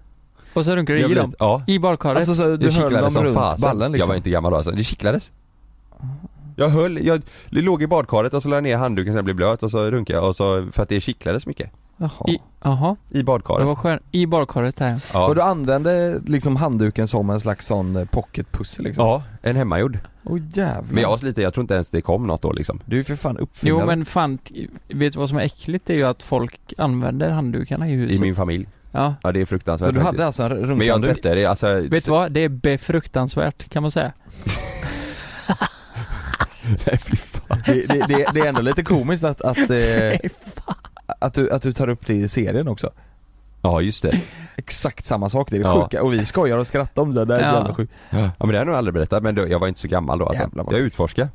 [SPEAKER 2] Och så runkar du
[SPEAKER 4] Jag
[SPEAKER 2] i
[SPEAKER 4] blev-
[SPEAKER 2] dem?
[SPEAKER 4] Ja.
[SPEAKER 2] I badkaret?
[SPEAKER 3] Alltså, så du
[SPEAKER 4] det
[SPEAKER 3] höll
[SPEAKER 4] kittlades
[SPEAKER 3] dem
[SPEAKER 4] som
[SPEAKER 3] runt
[SPEAKER 4] fasen.
[SPEAKER 3] ballen liksom?
[SPEAKER 4] Jag var inte gammal då alltså. Det kittlades. Jag höll, jag låg i badkaret och så la jag ner handduken så den blev blöt och så runkade jag och så, för att det kittlades mycket.
[SPEAKER 3] Jaha.
[SPEAKER 2] I... Jaha,
[SPEAKER 4] I
[SPEAKER 2] det
[SPEAKER 4] badkaret.
[SPEAKER 2] var skönt. I badkaret där
[SPEAKER 4] Ja.
[SPEAKER 3] Och du använde liksom handduken som en slags sån eh, pocketpussel liksom? Mm.
[SPEAKER 4] ja, en hemmagjord.
[SPEAKER 3] Åh jävlar.
[SPEAKER 4] Men jag var så liten, jag tror inte ens det kom något då liksom.
[SPEAKER 3] Du är ju för fan uppfinnare.
[SPEAKER 2] Jo men fan, t- vet du vad som är äckligt? Det är ju att folk använder handdukarna i huset.
[SPEAKER 4] I min familj.
[SPEAKER 2] Ja.
[SPEAKER 4] Ja det är fruktansvärt
[SPEAKER 3] Men du hade
[SPEAKER 4] faktiskt.
[SPEAKER 3] alltså en
[SPEAKER 4] Men jag
[SPEAKER 3] runkhandduk?
[SPEAKER 4] tvättade det, alltså,
[SPEAKER 2] Vet du vad? Det är befruktansvärt kan man säga.
[SPEAKER 3] Det, det, det, det är ändå lite komiskt att, att, eh, att, du, att du tar upp det i serien också.
[SPEAKER 4] Ja just det.
[SPEAKER 3] Exakt samma sak, det är det
[SPEAKER 4] Ja.
[SPEAKER 3] sjuka. Och vi skojar och skrattar om det där,
[SPEAKER 2] Ja.
[SPEAKER 3] jävla sjukt.
[SPEAKER 4] Ja men det har jag nog aldrig berättat, men då, jag var inte så gammal då alltså.
[SPEAKER 3] Jävlar vad
[SPEAKER 4] Jag utforskade.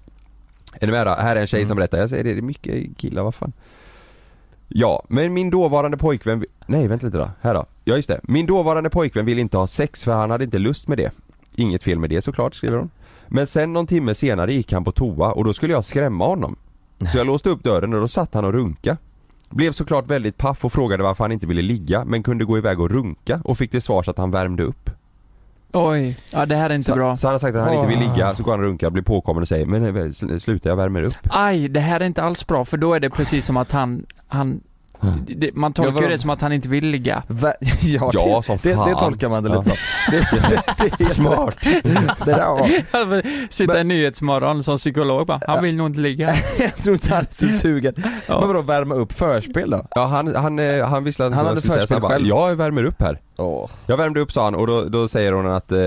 [SPEAKER 4] Är ni med då? Här är en tjej som berättar, jag säger det, det är mycket killar, vad fan. Ja, men min dåvarande pojkvän, vi- nej vänta lite då, här då. Ja just det, min dåvarande pojkvän ville inte ha sex för han hade inte lust med det. Inget fel med det såklart, skriver hon. Men sen någon timme senare gick han på toa och då skulle jag skrämma honom. Så jag låste upp dörren och då satt han och runka. Blev såklart väldigt paff och frågade varför han inte ville ligga men kunde gå iväg och runka och fick till svars att han värmde upp.
[SPEAKER 2] Oj, ja det här är inte
[SPEAKER 4] Så,
[SPEAKER 2] bra.
[SPEAKER 4] så han har sagt att han inte vill
[SPEAKER 2] Åh.
[SPEAKER 4] ligga, så går han och runkar, blir påkommen och säger men eh, sl- sluta jag värmer upp.
[SPEAKER 2] Aj, det här är inte alls bra för då är det precis som att han, han det, man
[SPEAKER 3] Ja,
[SPEAKER 2] tolkar ju
[SPEAKER 3] vadå?
[SPEAKER 2] det som att han inte vill ligga.
[SPEAKER 3] Va- Ja, det,
[SPEAKER 4] Ja, som
[SPEAKER 3] det, det
[SPEAKER 4] fan.
[SPEAKER 3] tolkar man det
[SPEAKER 4] Ja.
[SPEAKER 3] lite som. Det, det, det är helt
[SPEAKER 4] Smart.
[SPEAKER 3] rätt. Det där var,
[SPEAKER 2] Sitta i
[SPEAKER 3] Men-
[SPEAKER 2] Nyhetsmorgon som psykolog bara, han vill nog inte ligga.
[SPEAKER 3] jag tror inte han är så sugen.
[SPEAKER 2] Ja.
[SPEAKER 3] Men vadå värma upp förspel då?
[SPEAKER 4] Ja han, han, eh, han visslade att
[SPEAKER 3] Han hade
[SPEAKER 4] skulle säga så
[SPEAKER 3] förspel
[SPEAKER 4] bara,
[SPEAKER 3] själv.
[SPEAKER 4] Jag värmer upp här.
[SPEAKER 3] Åh.
[SPEAKER 4] Jag värmde upp sa han och då, då säger hon att, eh,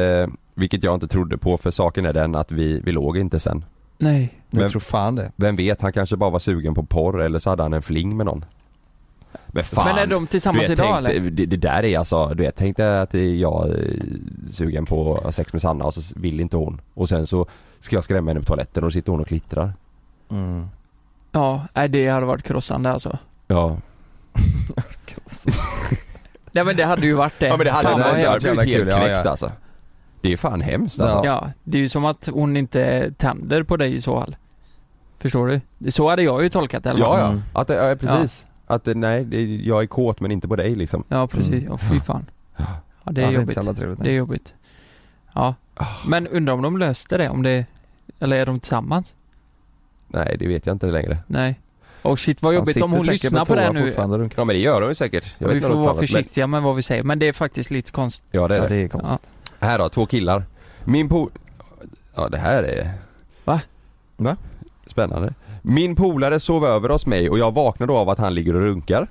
[SPEAKER 4] vilket jag inte trodde på för saken är den att vi, vi låg inte sen.
[SPEAKER 2] Nej.
[SPEAKER 3] Jag
[SPEAKER 4] Men-
[SPEAKER 3] tror fan det.
[SPEAKER 4] Vem vet, han kanske bara var sugen på porr eller så hade han en fling med någon. Men fan.
[SPEAKER 2] Men är de tillsammans
[SPEAKER 4] du vet,
[SPEAKER 2] idag
[SPEAKER 4] tänk,
[SPEAKER 2] eller?
[SPEAKER 4] Det, det där är alltså, du vet, tänk dig att jag är sugen på sex med Sanna och så vill inte hon. Och sen så ska jag skrämma henne på toaletten och då sitter hon och klittrar.
[SPEAKER 3] Mm.
[SPEAKER 2] Ja, nej, det hade varit krossande alltså.
[SPEAKER 4] Ja.
[SPEAKER 2] Nej men det hade ju varit det.
[SPEAKER 4] Ja men det hade,
[SPEAKER 2] Fan,
[SPEAKER 4] det
[SPEAKER 2] vad
[SPEAKER 4] hade,
[SPEAKER 2] hemskt.
[SPEAKER 4] det hade blivit
[SPEAKER 3] Jävla
[SPEAKER 4] helt
[SPEAKER 3] kul, ja,
[SPEAKER 4] knäckt
[SPEAKER 3] ja.
[SPEAKER 4] alltså. Det är fan hemskt
[SPEAKER 3] Ja.
[SPEAKER 4] alltså.
[SPEAKER 2] Ja, det är ju som att hon inte tänder på dig i så fall. Förstår du? Så hade jag ju tolkat det i alla fall.
[SPEAKER 4] Ja ja,
[SPEAKER 3] Mm.
[SPEAKER 4] att, det- ja precis. Att det- nej, det, jag är kåt men inte på dig liksom.
[SPEAKER 2] Ja, precis. Ja, fy fan.
[SPEAKER 4] Ja.
[SPEAKER 2] Ja, det är
[SPEAKER 3] inte
[SPEAKER 2] jobbigt.
[SPEAKER 3] så jävla trevligt.
[SPEAKER 2] Det är jobbigt. Ja. Men undrar om de löste det? Om det... Eller är de tillsammans?
[SPEAKER 4] Nej det vet jag inte längre.
[SPEAKER 2] Nej. Och shit vad
[SPEAKER 3] Han
[SPEAKER 2] jobbigt om
[SPEAKER 3] sitter
[SPEAKER 2] hon
[SPEAKER 3] säkert
[SPEAKER 2] lyssnar
[SPEAKER 3] på
[SPEAKER 2] på det här
[SPEAKER 3] toa
[SPEAKER 2] nu.
[SPEAKER 3] fortfarande,
[SPEAKER 4] Ja men det gör de ju säkert. Jag
[SPEAKER 2] Vi
[SPEAKER 4] vet
[SPEAKER 2] får
[SPEAKER 4] inte något
[SPEAKER 2] vara
[SPEAKER 4] annat, men-
[SPEAKER 2] försiktiga med vad vi säger, men det är faktiskt lite konstigt.
[SPEAKER 4] Ja det är det.
[SPEAKER 2] det
[SPEAKER 3] konstigt.
[SPEAKER 4] Här då, två killar. Min po... Ja det här är...
[SPEAKER 2] Va?
[SPEAKER 3] Va?
[SPEAKER 4] Spännande. Min polare sov över hos mig och jag vaknar då av att han ligger och runkar.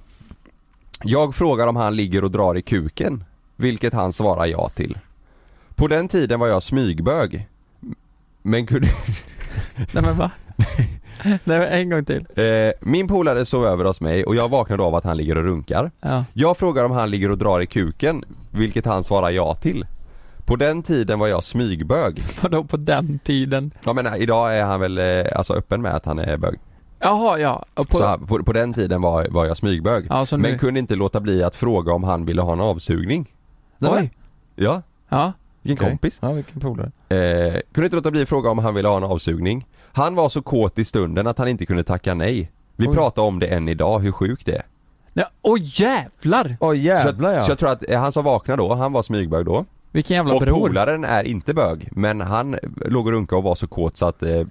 [SPEAKER 4] Jag frågar om han ligger och drar i kuken, vilket han svarar ja till. På den tiden var jag smygbög. Men kunde...
[SPEAKER 2] Nej men va? Nej men en gång till.
[SPEAKER 4] Eh, min polare sov över hos mig och jag vaknade av att han ligger och runkar.
[SPEAKER 2] Ja.
[SPEAKER 4] Jag frågar om han ligger och drar i kuken, vilket han svarar ja till. På den tiden var jag smygbög.
[SPEAKER 2] Vadå på den tiden?
[SPEAKER 4] Ja men eh, idag är han väl eh, alltså öppen med att han är bög.
[SPEAKER 2] Jaha ja. Och
[SPEAKER 4] Så
[SPEAKER 2] På,
[SPEAKER 4] han, på, på den tiden var, var jag smygbög.
[SPEAKER 2] Ja, så nu-
[SPEAKER 4] Men kunde inte låta bli att fråga om han ville ha en avsugning.
[SPEAKER 3] Oj.
[SPEAKER 4] Ja.
[SPEAKER 2] ja.
[SPEAKER 4] Vilken
[SPEAKER 3] Okej.
[SPEAKER 4] kompis.
[SPEAKER 3] Ja, vilken polare.
[SPEAKER 4] Eh, kunde inte låta bli att fråga om han ville ha en avsugning. Han var så kåt i stunden att han inte kunde tacka nej. Vi pratar om det än idag, hur sjukt det är.
[SPEAKER 2] Nej, åh jävlar!
[SPEAKER 3] Åh jävlar
[SPEAKER 4] Så jag tror att eh, han som vaknade då, han var smygbög då.
[SPEAKER 2] Vilken jävla
[SPEAKER 4] och
[SPEAKER 2] bror.
[SPEAKER 4] polaren är inte bög, men han eh, låg och runkade och var så kåt så att eh, eh,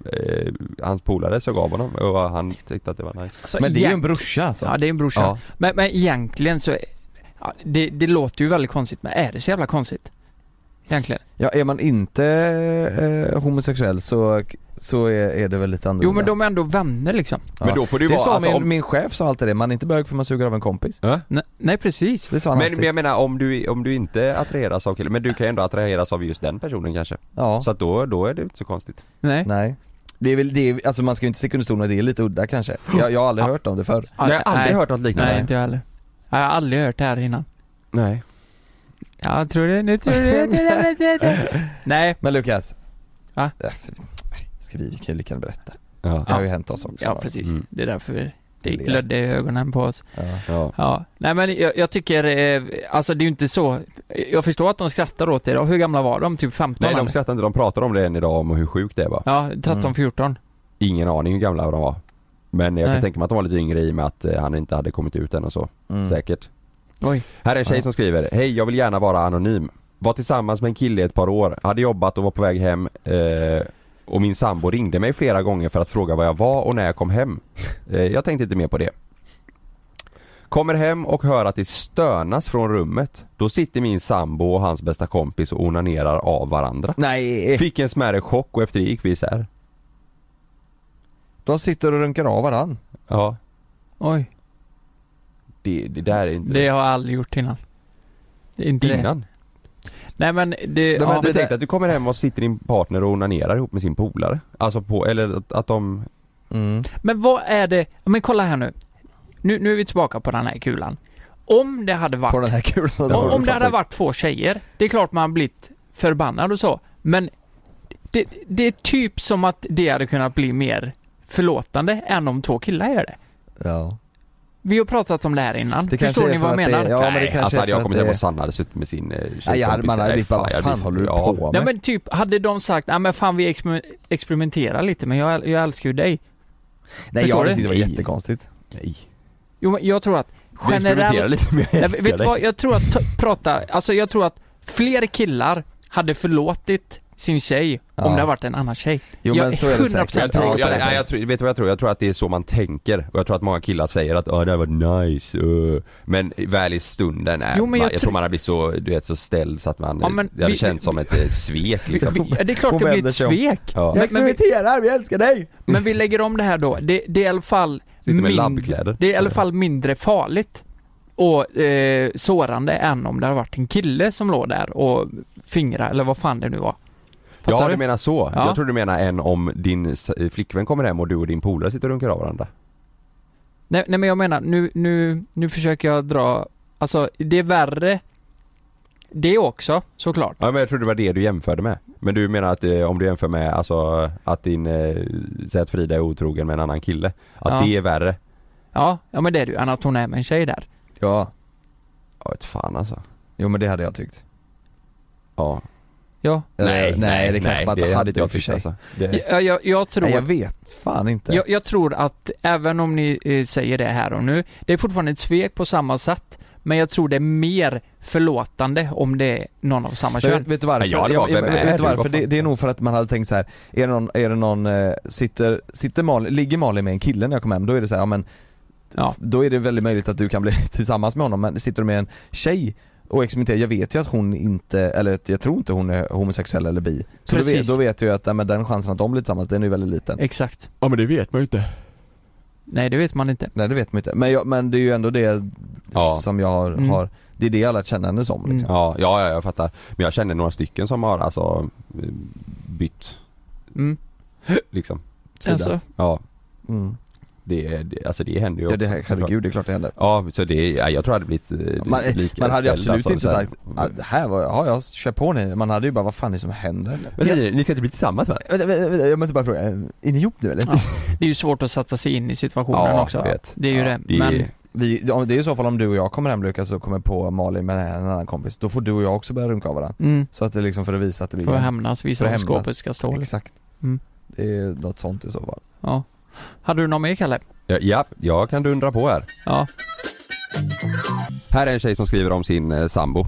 [SPEAKER 4] hans polare såg av honom och han tyckte att det var nice.
[SPEAKER 2] Alltså, Men det är ju en egent-
[SPEAKER 3] brorsa alltså.
[SPEAKER 2] Ja det är en brorsa.
[SPEAKER 4] Ja.
[SPEAKER 2] Men, men egentligen så, ja, det, det låter ju väldigt konstigt men är det så jävla konstigt? Egentligen.
[SPEAKER 3] Ja, är man inte eh, homosexuell så, så är, är det väl lite annorlunda.
[SPEAKER 2] Jo men de är ändå vänner liksom.
[SPEAKER 3] Ja. det sa
[SPEAKER 4] alltså,
[SPEAKER 3] min, min chef sa alltid det, man är inte bög för man suger av en kompis.
[SPEAKER 2] Nej, precis.
[SPEAKER 3] Det sa han
[SPEAKER 4] Men,
[SPEAKER 3] alltid.
[SPEAKER 4] men jag menar om du, om du inte attraheras av killen, men du kan ju ändå attraheras av just den personen kanske.
[SPEAKER 3] Ja.
[SPEAKER 4] Så att då, då är det inte så konstigt.
[SPEAKER 2] Nej.
[SPEAKER 3] Nej. Det är väl, det är, alltså man ska ju inte sticka under stol med det är lite udda kanske. Jag, jag har aldrig hört om det förr.
[SPEAKER 4] Nej, jag har aldrig hört något liknande.
[SPEAKER 2] Nej inte jag heller. Jag har aldrig hört det här innan.
[SPEAKER 4] Nej.
[SPEAKER 2] Ja, jag tror det, nu tror det, det, det, det. Nej.
[SPEAKER 3] Men Lukas.
[SPEAKER 2] Va?
[SPEAKER 3] Alltså, Ska vi, vi kan ju lika gärna berätta.
[SPEAKER 4] Ja.
[SPEAKER 3] Det har ju hänt oss också.
[SPEAKER 2] Ja
[SPEAKER 3] va?
[SPEAKER 2] precis,
[SPEAKER 3] Mm.
[SPEAKER 2] det är därför vi, det
[SPEAKER 3] Ler.
[SPEAKER 2] glödde i ögonen på oss.
[SPEAKER 3] Ja.
[SPEAKER 4] Ja.
[SPEAKER 2] Ja, nej men jag, jag tycker, eh, alltså det är ju inte så, jag förstår att de skrattar åt det. Och Hur gamla var de? Typ 15?
[SPEAKER 4] Nej de Mm.
[SPEAKER 2] eller?
[SPEAKER 4] skrattar inte, de pratar om det än idag om hur sjukt det är va?
[SPEAKER 2] Ja, 13, 14.
[SPEAKER 4] Ingen aning hur gamla de var. Men jag
[SPEAKER 2] Nej.
[SPEAKER 4] kan tänka mig att de var lite yngre i och med att eh, han inte hade kommit ut än och så.
[SPEAKER 2] Mm.
[SPEAKER 4] Säkert.
[SPEAKER 2] Oj.
[SPEAKER 4] Här är en tjej som skriver, hej jag vill gärna vara anonym. Var tillsammans med en kille i ett par år, hade jobbat och var på väg hem eh, och min sambo ringde mig flera gånger för att fråga vad jag var och när jag kom hem. Eh, jag tänkte inte mer på det. Kommer hem och hör att det stönas från rummet. Då sitter min sambo och hans bästa kompis och onanerar av varandra.
[SPEAKER 3] Nej!
[SPEAKER 4] Fick en smärre chock och efter det gick vi isär.
[SPEAKER 3] De sitter och runkar av varann.
[SPEAKER 4] Ja,
[SPEAKER 2] Oj.
[SPEAKER 4] det, det där är inte...
[SPEAKER 2] Det har jag aldrig gjort innan. Det är Inte
[SPEAKER 4] Innan?
[SPEAKER 2] Det. Nej men det,
[SPEAKER 4] Ja, men
[SPEAKER 2] ja,
[SPEAKER 4] du tänkte att du kommer hem och sitter din partner och onanerar ihop med sin polare? Alltså på, eller att, att de...
[SPEAKER 3] Mm.
[SPEAKER 2] Men vad är det, ja, men kolla här nu. nu. Nu är vi tillbaka på den här kulan. Om det hade varit...
[SPEAKER 3] På den här kulan.
[SPEAKER 2] om om det hade varit två tjejer, det är klart man blivit förbannad och så. Men det, det är typ som att det hade kunnat bli mer förlåtande än om två killar gör det.
[SPEAKER 3] Ja.
[SPEAKER 2] Vi har pratat om det här innan.
[SPEAKER 3] Det kanske
[SPEAKER 2] Förstår
[SPEAKER 3] är
[SPEAKER 2] ni
[SPEAKER 3] för
[SPEAKER 2] vad jag
[SPEAKER 3] att det-
[SPEAKER 2] menar?
[SPEAKER 3] ja, men det
[SPEAKER 2] Nej.
[SPEAKER 3] kanske
[SPEAKER 4] Alltså
[SPEAKER 3] är
[SPEAKER 4] hade
[SPEAKER 3] för
[SPEAKER 4] jag
[SPEAKER 3] att
[SPEAKER 4] kommit hem
[SPEAKER 3] det-
[SPEAKER 4] och Sanna hade suttit med sin eh,
[SPEAKER 3] Nej, jag hade-
[SPEAKER 4] tjejkompis,
[SPEAKER 3] man hade
[SPEAKER 4] nej,
[SPEAKER 3] blivit bara, vad
[SPEAKER 4] jag
[SPEAKER 3] fan
[SPEAKER 4] blir-
[SPEAKER 3] håller du
[SPEAKER 4] ja.
[SPEAKER 3] på
[SPEAKER 2] Ja
[SPEAKER 3] med?
[SPEAKER 2] men typ, hade de sagt ja men fan vi exper- experimenterar lite men jag, jag älskar ju dig.
[SPEAKER 3] Nej
[SPEAKER 2] Förstår
[SPEAKER 3] jag
[SPEAKER 2] du?
[SPEAKER 3] tyckte det var jättekonstigt.
[SPEAKER 4] Nej.
[SPEAKER 2] Jo men jag tror att
[SPEAKER 4] Vi experimenterar
[SPEAKER 2] generellt...
[SPEAKER 4] lite med
[SPEAKER 2] Nej,
[SPEAKER 4] jag
[SPEAKER 2] men
[SPEAKER 4] älskar
[SPEAKER 2] vet du
[SPEAKER 4] dig.
[SPEAKER 2] vad, jag tror att ta- prata, alltså jag tror att fler killar hade förlåtit sin tjej om det hade varit en annan tjej.
[SPEAKER 3] Jo,
[SPEAKER 2] jag
[SPEAKER 3] men så är det
[SPEAKER 4] Jag
[SPEAKER 3] säkert.
[SPEAKER 2] säker
[SPEAKER 4] tror,
[SPEAKER 2] på
[SPEAKER 4] jag,
[SPEAKER 2] det.
[SPEAKER 4] nej, jag tror, vet du vad jag tror? Jag tror att det är så man tänker och jag tror att många killar säger att "Ja, det här var nice, uh. men väl i stunden är
[SPEAKER 2] Jo, men
[SPEAKER 4] man,
[SPEAKER 2] jag
[SPEAKER 4] jag,
[SPEAKER 2] tror-
[SPEAKER 4] tror man har blivit så, du vet, så ställd så att man,
[SPEAKER 2] Ja, men
[SPEAKER 4] det hade
[SPEAKER 2] vi-
[SPEAKER 4] känts som ett eh, svek liksom.
[SPEAKER 2] Vi- vi- Det är klart det blir ett svek. Men,
[SPEAKER 4] Ja.
[SPEAKER 2] men, vi,
[SPEAKER 3] experimenterar, vi älskar dig!
[SPEAKER 2] men vi lägger om det här då. Det, det är i alla fall
[SPEAKER 4] med
[SPEAKER 2] mindre-
[SPEAKER 4] labbkläder.
[SPEAKER 2] Det är i alla fall mindre farligt och eh, sårande än om det hade varit en kille som låg där och fingrade eller vad fan det nu var. Fattar
[SPEAKER 4] Ja
[SPEAKER 2] du?
[SPEAKER 4] du menar så.
[SPEAKER 2] Ja.
[SPEAKER 4] Jag tror du menar en om din s- eh, flickvän kommer hem och du och din polare sitter och runkar av varandra.
[SPEAKER 2] Nej, nej men jag menar, nu, nu, nu försöker jag dra, alltså det är värre det också såklart.
[SPEAKER 4] Ja men jag tror det var det du jämförde med. Men du menar att eh, om du jämför med alltså att din, eh, säg att Frida är otrogen med en annan kille. Att
[SPEAKER 2] Ja.
[SPEAKER 4] det är värre.
[SPEAKER 2] Ja, ja men det är det ju, än att hon är med en tjej där.
[SPEAKER 3] Ja,
[SPEAKER 4] Ja vet fan alltså.
[SPEAKER 3] jo men det hade jag tyckt.
[SPEAKER 4] Ja.
[SPEAKER 2] Ja.
[SPEAKER 3] Eh, nej, det kanske man inte hade i och för sig.
[SPEAKER 4] alltså. det,
[SPEAKER 2] Jag, jag, jag tror,
[SPEAKER 3] Eh. Nej, jag vet fan inte.
[SPEAKER 2] jag, jag tror att även om ni eh, säger det här och nu, det är fortfarande ett svek på samma sätt, men jag tror det är mer förlåtande om det är någon av samma kön.
[SPEAKER 3] Men Vet du varför? Jag- jag- vet du varför? Det, det är nog för att man hade tänkt så här. är det någon, är det någon eh, sitter, sitter Malin, ligger Malin med en kille när jag kommer hem, då är det så här, ja men f- Då är det väldigt möjligt att du kan bli tillsammans med honom, men sitter du med en tjej och experimenterar, jag vet ju att hon inte, eller att jag tror inte hon är homosexuell eller bi. Så då vet,
[SPEAKER 2] Precis.
[SPEAKER 3] då vet jag ju att ja, men den chansen att de blir tillsammans, den är ju väldigt liten.
[SPEAKER 2] Exakt.
[SPEAKER 3] Ja men det vet man ju inte.
[SPEAKER 2] Nej det vet man inte.
[SPEAKER 3] Nej det vet man inte, men, jag, men det är ju ändå det som jag har,
[SPEAKER 4] Mm.
[SPEAKER 3] har, det är det jag har lärt känna henne som
[SPEAKER 2] Mm.
[SPEAKER 3] liksom.
[SPEAKER 4] Ja, ja, ja, jag fattar. Men jag känner några stycken som har alltså eh, bytt
[SPEAKER 2] Mm.
[SPEAKER 4] liksom sida.
[SPEAKER 2] Alltså.
[SPEAKER 4] Ja.
[SPEAKER 3] Mm.
[SPEAKER 4] Det, är- det, alltså det händer ju
[SPEAKER 3] Ja, det här- herregud, det är klart det händer.
[SPEAKER 4] Ja, så det, ja, jag tror jag hade blivit eh,
[SPEAKER 3] Man,
[SPEAKER 4] likställd,
[SPEAKER 3] man hade ju absolut
[SPEAKER 4] alltså,
[SPEAKER 3] inte
[SPEAKER 4] så här.
[SPEAKER 3] sagt, "Ah, det här var, ja jag kör på ni, man hade ju bara vad fan är det som händer?
[SPEAKER 4] Men ni- ni ska inte bli tillsammans va?
[SPEAKER 3] Vänta, vänta, vänta, jag måste bara fråga, eh, är ni ihop nu eller?
[SPEAKER 2] Ja. Det är ju svårt att sätta sig in i situationen också. Det är ju det. Men
[SPEAKER 3] Vi, ja, det är i så fall om du och jag kommer hem Lukas och kommer på Malin med en annan kompis, då får du och jag också börja runka av varandra.
[SPEAKER 2] Mm.
[SPEAKER 3] Så att det är liksom för att visa att det blir
[SPEAKER 2] För att hämnas, visa
[SPEAKER 3] för att
[SPEAKER 2] var
[SPEAKER 3] hämnas.
[SPEAKER 2] skåpet ska stå, liksom.
[SPEAKER 3] Exakt.
[SPEAKER 2] Mm.
[SPEAKER 3] Det är något sånt i så fall.
[SPEAKER 2] ja. Hade du någon mer Kalle?
[SPEAKER 4] Ja, ja, jag kan dundra på här.
[SPEAKER 2] Ja.
[SPEAKER 4] Här är en tjej som skriver om sin eh, sambo.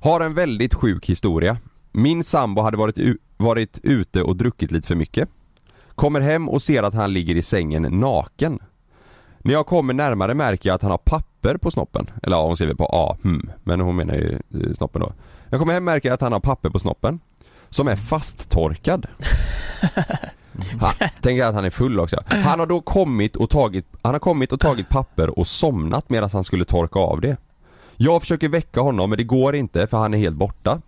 [SPEAKER 4] Har en väldigt sjuk historia. Min sambo hade varit, u- varit ute och druckit lite för mycket. Kommer hem och ser att han ligger i sängen naken. När jag kommer närmare märker jag att han har papper på snoppen. Eller ja, hon skriver på A, hmm, men hon menar ju eh, snoppen då. När Jag kommer hem märker jag att han har papper på snoppen. Som är fasttorkad. Ha, tänk att han är full också. Han har då kommit och tagit, han har kommit och tagit papper och somnat medan han skulle torka av det. Jag försöker väcka honom men det går inte för han är helt borta.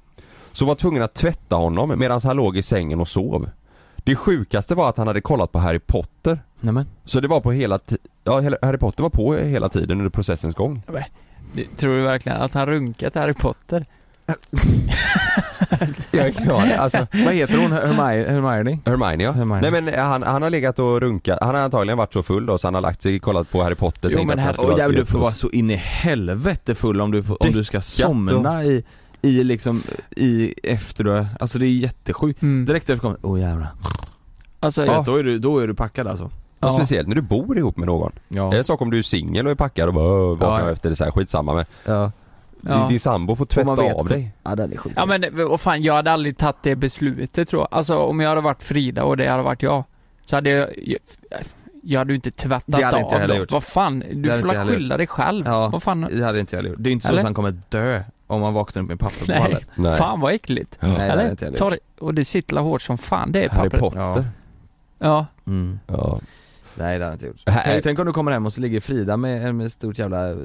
[SPEAKER 4] Så var tvungen att tvätta honom medan han låg i sängen och sov. Det sjukaste var att han hade kollat på Harry Potter.
[SPEAKER 3] Nämen.
[SPEAKER 4] Så det var på hela ti- ja hela- Harry Potter var på hela tiden under processens gång.
[SPEAKER 2] Nej. Det- Tror du verkligen att han runkat Harry Potter?
[SPEAKER 4] Jag är klar. Alltså,
[SPEAKER 3] Vad heter hon? Hermi- Hermione?
[SPEAKER 4] Hermione ja.
[SPEAKER 3] Hermione.
[SPEAKER 4] Nej men eh, han, han har legat och runkat, han har antagligen varit så full då så han har lagt sig och kollat på Harry Potter
[SPEAKER 3] Jo,
[SPEAKER 4] tänkt
[SPEAKER 3] men
[SPEAKER 4] att han
[SPEAKER 3] här-
[SPEAKER 4] skulle ha
[SPEAKER 3] Åh, jävlar,
[SPEAKER 4] ett
[SPEAKER 3] du får vara
[SPEAKER 4] virus.
[SPEAKER 3] så in i helvete full om du, får- om du ska
[SPEAKER 4] Däckat och-
[SPEAKER 3] somna i, i liksom, i efter du har- alltså det är jättesjukt. Direkt efter kommer åh jävlar.
[SPEAKER 2] Alltså,
[SPEAKER 3] ja.
[SPEAKER 4] ja.
[SPEAKER 3] då, är du, då är du packad alltså.
[SPEAKER 4] Ja. Speciellt när du bor ihop med någon.
[SPEAKER 3] Ja.
[SPEAKER 4] Det är en sak om du är singel och är packad och bara "Åh, vaknar
[SPEAKER 3] Ja.
[SPEAKER 4] efter det så här, skitsamma men
[SPEAKER 3] ja.
[SPEAKER 4] din, din sambo får tvätta av dig.
[SPEAKER 3] Ja den är sjuk.
[SPEAKER 2] Ja men det- vad fan, jag hade aldrig tagit det beslutet tror jag. Alltså om jag hade varit Frida och det hade varit jag. Så hade jag... Jag, jag hade ju inte tvättat
[SPEAKER 3] Det hade
[SPEAKER 2] av
[SPEAKER 3] inte jag heller
[SPEAKER 2] dem.
[SPEAKER 3] gjort.
[SPEAKER 2] Vad fan,
[SPEAKER 3] Det
[SPEAKER 2] du
[SPEAKER 3] hade
[SPEAKER 2] får
[SPEAKER 3] inte jag
[SPEAKER 2] väl
[SPEAKER 3] heller
[SPEAKER 2] skylla
[SPEAKER 3] gjort.
[SPEAKER 2] dig själv.
[SPEAKER 3] Ja,
[SPEAKER 2] Vad fan.
[SPEAKER 3] det hade inte jag gjort. Det är inte så
[SPEAKER 2] Eller?
[SPEAKER 3] att han kommer dö om han vaknar upp med papper på
[SPEAKER 2] Nej.
[SPEAKER 3] ballen.
[SPEAKER 2] Fan vad äckligt.
[SPEAKER 3] Nej, det hade
[SPEAKER 2] Eller?
[SPEAKER 3] inte jag
[SPEAKER 2] Ta
[SPEAKER 3] gjort.
[SPEAKER 2] det, och det sittlar hårt som fan det är
[SPEAKER 3] Harry
[SPEAKER 2] pappret.
[SPEAKER 3] Potter. Ja.
[SPEAKER 2] Ja.
[SPEAKER 3] Mm.
[SPEAKER 4] Ja.
[SPEAKER 3] Nej det hade jag inte gjort.
[SPEAKER 4] Äh,
[SPEAKER 2] Här-
[SPEAKER 3] Tänk, tänk om du kommer hem och så ligger Frida med med ett stort jävla eh,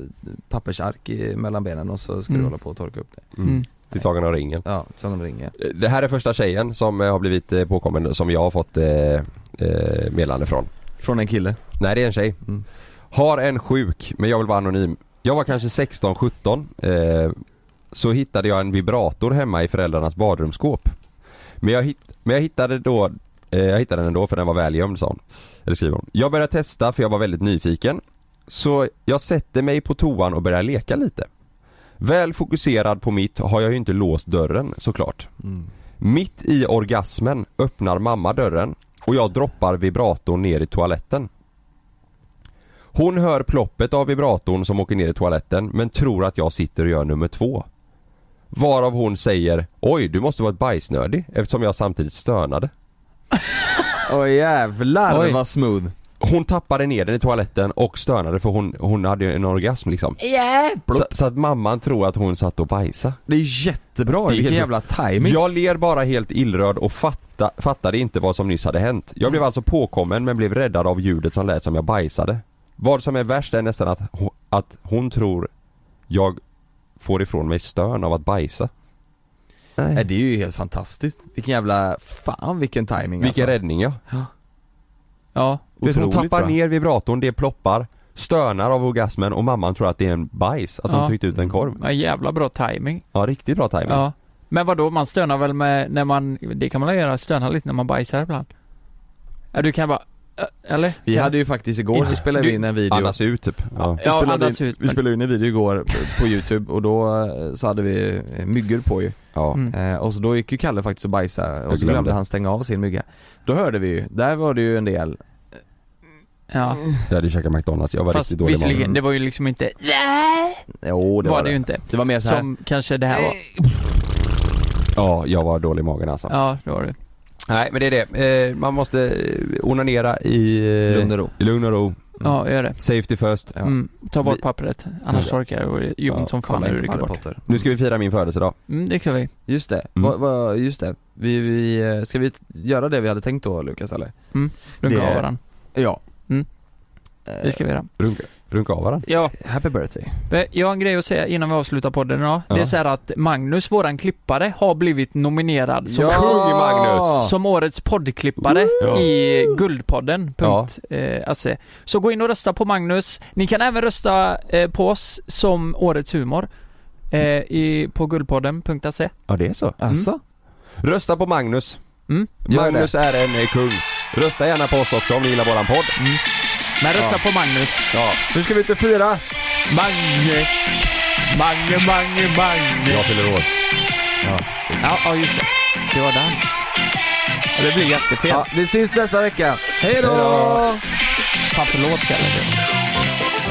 [SPEAKER 3] pappersark i, mellan benen och så ska du
[SPEAKER 4] Mm.
[SPEAKER 3] hålla på och torka upp det.
[SPEAKER 4] Mm. Till Sagan om ringen.
[SPEAKER 3] Ja, Sagan om ringen.
[SPEAKER 4] Det här är första tjejen som eh, har blivit eh, påkommen, som jag har fått eh, eh, meddelande från.
[SPEAKER 3] Från en kille?
[SPEAKER 4] Nej det är en tjej. Har en sjuk, men jag vill vara anonym. Jag var kanske 16-17 eh, Så hittade jag en vibrator hemma i föräldrarnas badrumsskåp. Men jag, hitt, men jag hittade då eh, Jag hittade den ändå för den var välgömd sa hon. Eller skriver hon. Jag började testa för jag var väldigt nyfiken. Så jag sätter mig på toan och börjar leka lite. Väl fokuserad på mitt har jag ju inte låst dörren såklart. Mitt i orgasmen öppnar mamma dörren och jag droppar vibratorn ner i toaletten. Hon hör ploppet av vibratorn som åker ner i toaletten men tror att jag sitter och gör nummer två. Varav hon säger Oj, du måste varit bajsnödig eftersom jag samtidigt stönade.
[SPEAKER 3] Åh jävlar
[SPEAKER 4] Oj.
[SPEAKER 3] vad smooth.
[SPEAKER 4] Hon tappade ner den i toaletten och stönade för hon, hon hade ju en orgasm liksom.
[SPEAKER 3] Yeah.
[SPEAKER 4] Så, så att mamman tror att hon satt och bajsade.
[SPEAKER 3] Det är jättebra,
[SPEAKER 4] Det är
[SPEAKER 3] vilken
[SPEAKER 4] helt-
[SPEAKER 3] jävla timing.
[SPEAKER 4] Jag ler bara helt illrörd och fatta, fattade inte vad som nyss hade hänt. Jag blev alltså påkommen men blev räddad av ljudet som lät som jag bajsade. Vad som är värst är nästan att, ho- att hon tror jag får ifrån mig stön av att bajsa.
[SPEAKER 3] Nej. Äh, det är ju helt fantastiskt. Vilken jävla, fan vilken timing alltså.
[SPEAKER 4] Vilken räddning ja.
[SPEAKER 2] Ja,
[SPEAKER 4] Vet, hon
[SPEAKER 3] Otroligt
[SPEAKER 4] tappar
[SPEAKER 3] bra.
[SPEAKER 4] ner vibratorn, det ploppar, stönar av orgasmen och mamman tror att det är en bajs, att
[SPEAKER 2] Ja.
[SPEAKER 4] hon tryckte ut en korv.
[SPEAKER 2] Ja, jävla bra timing.
[SPEAKER 4] Ja, riktigt bra timing.
[SPEAKER 2] Ja. Men vadå, man stönar väl med, när man, det kan man väl göra, stöna lite när man bajsar ibland? Ja, du kan bara, äh, eller?
[SPEAKER 3] Vi
[SPEAKER 2] Kan-
[SPEAKER 3] hade ju faktiskt igår, så spelade vi in en video
[SPEAKER 4] Andas ut typ. Ja.
[SPEAKER 3] Vi spelade,
[SPEAKER 2] andas
[SPEAKER 3] in,
[SPEAKER 2] ut,
[SPEAKER 3] vi spelade in en video igår på youtube och då eh, så hade vi eh, myggor på ju
[SPEAKER 4] ja.
[SPEAKER 2] Mm.
[SPEAKER 3] eh, Och så då gick ju Kalle faktiskt och bajsade och så glömde
[SPEAKER 4] glömde.
[SPEAKER 3] han stänga av sin mygga Då hörde vi ju, där var det ju en del
[SPEAKER 2] Ja.
[SPEAKER 4] Jag hade käkat McDonalds, jag var
[SPEAKER 2] Fast
[SPEAKER 4] riktigt dålig i
[SPEAKER 2] visserligen,
[SPEAKER 4] magen.
[SPEAKER 2] det var ju liksom inte
[SPEAKER 4] Jo, det
[SPEAKER 2] var
[SPEAKER 4] var
[SPEAKER 2] det ju inte.
[SPEAKER 4] Det var mer så här.
[SPEAKER 2] Som kanske det här var.
[SPEAKER 4] Ja, jag var dålig i magen alltså.
[SPEAKER 2] Ja, Mm. det var det.
[SPEAKER 4] Nej men det är det, eh, man måste eh, onanera i eh,
[SPEAKER 2] Lugn och ro.
[SPEAKER 4] I lugn och ro.
[SPEAKER 2] Ja, gör det.
[SPEAKER 4] Safety first.
[SPEAKER 2] Mm, ta bort
[SPEAKER 4] Vi-
[SPEAKER 2] pappret, annars
[SPEAKER 4] Ja.
[SPEAKER 2] torkar det och det gör ont som fan
[SPEAKER 4] kolla
[SPEAKER 2] när du
[SPEAKER 4] inte på
[SPEAKER 2] rycker
[SPEAKER 4] Harry
[SPEAKER 2] bort.
[SPEAKER 4] Potter. Nu ska vi fira min födelsedag. Mm.
[SPEAKER 2] Mm, det kan vi.
[SPEAKER 3] Just det, vad, vad, just det. Vi, vi, eh, ska vi t- göra det vi hade tänkt då Lukas eller?
[SPEAKER 2] Mm. Runka
[SPEAKER 3] Det-
[SPEAKER 2] av varandra.
[SPEAKER 3] Ja
[SPEAKER 2] Mm. Det ska vi göra.
[SPEAKER 4] Runka, runka av varandra.
[SPEAKER 2] Eh, Ja,
[SPEAKER 3] Happy birthday
[SPEAKER 2] men Eh, jag har en grej att säga innan vi avslutar podden idag. Det är
[SPEAKER 4] Ja.
[SPEAKER 2] så här att Magnus, våran klippare, har blivit nominerad som,
[SPEAKER 4] Ja! Kung Magnus!
[SPEAKER 2] som årets poddklippare
[SPEAKER 4] Ja.
[SPEAKER 2] i Guldpodden.
[SPEAKER 4] Ja.
[SPEAKER 2] Punkt, eh, alltså. Så gå in och rösta på Magnus. Ni kan även rösta eh, på oss som årets humor eh, i, på guldpodden.se.
[SPEAKER 4] Ja det är så.
[SPEAKER 2] Alltså?
[SPEAKER 3] Asså?
[SPEAKER 4] Rösta på Magnus.
[SPEAKER 2] Mm.
[SPEAKER 3] Gör
[SPEAKER 4] Magnus är en eh, kung. Rösta gärna på oss också om ni gillar våran podd.
[SPEAKER 2] Men rösta
[SPEAKER 4] Ja.
[SPEAKER 2] på Magnus.
[SPEAKER 4] Ja. Nu ska vi inte fira!
[SPEAKER 2] Mange, Mange, Mange, Mange.
[SPEAKER 4] Jag fyller år.
[SPEAKER 2] Ja, ja just det. Det var den. Ja, Det blir jättefel.
[SPEAKER 3] Ja, vi syns nästa vecka! Hej då!
[SPEAKER 2] Fan förlåt Kalle.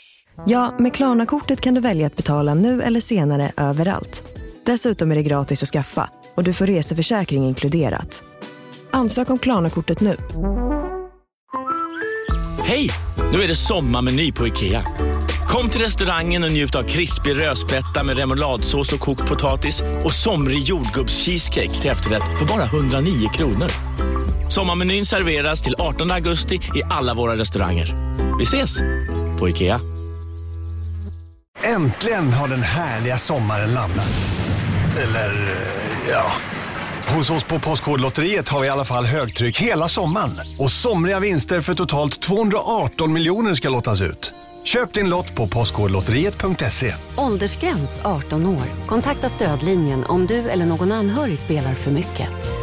[SPEAKER 1] Ja, med Klarna-kortet kan du välja att betala nu eller senare överallt. Dessutom är det gratis att skaffa och du får reseförsäkring inkluderat. Ansök om Klarna-kortet nu.
[SPEAKER 9] Hej! Nu är det sommarmeny på IKEA. Kom till restaurangen och njut av krispig rödspätta med remouladsås och kokt potatis och somrig jordgubbscheesecake till efterrätt för bara 109 kronor. Sommarmenyn serveras till 18 augusti i alla våra restauranger. Vi ses! På IKEA.
[SPEAKER 10] Äntligen har den härliga sommaren landat. Eller, eh, ja. Hos oss på Postkodlotteriet har vi i alla fall högtryck hela sommaren. Och somriga vinster för totalt 218 miljoner ska lottas ut. Köp din lott på postkodlotteriet.se.
[SPEAKER 11] Åldersgräns 18 år. Kontakta stödlinjen om du eller någon anhörig spelar för mycket.